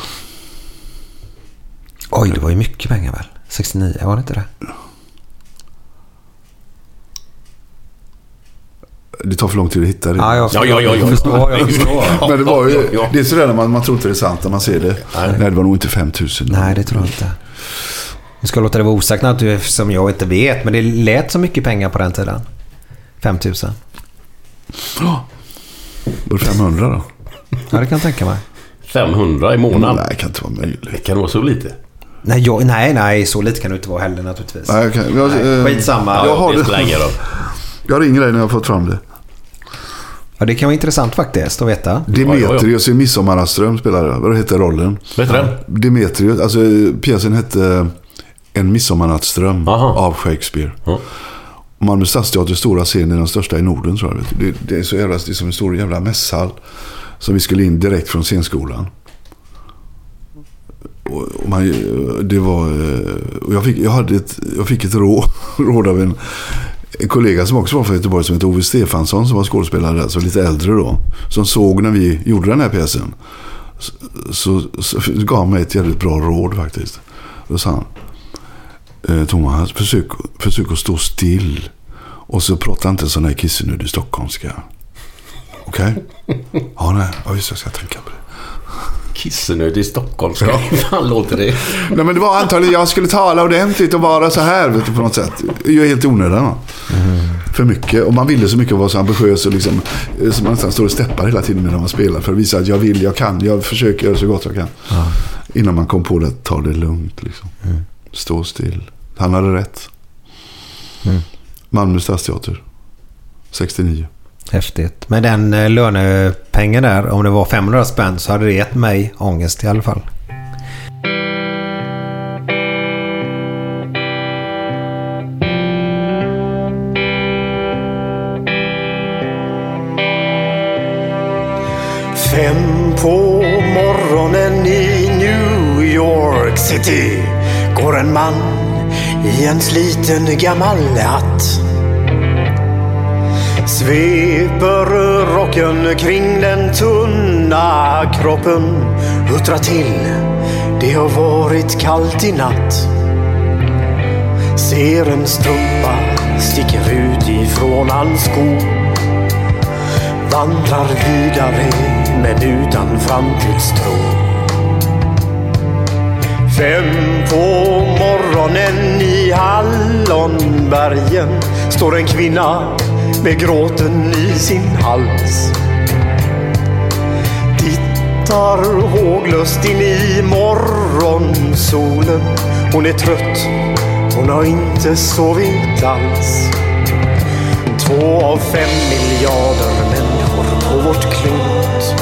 Speaker 2: Oj, det var ju mycket pengar väl? 69, var det inte det?
Speaker 6: det tar för lång tid att hitta det.
Speaker 2: Ja, jag förstår.
Speaker 3: Ja, ja, ja, ja.
Speaker 2: Jag förstår. Jag förstår.
Speaker 6: Men det var
Speaker 3: Ja,
Speaker 6: ju,
Speaker 3: ja,
Speaker 6: det är sådär när man, man tror inte det är sant när man ser det. Nej, det var nog inte 5000.
Speaker 2: Nej, det tror jag inte. Nu ska jag låta det vara osagt att du, som jag inte vet, men det lät så mycket pengar på den tiden. 5 000.
Speaker 6: Var det 500 då?
Speaker 2: Ja, det kan jag tänka mig.
Speaker 3: 500 i månaden.
Speaker 6: Nej, det kan inte vara möjligt.
Speaker 3: Det kan vara så lite.
Speaker 2: Nej, jag, nej, nej, så lite kan det inte vara heller naturligtvis.
Speaker 6: Nej, okay. jag, eh,
Speaker 2: Skitsamma.
Speaker 6: Jag, har
Speaker 3: det spelar
Speaker 6: det.
Speaker 3: ingen roll.
Speaker 6: jag ringer dig när jag har fått fram det.
Speaker 2: Ja, det kan vara intressant faktiskt att veta.
Speaker 6: Demetrius i Midsommarström spelar det. Vad heter rollen?
Speaker 3: Vet du den?
Speaker 6: Demetrius, alltså pjäsen hette eh, En midsommarnattsdröm
Speaker 3: Aha.
Speaker 6: av Shakespeare.
Speaker 3: Ja.
Speaker 6: Malmö stadsteater stora scen är den största i Norden tror jag. vet du. Det, det är så jävla, det är som en stor jävla mässhall. Som vi skulle in direkt från scenskolan. Och, och man, det var, eh, och jag, fick, jag, hade ett, jag fick ett råd, råd av en, en kollega som också var från Göteborg som hette Ove Stefansson som var skådespelare där, så lite äldre då. Som såg när vi gjorde den här pjäsen så, så gav han mig ett jävligt bra råd faktiskt. Då sa han. "Eh, Thomas, försök, försök att stå still. Och så prata inte sån här kissenödig stockholmska. Okej? Ja, nej. Ja, just det, Jag ska tänka på det.
Speaker 3: Kissenödig stockholmska. Hur fan låter det?
Speaker 6: Nej, men det var antagligen jag skulle tala ordentligt och vara så här vet du, på något sätt. Jag är helt onödan. Va? För mycket. Och man ville så mycket och var så ambitiös och liksom, eh, så man nästan står och steppar hela tiden när man spelar. För att visa att jag vill, jag kan, jag försöker göra så gott jag kan. Innan man kom på det, att ta det lugnt liksom. Stå still. Han hade rätt. Malmö Stadsteater. 69.
Speaker 2: Häftigt. Men den eh, lönepengen där, om det var 500 spänn så hade det gett mig ångest i alla fall.
Speaker 4: Fem på morgonen i New York City går en man i en sliten gammal hatt. Sveper rocken kring den tunna kroppen, huttrar till. Det har varit kallt i natt. Ser en strumpa sticker ut ifrån hans sko. Vandrar vidare men utan framtidstro. Fem på morgonen i Hallonbergen står en kvinna med gråten i sin hals. Tittar håglöst in i morgonsolen. Hon är trött, hon har inte sovit alls. Två av fem miljarder människor på vårt klot.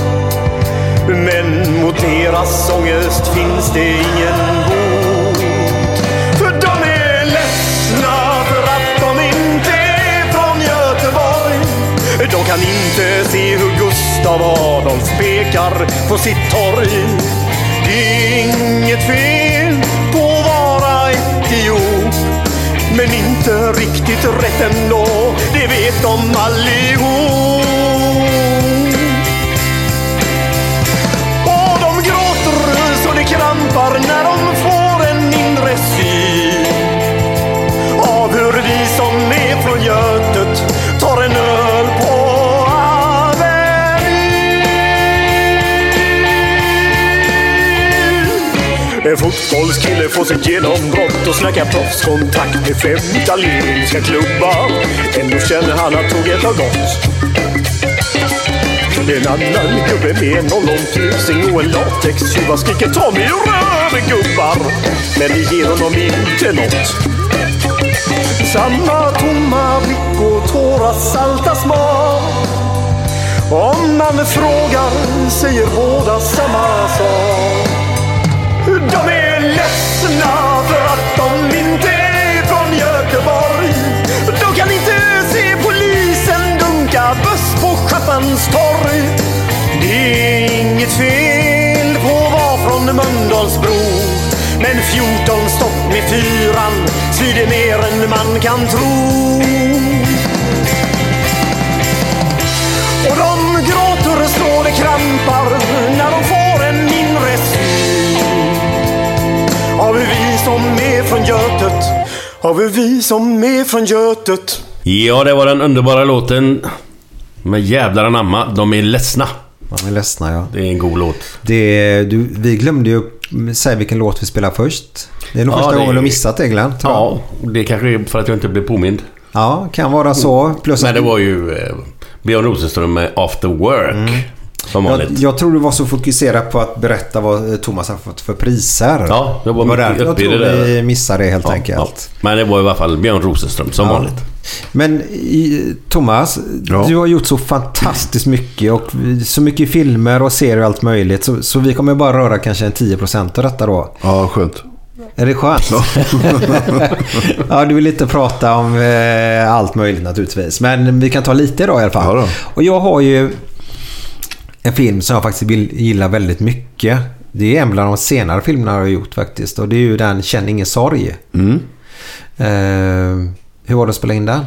Speaker 4: Men mot deras ångest finns det ingen bot. För de är ledsna för att de inte är från Göteborg. De kan inte se hur Gustav Adolf spekar på sitt torg. Det är inget fel på att vara etiop. Men inte riktigt rätt ändå, det vet de allihop. Och de gråter så det krampar när de får en inre syn av hur vi som är från Götet tar en öl på Avenyn. En fotbollskille får sitt genombrott och snackar proffskontakt med fem italienska klubbar. Ändå känner han att tåget har gått. En annan gubbe med en ollontusing och en latextjuva skriker ta mig ur röven gubbar. Men det ger honom inte något. Samma tomma blick och tårar salta smak. Om man frågar säger båda samma sak. De är ledsna för att de inte är från Göteborg. De kan inte se polisen dunka buss på Schappans torg. Det är inget fel på att vara från Mölndalsbro. Men 14 stopp med fyran svider mer än man kan tro. Och de gråter så det krampar när de får en inre syn Har vi vi som är från Götet? Har vi vi som är från Götet?
Speaker 3: Ja, det var den underbara låten Men jävlar anamma, de är ledsna.
Speaker 2: Man är ledsna ja.
Speaker 3: Det är en god låt.
Speaker 2: Det, du, vi glömde ju säga vilken låt vi spelar först. Det är nog
Speaker 3: Ja,
Speaker 2: första
Speaker 3: det-
Speaker 2: gången du har missat det Glenn. tror jag.
Speaker 3: Ja, det kanske är för att jag inte blev påmind.
Speaker 2: ja, kan vara så. Plus
Speaker 3: Men
Speaker 2: att
Speaker 3: det var ju eh, Björn Rosenström med After Work.
Speaker 6: Mm.
Speaker 3: Som
Speaker 2: jag,
Speaker 3: vanligt.
Speaker 2: jag tror du var så fokuserad på att berätta vad eh, Thomas har fått för priser.
Speaker 3: Ja, jag var
Speaker 2: Det
Speaker 3: mycket
Speaker 2: därför jag
Speaker 3: uppe i
Speaker 2: tror
Speaker 3: det där.
Speaker 2: vi missade det helt enkelt.
Speaker 3: Men det var i alla fall Björn Rosenström som vanligt.
Speaker 2: Men i, Thomas,
Speaker 6: Ja.
Speaker 2: du har gjort så fantastiskt mycket och så mycket filmer och serier och allt möjligt. Så, så vi kommer bara röra kanske en 10% av detta då.
Speaker 6: Ja, skönt.
Speaker 2: Är det skönt? ja, du vill inte prata om eh, allt möjligt naturligtvis. Men vi kan ta lite idag i alla fall.
Speaker 6: Ja då.
Speaker 2: Och jag har ju en film som jag faktiskt vill- gillar väldigt mycket. Det är en bland de senare filmerna jag har gjort faktiskt. Och det är ju den Känn ingen sorg.
Speaker 6: Mm.
Speaker 2: Eh, hur var det att spela in den?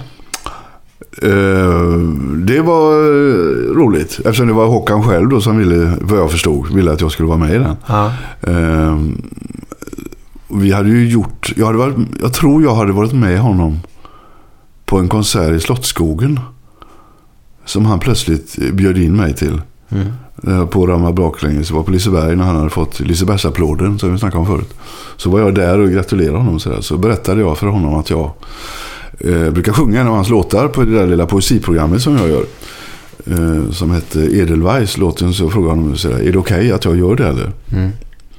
Speaker 6: Eh, det var eh, roligt. Eftersom det var Håkan själv då som ville, vad jag förstod, ville att jag skulle vara med i den.
Speaker 2: Ja.
Speaker 6: Eh, vi hade ju gjort, jag, hade varit, jag tror jag hade varit med honom på en konsert i Slottsskogen. Som han plötsligt eh, bjöd in mig till. Eh, På Ramma baklänges. Det var på Liseberg när han hade fått Lisebergsapplåden som vi snackade om förut. Så var jag där och gratulerade honom. Så, där. så berättade jag för honom att jag eh, brukar sjunga en av hans låtar på det där lilla poesiprogrammet som jag gör. Eh, som hette Edelweiss, låten. Så jag frågade honom, så där, är det okej att jag gör det eller?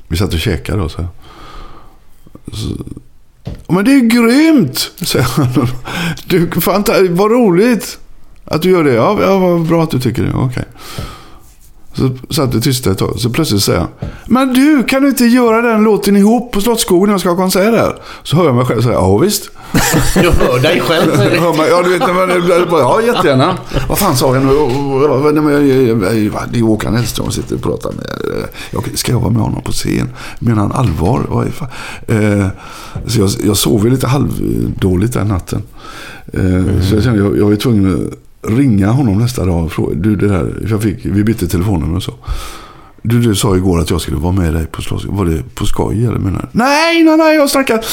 Speaker 6: Vi satt och käkade och så, här. så Men det är grymt! säger han. Du, fanta- vad roligt att du gör det. Ja, ja, vad bra att du tycker det. Okej. Så satt vi tysta ett tag. Så plötsligt säger han. Men du, kan du inte göra den låten ihop på Slottsskogen när jag ska ha konsert där? Så hör jag mig själv säga, ja visst.
Speaker 3: Du hör dig själv.
Speaker 6: Då hör man- Ja, du vet när man blir bara, ja jättegärna. Vad fan sa jag nu? Och- och- nej, men jag- jag- jag- jag- Det är Håkan Hellström som sitter och pratar med. eh, Jag, ska jag vara med honom på scen? Menar han allvar? Vad är fan? Eh, så jag, jag sov ju lite halvdåligt den natten. Eh, Så jag kände, jag, jag var ju tvungen att ringa honom nästa dag och fråga. Du, det där, för jag fick, vi bytte telefonnummer och så. Du, du sa igår att jag skulle vara med dig på slåss. Var det på skoj eller menar du? Nej, nej, nej, jag snackar...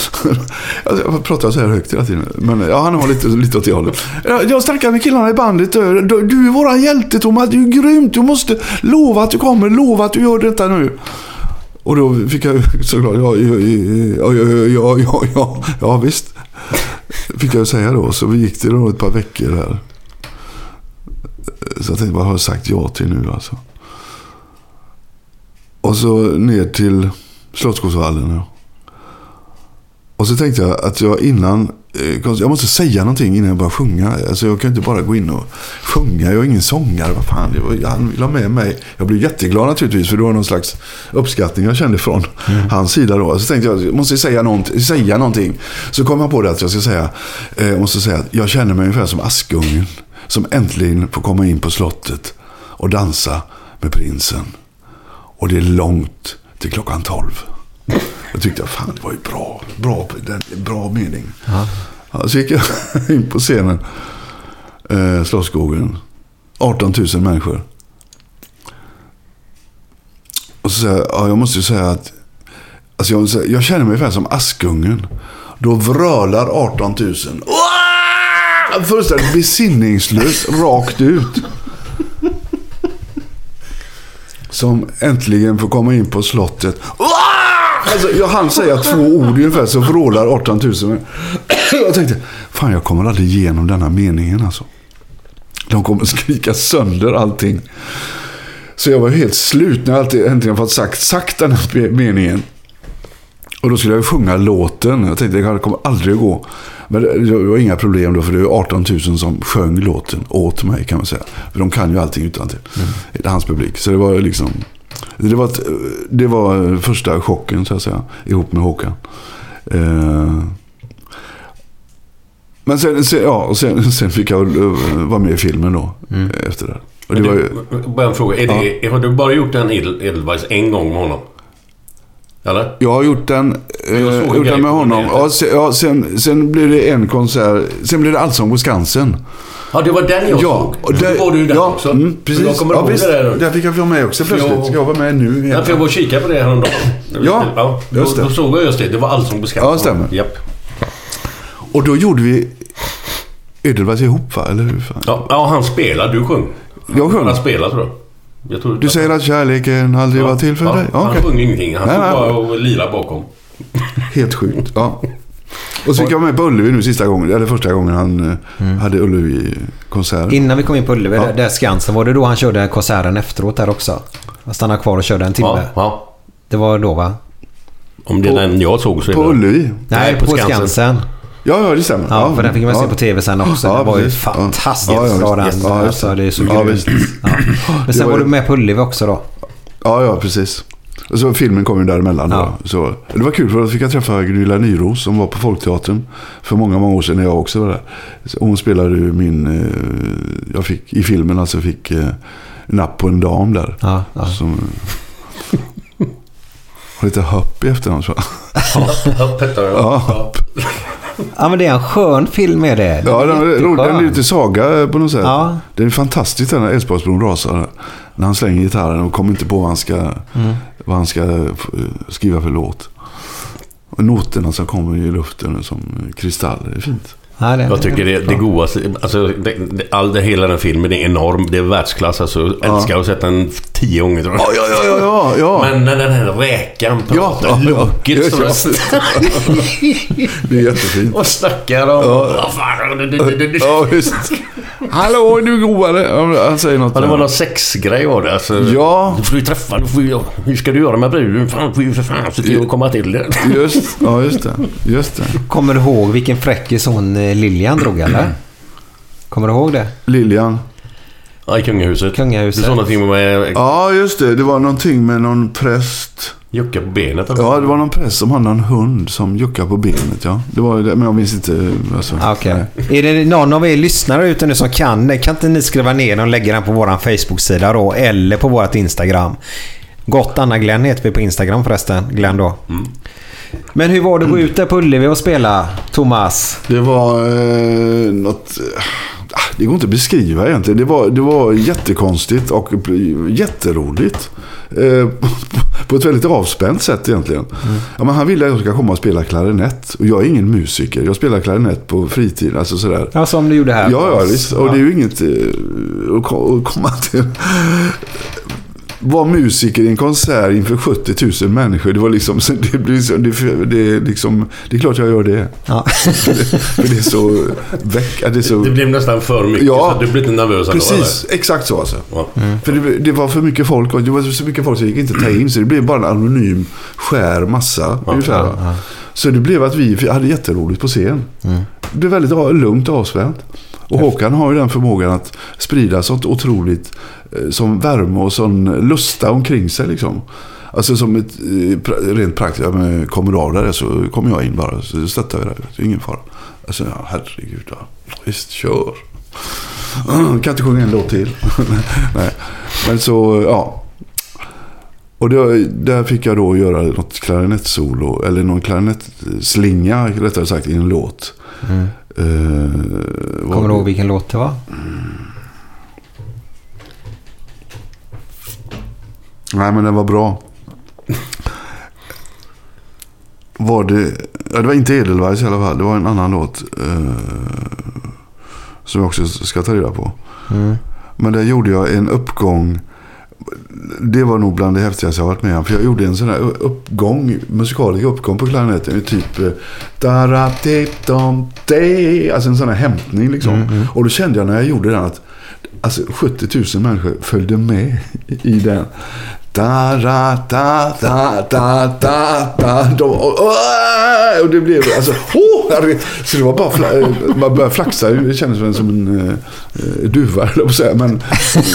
Speaker 6: Alltså, jag pratar så här högt hela tiden. Men ja, han har lite, lite åt det hållet. Jag, jag snackar med killarna i bandet. Du, du- du är våran hjälte Thomas. Du är grymt. Du måste lova att du kommer. Lova att du gör detta nu. Och då fick jag ju såklart, ja, ja, ja, ja, ja, ja, ja, ja visst. Fick jag ju säga då. Så vi gick det då ett par veckor här. Så jag tänkte, vad har jag sagt ja till nu alltså? Och så ner till Slottsskogsvallen. Ja. Och så tänkte jag att jag innan... eh, konst- Jag måste säga någonting innan jag börjar sjunga. Alltså jag kan ju inte bara gå in och sjunga. Jag är ingen sångare. Vad fan, det var, han vill ha med mig. Jag blev jätteglad naturligtvis för det var någon slags uppskattning jag kände från hans sida då. Så tänkte jag, jag måste säga, någont- säga någonting. Så kom jag på det att jag ska säga, eh, jag måste säga att jag känner mig ungefär som Askungen. Som äntligen får komma in på slottet och dansa med prinsen. Och det är långt till klockan 12. Jag tyckte, fan det var ju bra. Bra, den, bra mening. Ja, så gick jag in på scenen. Eh, Slottsskogen. 18 000 människor. Och så säger jag, ja, jag måste ju säga att alltså jag, måste säga, jag känner mig ungefär som Askungen. Då vrölar 18 000. Åh! Fullständigt besinningslöst, rakt ut. Som äntligen får komma in på slottet. Ah! Alltså, jag hann säga två ord ungefär så vrålar 18 000. Men jag tänkte, fan jag kommer aldrig igenom denna meningen alltså. De kommer skrika sönder allting. Så jag var helt slut när jag alltid- äntligen fått sagt, sagt den här me- meningen. Och då skulle jag ju sjunga låten. Jag tänkte det kommer aldrig att gå. Men det det var inga problem då för det var 18 000 som sjöng låten åt mig kan man säga. För de kan ju allting utantill. Det är Hans publik. Så det var liksom... Det var, ett, det var första chocken så att säga. Ihop med Håkan. Eh, men sen, sen, ja, och sen, sen fick jag eh, vara med i filmen då. Efter det. Och det var ju,
Speaker 3: Du, bara en fråga. Är det, har du bara gjort en Edel- Edelweiss en gång med honom? Eller?
Speaker 6: Jag har gjort den, eh,
Speaker 3: Jag såg en
Speaker 6: gjort
Speaker 3: grej
Speaker 6: den med
Speaker 3: på
Speaker 6: honom.
Speaker 3: nätet.
Speaker 6: Ja, sen, ja, sen, sen blev det en konsert. Sen blev det Allsång på Skansen.
Speaker 3: Ja, det var den jag
Speaker 6: Ja,
Speaker 3: såg.
Speaker 6: där-
Speaker 3: Då var du ju där
Speaker 6: ja,
Speaker 3: också.
Speaker 6: Mm, precis.
Speaker 3: För Jag kommer
Speaker 6: ja,
Speaker 3: ihåg
Speaker 6: visst.
Speaker 3: det där.
Speaker 6: Där fick jag vara med också plötsligt.
Speaker 3: Ja.
Speaker 6: Jag var med nu igen.
Speaker 3: Ja, för jag var och kikade på det häromdagen.
Speaker 6: Ja,
Speaker 3: då,
Speaker 6: just det.
Speaker 3: Då såg jag just det. Det var Allsång på Skansen.
Speaker 6: Ja, stämmer.
Speaker 3: Japp.
Speaker 6: Och då gjorde vi Edelweiss ihop va? Eller hur fan?
Speaker 3: Ja, ja han spelar. Du sjöng.
Speaker 6: Jag sjöng.
Speaker 3: Han spelar tror jag. jag tror
Speaker 6: Du säger att kärleken aldrig var till för
Speaker 3: ja,
Speaker 6: dig? Ja,
Speaker 3: Han
Speaker 6: okej.
Speaker 3: sjöng ingenting. Han
Speaker 6: Nej,
Speaker 3: stod
Speaker 6: nej.
Speaker 3: bara och lirade bakom.
Speaker 6: Helt sjukt. Ja. Och så fick jag med på Ullevi nu sista gången, eller första gången han eh, hade Ullevi-konsert.
Speaker 2: Innan vi kom Mm. in på Ullevi, där- där Skansen, var det då han körde konserten efteråt där också? Han stannade kvar och körde en timme.
Speaker 3: Ja, ja.
Speaker 2: Det var då va?
Speaker 3: Om det är den jag såg så är
Speaker 6: På
Speaker 3: det-
Speaker 6: Ullevi?
Speaker 2: Nej, på, Skansen.
Speaker 6: Ja, ja, det stämmer.
Speaker 2: Ja, för den fick man
Speaker 6: ja.
Speaker 2: se på tv sen också.
Speaker 6: Ja,
Speaker 2: det var ju
Speaker 6: precis. Ja.
Speaker 2: fantastiskt
Speaker 6: Ja, ja,
Speaker 2: bra
Speaker 6: visst.
Speaker 2: den.
Speaker 6: Ja, just
Speaker 2: alltså, det är så
Speaker 6: Ja,
Speaker 2: grymt.
Speaker 6: visst.
Speaker 2: Ja. Men
Speaker 6: Det
Speaker 2: sen
Speaker 6: var
Speaker 2: var
Speaker 6: ju-
Speaker 2: du med på Ullevi också då?
Speaker 6: Ja, ja, precis. Och så filmen kom ju däremellan.
Speaker 2: Ja.
Speaker 6: Då. Så, det var kul för då fick jag träffa Gunilla Nyros som var på Folkteatern för många, många år sedan när jag också var där. Så Hon spelade ju min, eh, jag fick, i filmen alltså fick eh, napp på en dam där.
Speaker 2: Ja, ja.
Speaker 6: Som, har lite höpp i efternamn tror jag.
Speaker 3: Ja, Petter,
Speaker 6: Ja.
Speaker 3: ja.
Speaker 2: Ja, men det är en skön film är det.
Speaker 6: Ja, den, är rolig.
Speaker 2: Jätteskön.
Speaker 6: den är lite saga på något sätt.
Speaker 2: Ja.
Speaker 6: Den är fantastisk den när Älvsborgsbron rasar. När han slänger gitarren och kommer inte på vad han ska,
Speaker 3: Mm.
Speaker 6: vad han ska eh, skriva för låt. Och noterna som kommer i luften som kristaller. Det är fint.
Speaker 2: Ja, den-
Speaker 3: Jag tycker det, det godaste, alltså det, det, all det, hela den filmen är enorm, det är världsklass alltså. Jag älskar att sätta den tio gånger tror jag.
Speaker 6: Ja, ja, ja, ja. ja.
Speaker 3: Men när den här räkan
Speaker 6: Ja,
Speaker 3: pratar,
Speaker 6: ja, ja.
Speaker 3: locket står
Speaker 6: Ja, Det är jättefint.
Speaker 3: och snackar om... Ja. fan, det- det- det- det-
Speaker 6: Ja, visst. Hallå, är du godare? Ja, Han säger något.
Speaker 3: Ja, det var någon sexgrej var det. Alltså,
Speaker 6: Ja.
Speaker 3: Du får ju träffa, du får ju, hur ska du göra med bruden? Fan, du får ju för fan se till att komma till det.
Speaker 6: Just, ja, just det. Just det.
Speaker 2: Kommer du ihåg vilken fräckis hon eh, Lilian drog eller? Kommer du ihåg det?
Speaker 6: Lilian.
Speaker 3: Ja, i kungahuset.
Speaker 2: Kungahuset.
Speaker 3: Du sa någonting med
Speaker 6: Ja, just det. Det var någonting med någon präst.
Speaker 3: jucka på benet. eller?
Speaker 6: Ja, det var någon präst som hade en hund som juckade på benet. Ja. Det var, men jag minns inte. Alltså,
Speaker 2: Ah, Okej.
Speaker 6: nej.
Speaker 2: Är det någon av er lyssnare ute nu som kan det? Kan inte ni skriva ner den och lägga den på vår Facebook-sida då? Eller på vårt Instagram? Gott Anna Glenn heter vi på Instagram förresten. Glenn då.
Speaker 3: Mm.
Speaker 2: Men hur var det att gå ut där på Ullevi och spela, Thomas?
Speaker 6: Det var eh, något... ah, Det går inte att beskriva egentligen. Det var, det var jättekonstigt och jätteroligt. Eh, på ett väldigt avspänt sätt egentligen. Ja, men han ville att jag ska komma och spela klarinett. Och jag är ingen musiker. Jag spelar klarinett på fritiden. Alltså sådär.
Speaker 2: Ja, som du gjorde här.
Speaker 6: Ja, ja, visst. Och det är ju inget eh, att ko- att komma till. Vara musiker i en konsert inför 70 000 människor. Det var liksom, så det blir så, det, det, är liksom, det är klart jag gör det.
Speaker 2: Ja.
Speaker 6: För det är så väck, ja, det är så...
Speaker 3: Det blev nästan för mycket
Speaker 6: Ja.
Speaker 3: så att du blev lite nervös ändå,
Speaker 6: Precis, exakt så alltså.
Speaker 3: eller? Ja.
Speaker 6: För det, det var för mycket folk och det var så mycket folk som gick inte att ta in. Så det blev bara en anonym skär massa. ungefär. Så det blev att vi hade jätteroligt på scen. Det blev väldigt a- lugnt och avspänt. Och Håkan har ju den förmågan att sprida sånt otroligt eh, som värme och sån lusta omkring sig. Liksom. Alltså som ett eh, pra- rent praktiskt, ja, men kommer du av där så kommer jag in bara så stöttar vi dig. Det är ingen fara. Alltså ja, herregud, ja. visst kör. Kan inte sjunga en låt till. Nej. Men så, ja. Och då, där fick jag då göra något klarinettsolo, eller någon klarinettslinga rättare sagt, i en låt. Eh, vad-
Speaker 2: Mm. Kommer du ihåg vilken låt det var?
Speaker 6: Nej, men den var bra. Var det... Ja, det var inte Edelweiss i alla fall. Det var en annan låt. Eh, som jag också ska ta reda på.
Speaker 2: Mm.
Speaker 6: Men där gjorde jag en uppgång. Det var nog bland det häftigaste jag har varit med om. För jag gjorde en sån här uppgång, musikalisk uppgång på klarinetten. i Typ eh, da tip dom de Alltså en sån här hämtning liksom. Och då kände jag när jag gjorde den att alltså, 70 000 människor följde med i den. Da, ra, da, da, da, da, da. De, och, och- och det blev alltså... Oh, herregud. så det var bara... fla- eh, Man började flaxa. Det kändes som en, som en eh, duva, höll jag på att säga. Men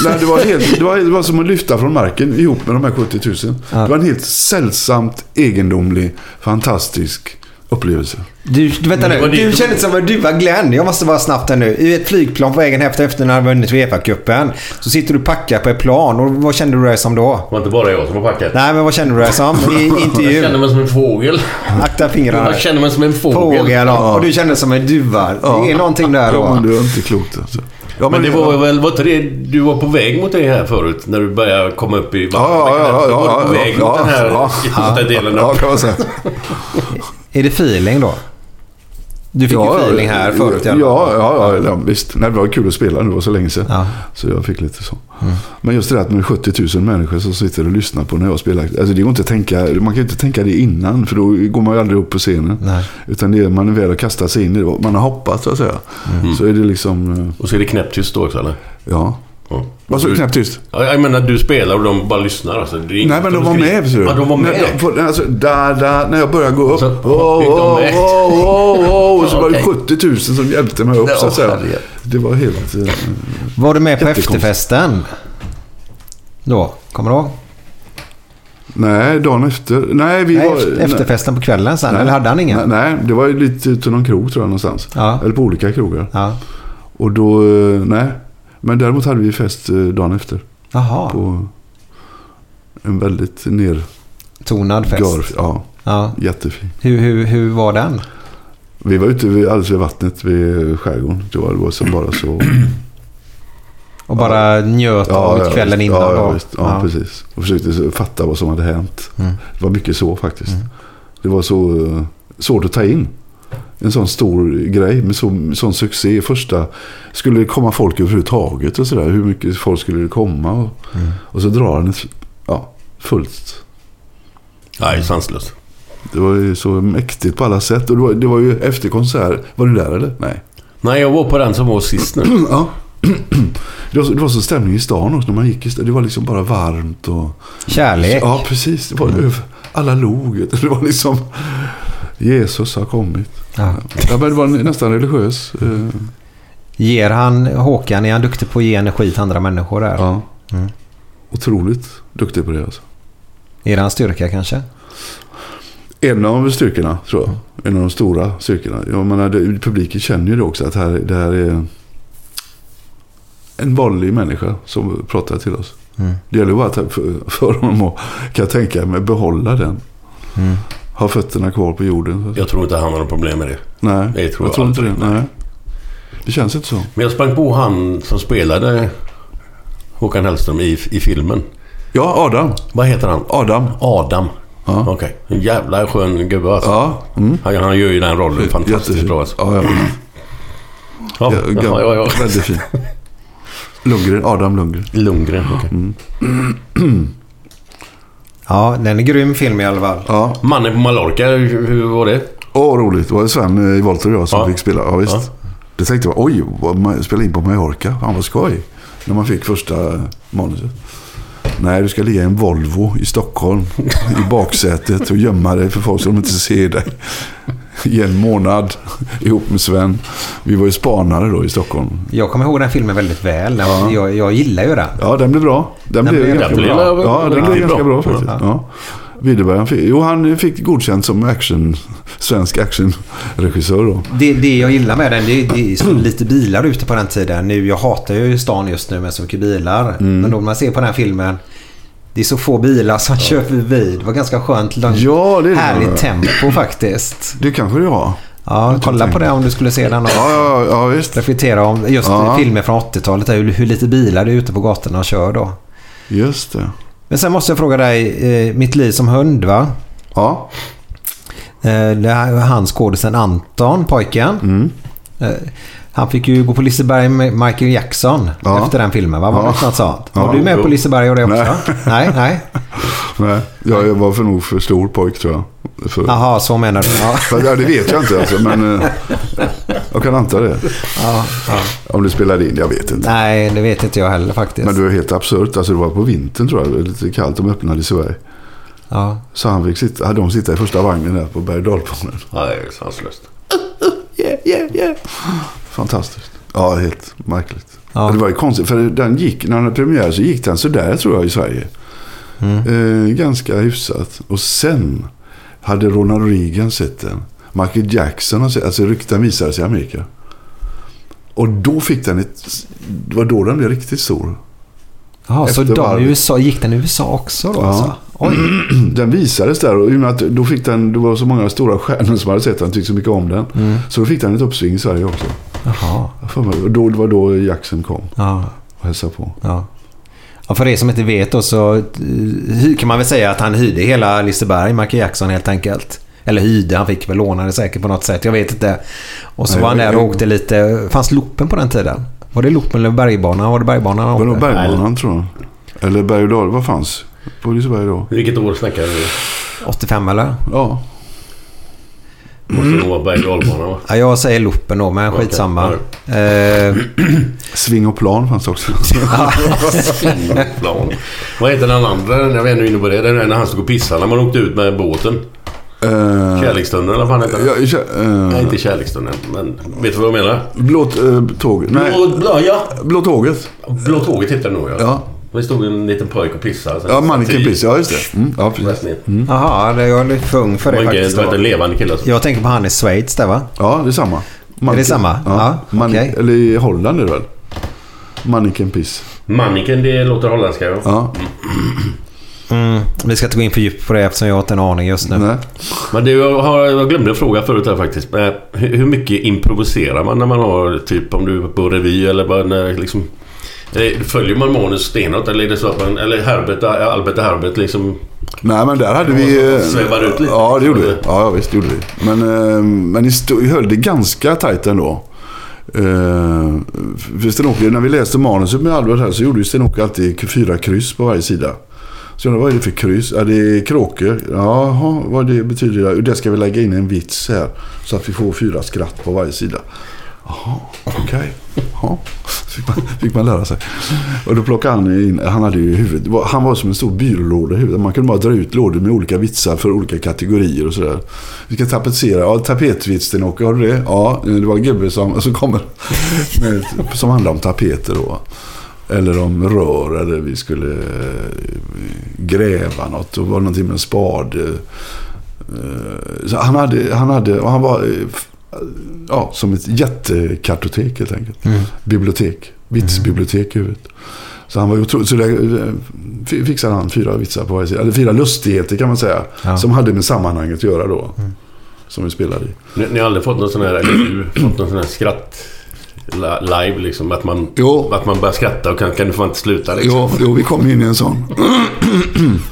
Speaker 6: nej, det, var helt, det, var, det var som att lyfta från marken ihop med de här 70 000. Det var en helt sällsamt egendomlig, fantastisk upplevelse.
Speaker 2: Du, vänta
Speaker 3: det var
Speaker 2: nu.
Speaker 3: din-
Speaker 2: Du kändes som en duva Glenn. Jag måste vara snabbt här nu. I ett flygplan på vägen efter, efter när du har vunnit Uefa-cupen. Så sitter du packad på ett plan. Och vad kände du dig som då?
Speaker 3: Det var inte bara jag som var packad.
Speaker 2: Nej, men vad kände du dig som i
Speaker 3: Jag känner
Speaker 2: intervjun?
Speaker 3: mig som en fågel.
Speaker 2: Akta fingrarna.
Speaker 3: Jag känner mig som en fågel.
Speaker 2: Fågel, ja. Och du kände som en duva. Det är någonting
Speaker 6: Ja,
Speaker 2: där då.
Speaker 6: men det var inte klokt alltså. Ja,
Speaker 3: Men det var väl, var inte det, du var på väg mot det här förut? När du började komma upp i vattnet?
Speaker 6: Ja, ja, ja,
Speaker 3: Du var
Speaker 6: ja,
Speaker 3: på
Speaker 6: ja,
Speaker 3: väg
Speaker 6: ja,
Speaker 3: mot den här
Speaker 6: ja,
Speaker 3: yttersta delen
Speaker 6: Ja,
Speaker 3: av...
Speaker 6: kan man säga.
Speaker 2: Är det feeling då? Du fick ju feeling här förut i
Speaker 6: ja,
Speaker 2: alla
Speaker 6: ja,
Speaker 2: fall.
Speaker 6: ja, ja, visst. Nej, det var kul att spela nu, det var så länge sedan.
Speaker 2: Ja. Mm.
Speaker 6: Så jag fick lite så. Men just det där att med 70 000 människor som sitter och lyssnar på när jag spelar. Alltså det går inte att tänka, man kan ju inte tänka det innan för då går man ju aldrig upp på scenen.
Speaker 2: Nej.
Speaker 6: Utan det är man väl har kastat sig in i, det, man har hoppat så att säga.
Speaker 2: Mm.
Speaker 6: Så är det liksom, eh,
Speaker 3: Och så är det knäpptyst då också eller?
Speaker 6: ja.
Speaker 3: Ja.
Speaker 6: Vad sa du knäppt tyst?
Speaker 3: Ja, Jag menar du spelar och de bara lyssnar alltså. Det är
Speaker 6: Nej
Speaker 3: inget
Speaker 6: men
Speaker 3: som
Speaker 6: de var
Speaker 3: skriver.
Speaker 6: med förstår du.
Speaker 3: Ja, de var med.
Speaker 6: Nej, de- Alltså, da, da, när jag började gå upp.
Speaker 3: Så-
Speaker 6: oh, oh,
Speaker 3: gick de med?
Speaker 6: oh, oh, oh, och så var det
Speaker 3: Okej.
Speaker 6: 70 000 som hjälpte mig upp så att säga.
Speaker 3: herregud.
Speaker 6: Det var helt... eh,
Speaker 2: Var du med på
Speaker 6: Jättekonstigt.
Speaker 2: efterfesten? Då, kommer du ihåg?
Speaker 6: Nej, dagen efter. Nej, vi
Speaker 2: Nej,
Speaker 6: var...
Speaker 2: efter- efterfesten på kvällen sen,
Speaker 6: nej.
Speaker 2: eller hade han ingen?
Speaker 6: Nej, nej, det var ju lite ute i någon krog tror jag någonstans.
Speaker 2: Ja.
Speaker 6: Eller på olika krogar.
Speaker 2: Ja.
Speaker 6: Och då, eh, nej. Men däremot hade vi fest eh, dagen efter.
Speaker 2: Jaha,
Speaker 6: På en väldigt nergör...
Speaker 2: tonad fest.
Speaker 6: Ja,
Speaker 2: Ja.
Speaker 6: jättefin.
Speaker 2: Hur, hur, hur var den?
Speaker 6: Vi var ute vid, alldeles vid vattnet vid skärgården. Det var, det var som bara så...
Speaker 2: Och bara njöt av kvällen
Speaker 6: visst.
Speaker 2: innan
Speaker 6: ja,
Speaker 2: då?
Speaker 6: Ja, visst. Ja, precis. Och försökte så- fatta vad som hade hänt.
Speaker 2: Mm.
Speaker 6: Det var mycket så faktiskt. Det var så eh, svårt att ta in. En sån stor grej med så, sån succé. i Första, skulle det komma folk överhuvudtaget och sådär. Hur mycket folk skulle det komma? Och,
Speaker 2: Mm.
Speaker 6: och så drar den ett- ja, fullt.
Speaker 3: Nej, sanslöst.
Speaker 6: Det var ju så mäktigt på alla sätt. Och det var, det var ju efter konsert. Var du där eller? Nej.
Speaker 3: Nej, jag var på den som var sist nu.
Speaker 6: Ja. Det var, så, det var så stämning i stan också när man gick i stan. Det var liksom bara varmt och...
Speaker 2: Kärlek?
Speaker 6: Ja, precis. Det var, över- Alla log. vet du. Det var liksom... Jesus har kommit.
Speaker 2: Ja.
Speaker 6: Ja, men det var nästan religiös. eh,
Speaker 2: Ger han Håkan, är han duktig på att ge energi till andra människor där?
Speaker 6: Ja. Otroligt duktig på det alltså.
Speaker 2: Är det hans styrka kanske?
Speaker 6: En av styrkorna, tror jag. En av de stora styrkorna. Jag menar, det, publiken känner ju det också att här, det här är en vanlig människa som pratar till oss. Det gäller bara att för, för honom att, kan jag tänka mig, behålla den. Ha fötterna kvar på jorden. så att säga.
Speaker 3: Jag tror inte han har något problem med det.
Speaker 6: Nej,
Speaker 3: det
Speaker 6: jag
Speaker 3: tror jag
Speaker 6: tror inte det.
Speaker 3: aldrig.
Speaker 6: Nej. Det känns inte så.
Speaker 3: Men jag sprang på han som spelade Håkan Hellström i, i filmen.
Speaker 6: Ja, Adam.
Speaker 3: Vad heter han?
Speaker 6: Adam.
Speaker 3: Adam.
Speaker 6: Ja.
Speaker 3: Okej. En jävla skön gubbe alltså.
Speaker 6: Ja. Mm.
Speaker 3: Han, han gör ju den rollen fantastiskt
Speaker 6: Jättefin.
Speaker 3: bra alltså.
Speaker 6: Ja, ja.
Speaker 3: Ja,
Speaker 6: Ja,
Speaker 3: ja, ja, ja.
Speaker 6: Väldigt fin. Lundgren, Adam Lundgren.
Speaker 3: Lundgren. okej.
Speaker 6: Mm.
Speaker 2: Ja, den är grym film i alla fall.
Speaker 6: Ja,
Speaker 3: Mannen på Mallorca, hur hur var det?
Speaker 6: åh vad roligt. Det var Sven eh, i Volter och jag som
Speaker 3: Ja.
Speaker 6: fick spela. Ja, visst.
Speaker 3: Ja.
Speaker 6: Det tänkte jag, oj, vad man spela in på Mallorca. Fan vad skoj. När man fick första eh, manuset. Nej, du ska ligga i en Volvo i Stockholm. I baksätet och gömma dig för folk så de inte ser dig. I en månad ihop med Sven. Vi var ju spanare då i Stockholm.
Speaker 2: Jag kommer ihåg den filmen väldigt väl. Den var- Jag, jag gillar ju den.
Speaker 6: Ja, den blev bra. Den, blev,
Speaker 2: blev
Speaker 6: ganska
Speaker 3: den
Speaker 6: bra.
Speaker 3: blev
Speaker 6: ja, den
Speaker 3: riktigt
Speaker 6: blev ganska bra,
Speaker 3: bra.
Speaker 6: faktiskt. Ja. Widerberg, han fick, jo, han fick godkänt som action, svensk actionregissör då.
Speaker 2: Det, det jag gillar med den, det, det är så
Speaker 6: Mm.
Speaker 2: lite bilar ute på den tiden. Nu, jag hatar ju stan just nu med så mycket bilar.
Speaker 6: Mm.
Speaker 2: Men då när man ser på den här filmen. Det är så få bilar som kör förbi. Det var ganska skönt. långt-
Speaker 6: Ja, det är det.
Speaker 2: Härligt tempo faktiskt.
Speaker 6: Det kanske det var.
Speaker 2: Ja, kolla på det om du skulle se den och
Speaker 6: Ja, ja, ja visst.
Speaker 2: reflektera om just
Speaker 6: Ja.
Speaker 2: filmer från 80-talet. där, Hur, hur lite bilar det är ute på gatorna och kör då.
Speaker 6: Just det.
Speaker 2: Men sen måste jag fråga dig, eh, Mitt liv som hund va?
Speaker 6: Ja,
Speaker 2: Eh, det här var han skådisen Anton, pojken.
Speaker 6: Mm.
Speaker 2: Eh, han fick ju gå på Liseberg med Michael Jackson
Speaker 6: Ja.
Speaker 2: efter den filmen va? Var
Speaker 6: Ja.
Speaker 2: det något sånt?
Speaker 6: Ja.
Speaker 2: Var du med på Liseberg och det också?
Speaker 6: Nej.
Speaker 2: Nej, nej.
Speaker 6: nej. Jag, jag var för nog för stor pojk tror jag. För,
Speaker 2: Jaha, så menar du. Ja.
Speaker 6: Fast, ja, det vet jag inte alltså, men eh, jag kan anta det. Om du spelade in, jag vet inte.
Speaker 2: Nej, det vet inte jag heller faktiskt.
Speaker 6: Men det var helt absurt. Alltså, det var på vintern tror jag. Det var lite kallt. De öppnade i Sverige.
Speaker 2: Ja.
Speaker 6: Så han fick sitta, hade de sitta i första vagnen där på berg och dalbanan.
Speaker 3: Ja, det är sanslöst.
Speaker 6: Yeah, yeah, yeah. Fantastiskt. Ja, helt märkligt.
Speaker 2: Ja.
Speaker 6: Det var ju konstigt, för den gick, när den hade premiär så gick den sådär tror jag i Sverige.
Speaker 2: Mm.
Speaker 6: Eh, ganska hyfsat. Och sen hade Ronald Reagan sett den. Michael Jackson har sett Alltså rykten visades i Amerika. Och då fick den ett... Det var då den blev riktigt stor.
Speaker 2: Jaha, så
Speaker 6: Efter
Speaker 2: de i
Speaker 6: varvet.
Speaker 2: USA, gick den i USA också då? Alltså? Oj.
Speaker 6: Den visades där och i och med att då fick den... Det var så många stora stjärnor som hade sett den tyckte så mycket om den. Så då fick den ett uppsving i Sverige också.
Speaker 2: Mm. Jaha.
Speaker 6: Jag får mig- Och då, det var då Jackson kom
Speaker 2: Ja.
Speaker 6: och hälsade på.
Speaker 2: Ja. Ja, för er som inte vet då så eh, hy- kan man väl säga att han hyrde hela Liseberg, Michael Jackson helt enkelt. Eller hyrde, han fick väl låna det säkert på något sätt. Jag vet inte. Och så
Speaker 6: Nej,
Speaker 2: var han
Speaker 6: jag-
Speaker 2: där och
Speaker 6: jag-
Speaker 2: åkte lite. Fanns loopen på den tiden? Var det loopen eller bergbanan? Var det bergbanan han
Speaker 6: Vadå
Speaker 2: åkte?
Speaker 6: bergbanan tror jag? Eller berg och dal, vad fanns? På Liseberg då?
Speaker 3: Vilket år snackar vi?
Speaker 2: 85 eller?
Speaker 6: Ja.
Speaker 3: Måste
Speaker 6: Mm.
Speaker 3: nog vara berg och dalbana, va?
Speaker 2: Ja, jag säger loopen då, men
Speaker 3: Okej,
Speaker 2: skitsamma. Eh,
Speaker 6: Sving och plan fanns också.
Speaker 3: Mm, Plan. Vad heter den andra? Jag var ännu inne på det. Den där när han stod och pissade när man åkte ut med båten.
Speaker 6: Eh,
Speaker 3: Kärlekstunneln eller vad fan heter den?
Speaker 6: ja, kä- eh,
Speaker 3: Nej, inte Kärlekstunneln. Men vet du vad jag menar?
Speaker 6: Blå eh, tåget. Nej,
Speaker 3: Blå, blå, ja.
Speaker 6: blå tåget.
Speaker 3: blå tåget heter den nog ja.
Speaker 6: Ja.
Speaker 3: Det stod en liten pojk och pissade. Sen
Speaker 6: Ja, Mannequin
Speaker 3: satt i-
Speaker 6: Piss. Ja, just det. Mm, ja, precis.
Speaker 3: Läs ner.
Speaker 2: Jaha, det- jag är lite för ung för
Speaker 3: Det
Speaker 2: det
Speaker 3: var inte- det
Speaker 2: faktiskt.
Speaker 3: var inte en
Speaker 2: då.
Speaker 3: levande kille alltså.
Speaker 2: Jag tänker på han i Schweiz där va?
Speaker 6: Ja, det är samma. Mannequin.
Speaker 2: samma?
Speaker 6: Ja.
Speaker 2: Ja,
Speaker 6: Man-
Speaker 2: okej.
Speaker 6: Eller i Holland är det väl? Mannequin Piss.
Speaker 3: Manniken, det låter holländska ja.
Speaker 6: Ja.
Speaker 2: Vi ska inte gå in för djupt på det eftersom jag har inte en aning just nu.
Speaker 6: Nej.
Speaker 3: Men du, jag, har, jag glömde en fråga förut här faktiskt. Men hur hur mycket improviserar man när man har typ om du är på revy eller bara när, liksom... eh, Följer man manus stenhårt eller är det så att man... Eller Herbert, eh, Albert och Herbert liksom...
Speaker 6: Nej, men där hade vi... eh,
Speaker 3: Svävar ut lite.
Speaker 6: Ja, det gjorde vi. Ja, ja, visst det gjorde vi. Men, eh, men i sto- vi höll det ganska tajt ändå. Uh, för Sten-Åke, när vi läste manuset med Albert här så gjorde ju Sten-Åke alltid fyra kryss på varje sida. Så jag undrar, vad är det för kryss? Ja, det är kråkor. Jaha, vad det betyder det? Jo, Det ska vi lägga in en vits här. Så att vi får fyra skratt på varje sida. Okej. Ja, fick, man- fick man lära sig. Och då plockade han in, han hade ju huvudet, det var- han var som en stor byrålåda i huvudet. Man kunde bara dra ut lådor med olika vitsar för olika kategorier och sådär. Vi ska tapetsera, ja tapetvitsen åker, har du det? Ja, det var en gubbe som, och så kommer, med, Mm. som handlar om tapeter då. Eller om rör, eller vi skulle eh, gräva något. Och var det någonting med en spade. Eh, Så han hade, han hade, och han var eh, f- ja, som ett jättekartotek helt enkelt. Bibliotek. Vitsbibliotek i huvudet. Så han var ju otroligt, så där, eh, fi- fixade han fyra vitsar på varje sida. Eller fyra lustigheter kan man säga.
Speaker 2: Ja.
Speaker 6: Som hade med sammanhanget att göra då. Som vi spelade i.
Speaker 3: Ni, ni har aldrig fått någon sån här... Eller du, fått någon sån här skratt... la- Live liksom. Att man,
Speaker 6: Jo.
Speaker 3: att man börjar skratta och kan, kan du fan inte sluta liksom.
Speaker 6: Jo, jo, vi kom in i en sån.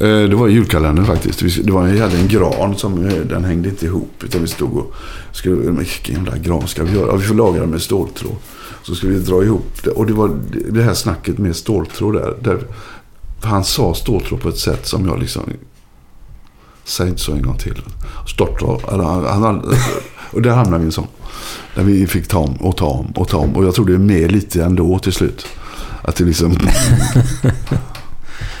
Speaker 6: Eh, Det var i julkalendern faktiskt. Vi- Det var, vi hade en gran som eh, den hängde inte ihop. Utan vi stod och... Skulle, men vilken jävla gran ska vi göra? Ja, vi får laga den med ståltråd. Så skulle vi dra ihop det. Och det var det här snacket med ståltråd där. där han sa ståltråd på ett sätt som jag liksom... Säg inte så en gång till. Ståltråd. eller han- han- Och där hamnade vi i en sån. Där vi fick ta om och ta om och ta om. Och jag tror det är med lite ändå till slut. Att det liksom...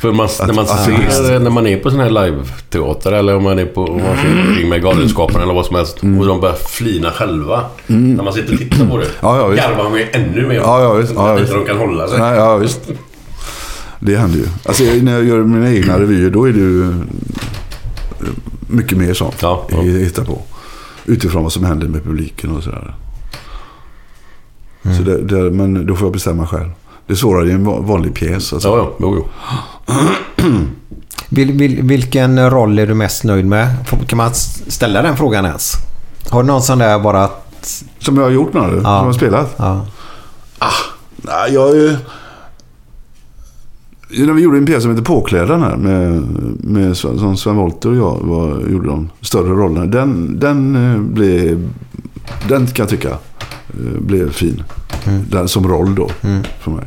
Speaker 3: För man, när, man
Speaker 6: att-
Speaker 3: ser, när man är på sån här live-teater eller om man är på om
Speaker 6: Mm.
Speaker 3: man ser kring med Galenskaparna eller vad som helst och de börjar flina själva. När man sitter och tittar på det.
Speaker 6: Mm. Ja, ja, visst.
Speaker 3: garvar man ju ännu mer.
Speaker 6: Ja, ja, visst. Ja,
Speaker 3: Inte
Speaker 6: visst.
Speaker 3: de kan hålla sig.
Speaker 6: Nej, ja, visst. Det händer ju. Alltså, jag- när jag gör mina egna revyer, då är det ju eh, mycket mer sånt.
Speaker 3: Ja, ja.
Speaker 6: jag hittar på. Utifrån vad som händer med publiken och sådär.
Speaker 3: Mm.
Speaker 6: Så det, det, men då får jag bestämma själv. Det är svårare i en va- vanlig pjäs. Alltså.
Speaker 3: Ja, ja. Jo, jo.
Speaker 2: Vil, vil, vilken roll är du mest nöjd med? Får- Kan man s- ställa den frågan ens? Har du någon sån där bara att...
Speaker 6: Som jag har gjort menar du? Som jag har spelat?
Speaker 2: Ja.
Speaker 6: Nej, jag... eh, När vi gjorde en pjäs som heter Påklädaren här med, med Sven- som Sven Wollter och jag var, gjorde de större rollerna. Den, den eh, blev... Den kan jag tycka eh, blev fin.
Speaker 2: Mm.
Speaker 6: Den, som roll då, för mig.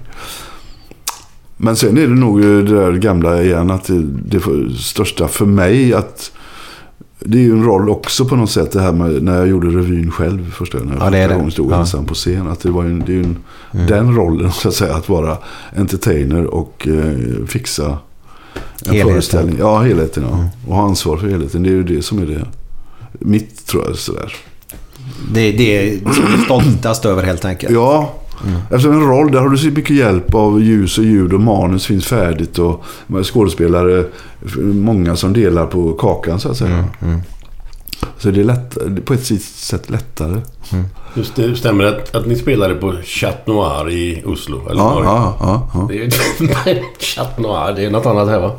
Speaker 6: Men sen är det nog eh, det där gamla igen att det, det för- största för mig att... Det är ju en roll också på något sätt det här med när jag gjorde revyn själv första gången.
Speaker 2: Ja, det är
Speaker 6: Första
Speaker 2: det.
Speaker 6: gången stod
Speaker 2: Ja. Mm.
Speaker 6: ensam ensam på scen. Att det var ju en, det är ju en, den rollen, så att säga, att vara entertainer och eh, fixa en
Speaker 2: Helheten. Mm.
Speaker 6: föreställning. Ja, helheten. Ja. Och ha ansvar för helheten. Det är ju det som är det. Mitt, tror jag. Sådär.
Speaker 2: Det, det är som du är stoltast över helt enkelt.
Speaker 6: Ja, eftersom en roll, där har du så mycket hjälp av ljus och ljud och manus finns färdigt och skådespelare, många som delar på kakan så att säga. Så det är lätt, på ett sätt lättare.
Speaker 3: Just det, stämmer det att, att ni spelade på Chat Noir i Oslo? Eller
Speaker 6: Ja,
Speaker 3: var det?
Speaker 6: ja, ja, ja.
Speaker 3: Det är ju- Chat Noir, det är något annat här va?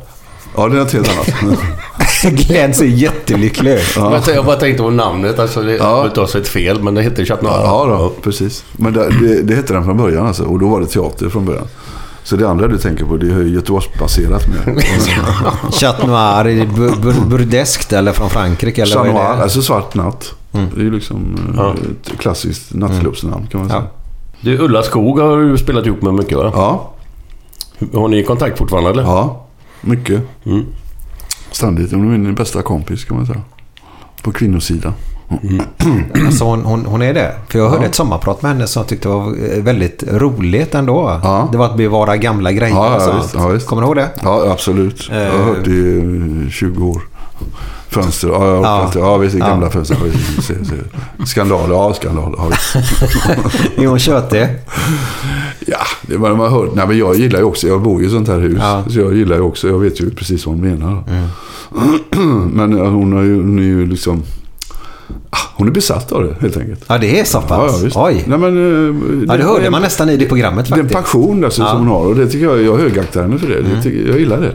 Speaker 6: ja, det är något helt annat.
Speaker 2: Glenn ser jättelycklig ut.
Speaker 3: Men Jag, jag bara tänkte på namnet. Alltså, det
Speaker 6: Ja.
Speaker 3: ja. utav sig ett fel, men det heter Chat Noir.
Speaker 6: Ja, ja då, precis. Men det, det, det hette den från början alltså, och då var det teater från början. Så det andra du tänker på, det är Göteborgsbaserat med.
Speaker 2: Chat noir, är det bur- bur- burdeskt eller från Frankrike? Eller
Speaker 6: Chat
Speaker 2: vad är
Speaker 6: noir,
Speaker 2: det?
Speaker 6: alltså svart natt. Det är ju liksom eh,
Speaker 3: Ja.
Speaker 6: ett klassiskt nattklubbsnamn kan man
Speaker 2: Ja.
Speaker 6: säga.
Speaker 3: Du, Ulla Skog har du spelat ihop med mycket va?
Speaker 6: Ja,
Speaker 3: Har ni kontakt fortfarande eller?
Speaker 6: ja. mycket.
Speaker 3: Mm.
Speaker 6: Ständigt. Hon är min bästa kompis kan man säga. På kvinnosidan.
Speaker 2: Alltså hon, hon, hon är det. För jag hörde
Speaker 6: Ja.
Speaker 2: ett sommarprat med henne som jag tyckte var eh, väldigt roligt ändå.
Speaker 6: Ja.
Speaker 2: Det var att bevara gamla grejer
Speaker 6: Ja, ja,
Speaker 2: och sånt.
Speaker 6: visst, ja, visst.
Speaker 2: Kommer du ihåg det?
Speaker 6: Ja, absolut. Jag har
Speaker 2: Eh.
Speaker 6: hört det i eh, 20 år. Fönster, ja, jag
Speaker 2: Ja.
Speaker 6: ja. Fönster. ja visst, det är gamla
Speaker 2: Ja.
Speaker 6: fönster. Ja, visst, se, se. Skandaler, ja skandaler. Ja, visst.
Speaker 2: Är hon tjötig?
Speaker 6: ja, det var man hört. Nej, men jag gillar ju också, jag bor ju i sånt här hus.
Speaker 2: Ja.
Speaker 6: Så jag gillar ju också, jag vet ju precis vad hon menar.
Speaker 2: Mm.
Speaker 6: men eh, hon är ju, hon är ju liksom, ah, hon är besatt av det helt enkelt.
Speaker 2: Ja, det är så pass. Oj.
Speaker 6: Nej, men, eh,
Speaker 2: Ja, det hörde
Speaker 6: är-
Speaker 2: man nästan i det programmet
Speaker 6: Det är en
Speaker 2: faktiskt.
Speaker 6: passion alltså,
Speaker 2: Ja. Mm.
Speaker 6: som hon har och det tycker jag, jag högaktar henne för det. det tycker, jag gillar det.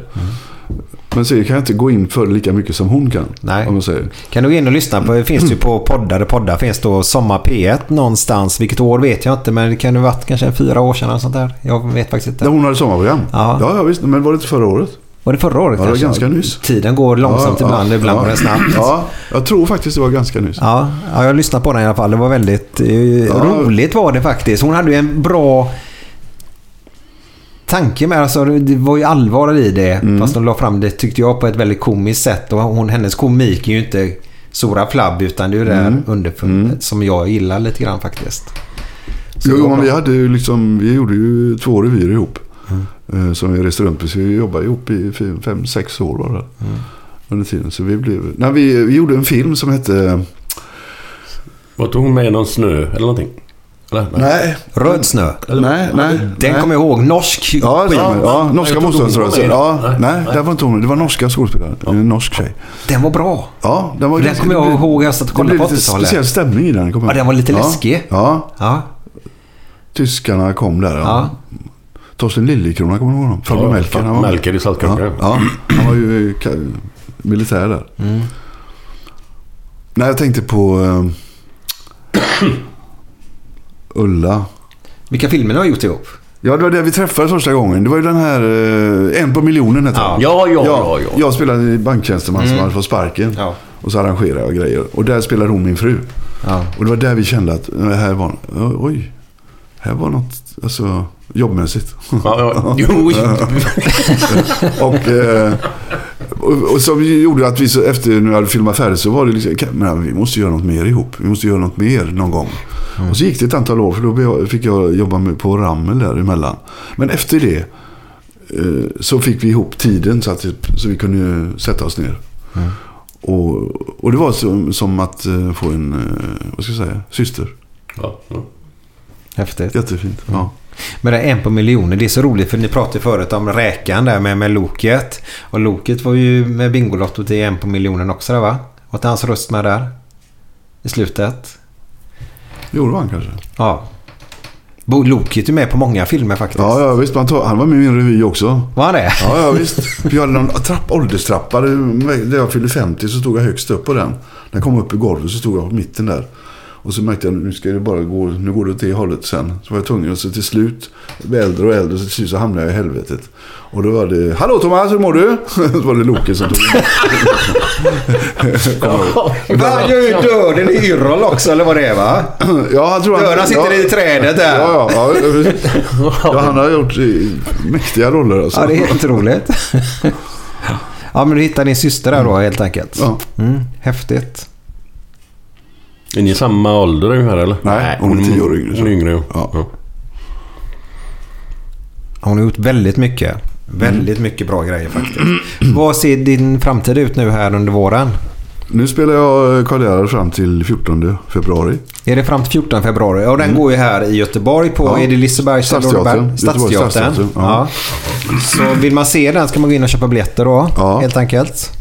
Speaker 6: Men så kan jag inte gå in för det lika mycket som hon kan.
Speaker 2: Nej.
Speaker 6: Om man säger.
Speaker 2: Kan du gå in och lyssna på, det finns ju på poddar, där poddar finns då Sommar P1 någonstans. Vilket år vet jag inte, men det kan ju ha varit kanske en fyra år sedan eller sånt där. Jag vet faktiskt inte.
Speaker 6: När hon hade sommarprogram?
Speaker 2: Ja.
Speaker 6: ja, visst. Men var det inte förra året?
Speaker 2: Var det förra året
Speaker 6: Ja, det var
Speaker 2: kanske?
Speaker 6: ganska nyss.
Speaker 2: Tiden går långsamt
Speaker 6: ja,
Speaker 2: ibland,
Speaker 6: ja,
Speaker 2: ibland
Speaker 6: ja.
Speaker 2: går den snabbt.
Speaker 6: Ja, jag tror faktiskt det var ganska nyss.
Speaker 2: Ja, ja, jag lyssnade på den i alla fall. Det var väldigt eh, roligt var det faktiskt. Hon hade ju en bra tanke med alltså, det var ju allvar i det.
Speaker 6: Mm.
Speaker 2: Fast de la fram det tyckte jag på ett väldigt komiskt sätt. Och hon, hennes komik är ju inte Sora Flabb utan det är ju det
Speaker 6: Mm.
Speaker 2: här underfundet som jag gillar lite grann faktiskt. Så det
Speaker 6: Jo,
Speaker 2: var
Speaker 6: men
Speaker 2: bra.
Speaker 6: vi, hade ju liksom, vi gjorde ju två revyer ihop.
Speaker 2: Mm.
Speaker 6: eh, Som vi reste runt på. Så vi jobbade ihop i fem, fem, sex år var det.
Speaker 2: Mm.
Speaker 6: Under tiden. Så vi blev... Nej, vi, vi gjorde en film som hette...
Speaker 3: Var tog hon med någon snö eller någonting? Eller?
Speaker 6: Nej.
Speaker 2: Röd snö.
Speaker 6: Nej, nej.
Speaker 2: Den
Speaker 6: nej.
Speaker 2: kommer jag ihåg. Norsk
Speaker 6: Ja,
Speaker 2: skit.
Speaker 6: ja, ja, norska
Speaker 3: jag tror
Speaker 6: motståndsrörelsen.
Speaker 3: inte hon var
Speaker 6: Ja,
Speaker 3: med i den.
Speaker 6: nej, det var inte hon. Det var norska skådespelare. En norsk tjej.
Speaker 2: Den var bra.
Speaker 6: Ja, den var
Speaker 2: Den kommer jag
Speaker 6: det blev-
Speaker 2: ihåg, jag satt och kollade
Speaker 6: Det
Speaker 2: på
Speaker 6: blev lite
Speaker 2: 80-talet.
Speaker 6: speciell stämning i den. kommer jag ihåg.
Speaker 2: Ja, den var lite läskig.
Speaker 6: Ja,
Speaker 2: Ja,
Speaker 6: tyskarna kom där. Ja.
Speaker 2: ja.
Speaker 6: Torsten Liljekrona, kommer du ihåg honom? Från
Speaker 3: Ja,
Speaker 6: Melker. han var-
Speaker 3: Melker i Saltkråkan.
Speaker 6: Ja, ja, han var ju eh, ka- militär där.
Speaker 2: Mm.
Speaker 6: Nej, jag tänkte på eh, Ulla.
Speaker 2: Vilka filmer ni har gjort ihop?
Speaker 6: Ja, det var där vi träffades första gången. Det var ju den här eh, En på miljonen hette den.
Speaker 3: Ja, ja, ja, Mm. ja.
Speaker 6: Jag spelade i banktjänsteman som hade fått sparken.
Speaker 2: Ja.
Speaker 6: Och så arrangerade jag grejer. Och där spelade hon min fru.
Speaker 2: Ja.
Speaker 6: Och det var där vi kände att eh, här var... Oj. Här var något alltså, jobbmässigt.
Speaker 3: Ja, ja. Jo,
Speaker 6: och, eh, och, och som gjorde att vi så, efter nu hade filmat färdigt så var det liksom, "Kan- men vi måste göra något mer ihop. Vi måste göra något mer någon gång. Och så gick det ett antal år för då be- fick jag jobba med, på Rammel däremellan. Men efter det eh, så fick vi ihop tiden så att det- så vi kunde sätta oss ner. Och, och det var som, som att eh, få en, eh, vad ska jag säga, syster.
Speaker 3: ja. ja.
Speaker 2: Häftigt.
Speaker 6: Jättefint. Ja.
Speaker 2: Men det är en på miljoner. Det är så roligt för ni pratade förut om räkan där med, med Loket. Och Loket var ju med Bingolotto i en på miljonen också där va? Var inte hans röst med där? I slutet?
Speaker 6: Det gjorde man kanske.
Speaker 2: Ja. Bo- Loket är med på många filmer faktiskt.
Speaker 6: Ja, ja visst. Man tog, han var med i min revy också.
Speaker 2: Var han det?
Speaker 6: Ja, ja visst. Vi hade någon trapp, ålderstrappa. Där jag fyllde 50 så stod jag högst upp på den. Den kom upp i golvet så stod jag på mitten där. Och så märkte jag nu ska det bara gå, nu går det åt det hållet sen. Så var jag tvungen och så till slut, jag blev äldre och äldre, så till slut så hamnade jag i helvetet. Och då var det, Hallå Thomas, hur mår du? så var det Loke som tog
Speaker 2: Han gör ju döden i Yrrol också eller vad det är va?
Speaker 6: Ja, jag tror
Speaker 2: Dörren sitter i trädet där.
Speaker 6: Ja, ja, ja, ja, han har gjort eh, mäktiga roller alltså.
Speaker 2: Ja, det är helt roligt. Ja, men du hittade din syster där då helt enkelt.
Speaker 6: Ja.
Speaker 2: Mm, häftigt.
Speaker 3: Är ni samma ålder ungefär eller?
Speaker 6: Nej, hon är tio år yngre, så.
Speaker 3: Hon är yngre, ja.
Speaker 6: Ja.
Speaker 3: ja.
Speaker 2: Hon har gjort väldigt mycket. Väldigt mycket bra grejer faktiskt. Vad ser din framtid ut nu här under våren?
Speaker 6: Nu spelar jag eh, Karl Gerhard fram till 14 februari.
Speaker 2: Är det fram till 14 februari? Ja, den går ju här i Göteborg på...
Speaker 6: Ja.
Speaker 2: Är det Lisebergs
Speaker 6: Stadsteatern.
Speaker 2: Stadsteatern.
Speaker 6: Göteborgs stadsteater,
Speaker 2: Ja.
Speaker 6: ja.
Speaker 2: Så vill man se den ska man gå in och köpa biljetter då,
Speaker 6: Ja.
Speaker 2: helt enkelt.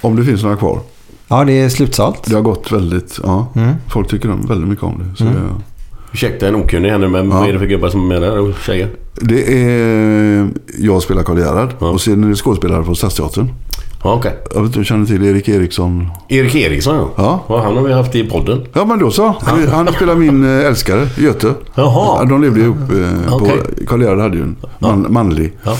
Speaker 6: Om det finns några kvar.
Speaker 2: Ja, det är slutsålt.
Speaker 6: Det har gått väldigt, ja.
Speaker 3: Mm.
Speaker 6: Folk tycker om väldigt mycket om det. Så det-
Speaker 3: Ursäkta en okunnig här nu, men vad är det för gubbar som är med där och tjejer?
Speaker 6: Det är, jag spelar Karl Gerhard och sen är det skådespelare på Stadsteatern.
Speaker 3: Ja, okej.
Speaker 6: Jag vet inte, du känner till Erik Eriksson?
Speaker 3: Erik Eriksson ja.
Speaker 6: Ja.
Speaker 3: Han har vi haft i podden.
Speaker 6: Ja, men då så. Han spelar min eh, älskare, Göte.
Speaker 3: Jaha.
Speaker 6: Ja, De levde ihop. Eh,
Speaker 3: Okej.
Speaker 6: på, Karl Gerhard hade ju en man, manlig.
Speaker 3: Ja.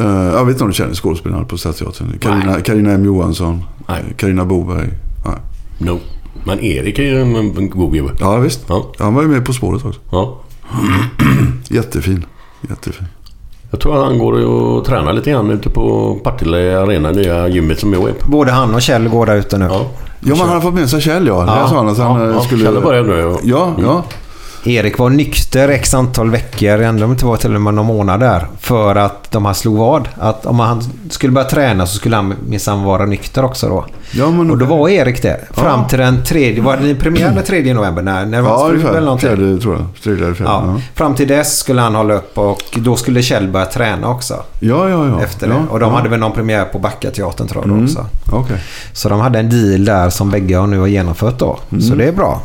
Speaker 6: Eh, jag vet inte om du känner skådespelarna på Stadsteatern. Carina- Carina M Johansson.
Speaker 3: Nej.
Speaker 6: eh, Carina Boberg. Nej.
Speaker 3: No. Men Erik är ju en, en god gubbe.
Speaker 6: Ja, visst.
Speaker 3: Ja. Mm.
Speaker 6: Han var ju med På spåret också.
Speaker 3: Ja.
Speaker 6: Jättefin. Jättefin.
Speaker 3: Jag tror att han går och tränar lite grann ute på Partille Arena, nya gymmet som jag är på.
Speaker 2: Både han och Kjell går där ute nu.
Speaker 3: Ja.
Speaker 6: Ja, men han har fått med sig Kjell, ja. Det sa han att han
Speaker 3: ja,
Speaker 6: eh,
Speaker 3: ja.
Speaker 6: skulle...
Speaker 3: Kjell har börjat Mm. nu, ja.
Speaker 6: Ja, ja.
Speaker 2: Erik var nykter x antal veckor, ändå om det inte var till och med någon månad där. För att de här slog vad. Att om han skulle börja träna så skulle han minsann vara nykter också då.
Speaker 6: Ja, men-
Speaker 2: och då var Erik det. Fram till den tredje... Var det premiär den tredje november? Nej, när det var hans
Speaker 6: Ja,
Speaker 2: fru eller
Speaker 6: ungefär.
Speaker 2: någonting?
Speaker 6: Fjärde, tror jag. Tredje eller fjärde.
Speaker 2: Ja.
Speaker 6: Ja.
Speaker 2: Fram till dess skulle han hålla upp och då skulle Kjell börja träna också.
Speaker 6: Ja, ja, ja.
Speaker 2: Efter
Speaker 6: ja,
Speaker 2: det. Och de
Speaker 6: ja. Mm.
Speaker 2: hade väl någon premiär på Backateatern tror jag då också.
Speaker 6: Okej.
Speaker 2: Så de hade en deal där som bägge har nu har genomfört då.
Speaker 6: Mm.
Speaker 2: Så det är bra.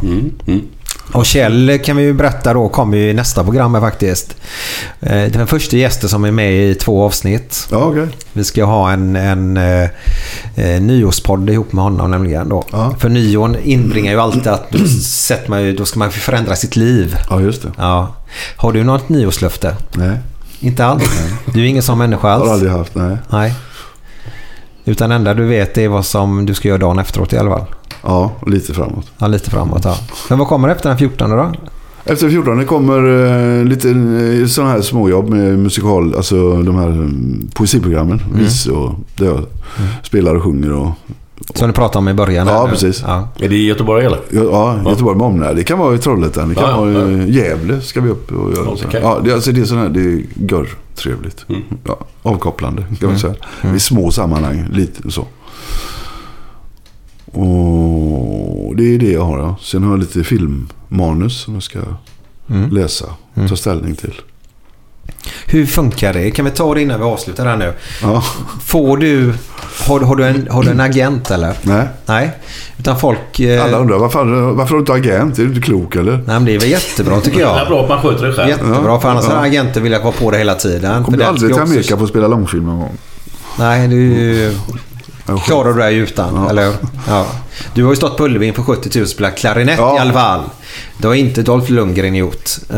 Speaker 2: Och Kjell kan vi ju berätta då kommer ju i nästa program här faktiskt. Eh, Det är den första gästen som är med i två avsnitt.
Speaker 6: Ja, okej.
Speaker 2: Vi ska ha en, en eh, eh, nyårspodd ihop med honom nämligen då.
Speaker 6: Ja.
Speaker 2: För nyåren inbringar ju alltid att då, sätter man ju, då ska man förändra sitt liv.
Speaker 6: Ja, just det.
Speaker 2: Ja. Har du något nyårslöfte?
Speaker 6: Nej.
Speaker 2: Inte alls? Du är ingen sån människa
Speaker 6: Har
Speaker 2: alls?
Speaker 6: aldrig haft, nej.
Speaker 2: Nej. Utan det enda du vet är vad som du ska göra dagen efteråt i alla fall.
Speaker 6: Ja, lite framåt.
Speaker 2: Ja, lite framåt ja. Men vad kommer efter den 14 då?
Speaker 6: Efter 14 kommer eh, lite eh, sådana här småjobb med musikal, alltså de här mm, poesiprogrammen. Vis och där jag
Speaker 2: Mm.
Speaker 6: spelar och sjunger och
Speaker 2: Som du pratade om i början. här
Speaker 6: Ja,
Speaker 2: nu.
Speaker 6: precis.
Speaker 2: Ja.
Speaker 3: Är det i Göteborg eller?
Speaker 6: Ja, ja, Göteborg med omnejd. Det kan vara i Trollhättan. Det kan
Speaker 3: Ja, ja,
Speaker 6: vara i Gävle. Ska vi upp och göra.
Speaker 3: Ja,
Speaker 6: så här.
Speaker 3: okej.
Speaker 6: Ja, det, alltså, det är sån här, det är gör trevligt. Ja, avkopplande kan man säga. I små sammanhang, lite så. Och det är det jag har. Ja. Sen har jag lite filmmanus som jag ska läsa. Ta ställning till.
Speaker 2: Hur funkar det? Kan vi ta det innan vi avslutar här nu?
Speaker 6: Ja,
Speaker 2: Får du... Har, har, du, en, har du en agent eller?
Speaker 6: nej.
Speaker 2: Nej. Utan folk... eh,
Speaker 6: Alla undrar varför, varför har du inte agent? Är du inte klok eller?
Speaker 2: Nej men det är väl jättebra tycker
Speaker 3: Det är
Speaker 2: jag.
Speaker 3: bra att man sköter det själv.
Speaker 2: Jättebra för annars hade agenter velat vara på det hela tiden.
Speaker 6: Kommer du
Speaker 2: För den
Speaker 6: aldrig
Speaker 2: ska
Speaker 6: till
Speaker 2: också-
Speaker 6: Amerika för att spela långfilm någon gång?
Speaker 2: Nej, du klarar du dig utan. Eller, hur? ja. Du har ju stått på Ullevi inför 70 000 och spelat klarinett
Speaker 6: Ja.
Speaker 2: i alla fall. Det har inte Dolph Lundgren gjort. Eh,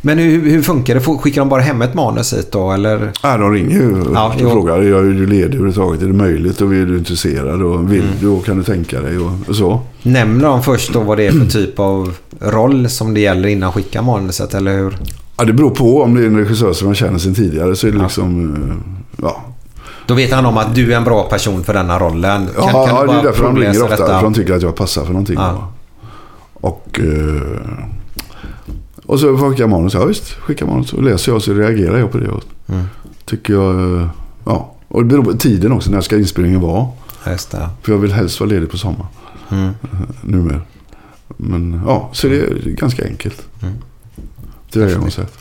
Speaker 2: Men hur, hur funkar det? Får- Skickar de bara hem ett manus hit då? Eller?
Speaker 6: Ja, de ringer ju och
Speaker 2: Ja, jo.
Speaker 6: frågar. Är du ledig överhuvudtaget? Är det möjligt? Och är du intresserad? Och
Speaker 2: Mm.
Speaker 6: vill du? Och kan du tänka dig? Och, och så.
Speaker 2: Nämner de först då vad det är för typ av roll som det gäller innan de skickar manuset? Eller hur?
Speaker 6: Ja, det beror på. Om det är en regissör som jag känner sedan tidigare så är det liksom... eh, Ja,
Speaker 2: Då vet han om att du är en bra person för denna rollen. Kan,
Speaker 6: ja,
Speaker 2: kan du
Speaker 6: ja det
Speaker 2: bara
Speaker 6: är därför de ringer
Speaker 2: provläsa
Speaker 6: ofta. typ-
Speaker 2: detta?
Speaker 6: För de tycker att jag passar för någonting.
Speaker 2: Ja.
Speaker 6: va. Och... Eh, och så skickar jag manus. Ja, visst. Skickar manus. Och läser jag så reagerar jag på det. Och
Speaker 2: Mm.
Speaker 6: Tycker jag... eh, Ja. Och det beror på tiden också. När ska inspelningen vara?
Speaker 2: Ja, Just det.
Speaker 6: För jag vill helst vara ledig på sommaren. Mm. Numera. Men ja, så det är ganska enkelt. Tillvägagångssätt.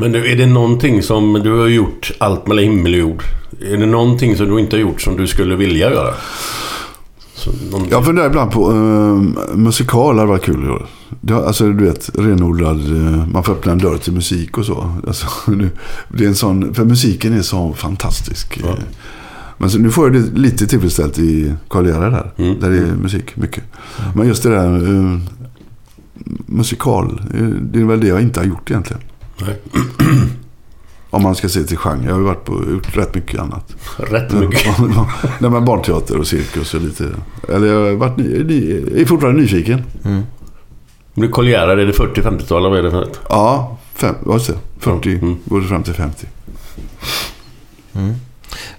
Speaker 3: Men du, är det någonting som du har gjort allt mellan himmel och jord? Är det någonting som du inte har gjort som du skulle vilja göra? Så, någon...
Speaker 6: Jag funderar ibland på eh, musikal hade varit kul att göra. Det har- Alltså du vet, renodlad, eh, man får öppna en dörr till musik och så. Alltså, nu, det är en sån, för musiken är så fantastisk. Eh, Men så, nu får jag det lite tillfredsställt i Karl Gerhard där. Där det är musik mycket. Men just det där eh, musikal, eh, det är väl det jag inte har gjort egentligen.
Speaker 3: Nej.
Speaker 6: Om man ska se till genre. Jag har ju varit på, gjort rätt mycket annat.
Speaker 3: Rätt
Speaker 6: Mm.
Speaker 3: mycket.
Speaker 6: Nej, men barnteater och cirkus och lite... Eller jag har varit ny, ny, är fortfarande nyfiken.
Speaker 3: Om du kollerar, är det 40-50-tal eller vad är det för något?
Speaker 6: Ja, fem, vad säger jag? 40, går det fram till 50.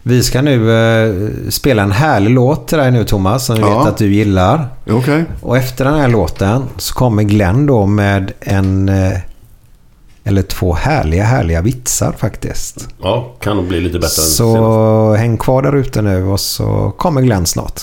Speaker 2: Vi ska nu eh, spela en härlig låt till dig nu Thomas som vi
Speaker 6: Ja.
Speaker 2: vet att du gillar.
Speaker 6: Ja, Okej.
Speaker 2: Och efter den här låten så kommer Glenn då med en... eh, Eller två härliga, härliga vitsar faktiskt.
Speaker 3: Ja, kan nog bli lite bättre än senast.
Speaker 2: Så häng kvar där ute nu och så kommer Glenn snart.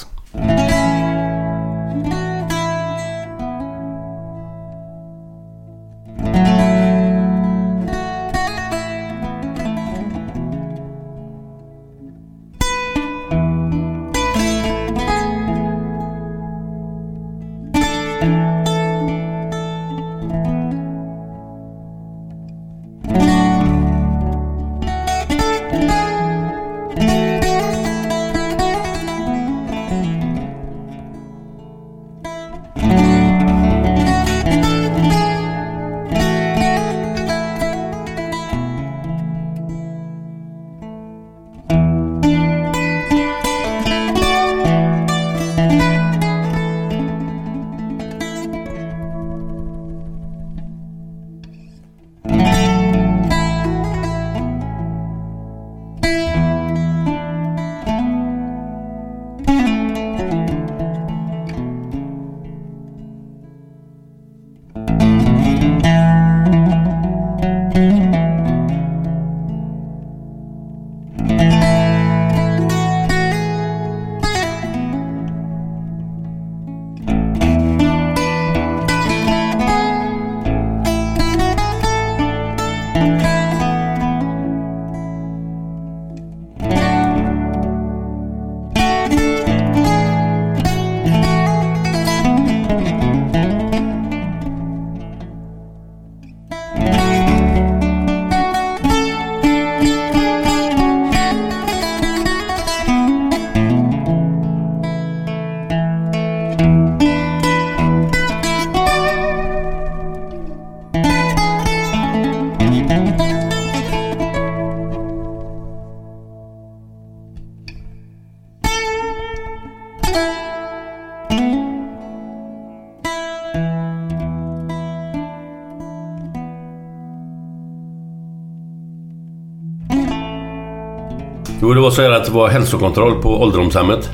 Speaker 3: Jo, det var så här att det var hälsokontroll på ålderdomshemmet.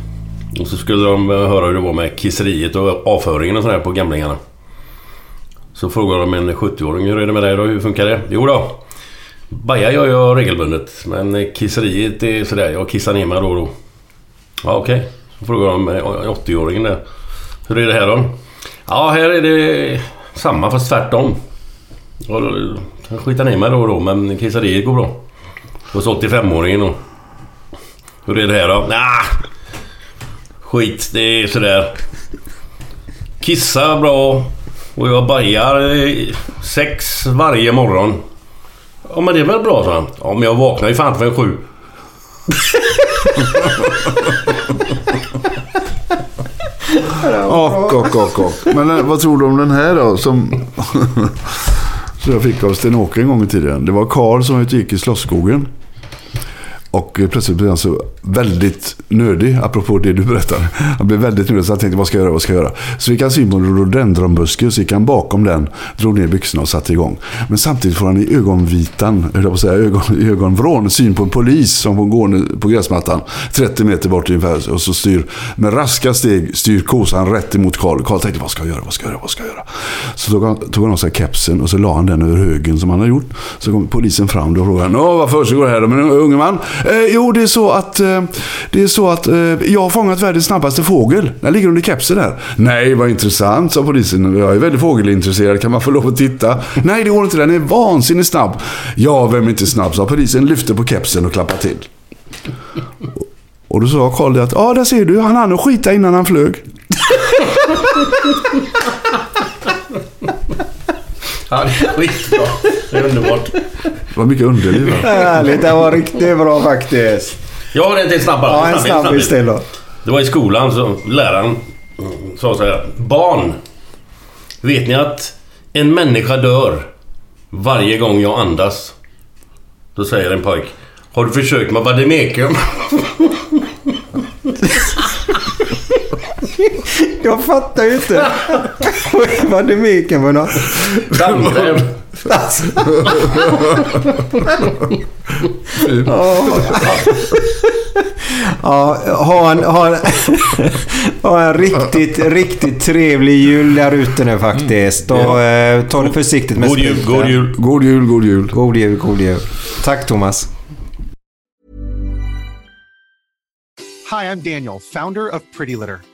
Speaker 3: Och så skulle de eh, höra hur det var med kisseriet och avföringen och sådär på gamlingarna. Så frågade de en 70-åring, hur är det med dig då? Hur funkar det? Jo då. Baja gör jag regelbundet, men eh, kisseriet är sådär, jag kissar ner mig då och då. Ja, okej. Så frågade de eh, 80-åringen där. Hur är det här då? Ja, här är det samma fast tvärtom. Ja, då- Jag skitar ner mig då och då, men kisseriet går bra. Och så 85-åringen då. Hur är det här då? Nah. Skit, det är sådär. Kissa bra och jag bajar eh, sex varje morgon. Ja men det är väl bra, sa han. Ja men jag vaknar ju fan förrän sju.
Speaker 6: Och, och, och, och. Men eh, vad tror du om den här då? Som, som jag fick av Sten-Åke en gång i tiden. Det var Karl som var ute och gick i Slottsskogen. Och eh, plötsligt blev han så väldigt nödig, apropå det du berättade. Han blev väldigt nödig så han tänkte, vad ska jag göra, vad ska jag göra? Så gick han syn på en rhododendronbuske, så gick han bakom den, drog ner byxorna och satte igång. Men samtidigt får han i ögonvitan, höll jag på att säga, ögon, i ögonvrån, syn på en polis som går gående på gräsmattan, 30 meter bort ungefär, och så styr, med raska steg, styr kosan rätt emot Karl. Karl tänkte, vad ska jag göra, vad ska jag göra, vad ska jag göra? Så tog han, tog han av sig kepsen och så la han den över högen som han hade gjort. Så kom polisen fram då och frågade, Nå, vad försiggår här då, min unge man? Eh, jo, det är så att, eh, det är så att eh, jag har fångat världens snabbaste fågel. Den ligger under kepsen här. Nej, vad intressant, sa polisen. Jag är väldigt fågelintresserad, kan man få lov att titta? Nej, det går inte, den är vansinnigt snabb. Ja, vem är inte snabb, sa polisen, lyfte på kepsen och klappade till. Och då sa Karl det att, ja, där ser du, han hann att skita innan han flög.
Speaker 3: Ja, det är skitbra. Det är underbart.
Speaker 6: Det var mycket underliv va?
Speaker 9: Härligt, det var riktigt bra faktiskt.
Speaker 3: Jag har en till snabbare.
Speaker 9: Ja, en snabbis till då.
Speaker 3: Det var i skolan så läraren mm, sa så här. Barn! Vet ni att en människa dör varje gång jag andas? Då säger en pojk. Har du försökt med vademekum?
Speaker 9: Jag fattar ju inte. Vad det miken för något?
Speaker 3: Tandkräm.
Speaker 9: Alltså,
Speaker 6: Fy.
Speaker 9: Ja, ha en, ha en, ha en riktigt, riktigt trevlig jul där ute nu faktiskt. Och eh, ta det försiktigt med
Speaker 3: Mm. God jul,
Speaker 9: spriten.
Speaker 3: god jul.
Speaker 6: God jul, god jul.
Speaker 9: God jul, god jul. Tack Thomas.
Speaker 10: Hi, I'm Daniel, founder of Pretty Litter.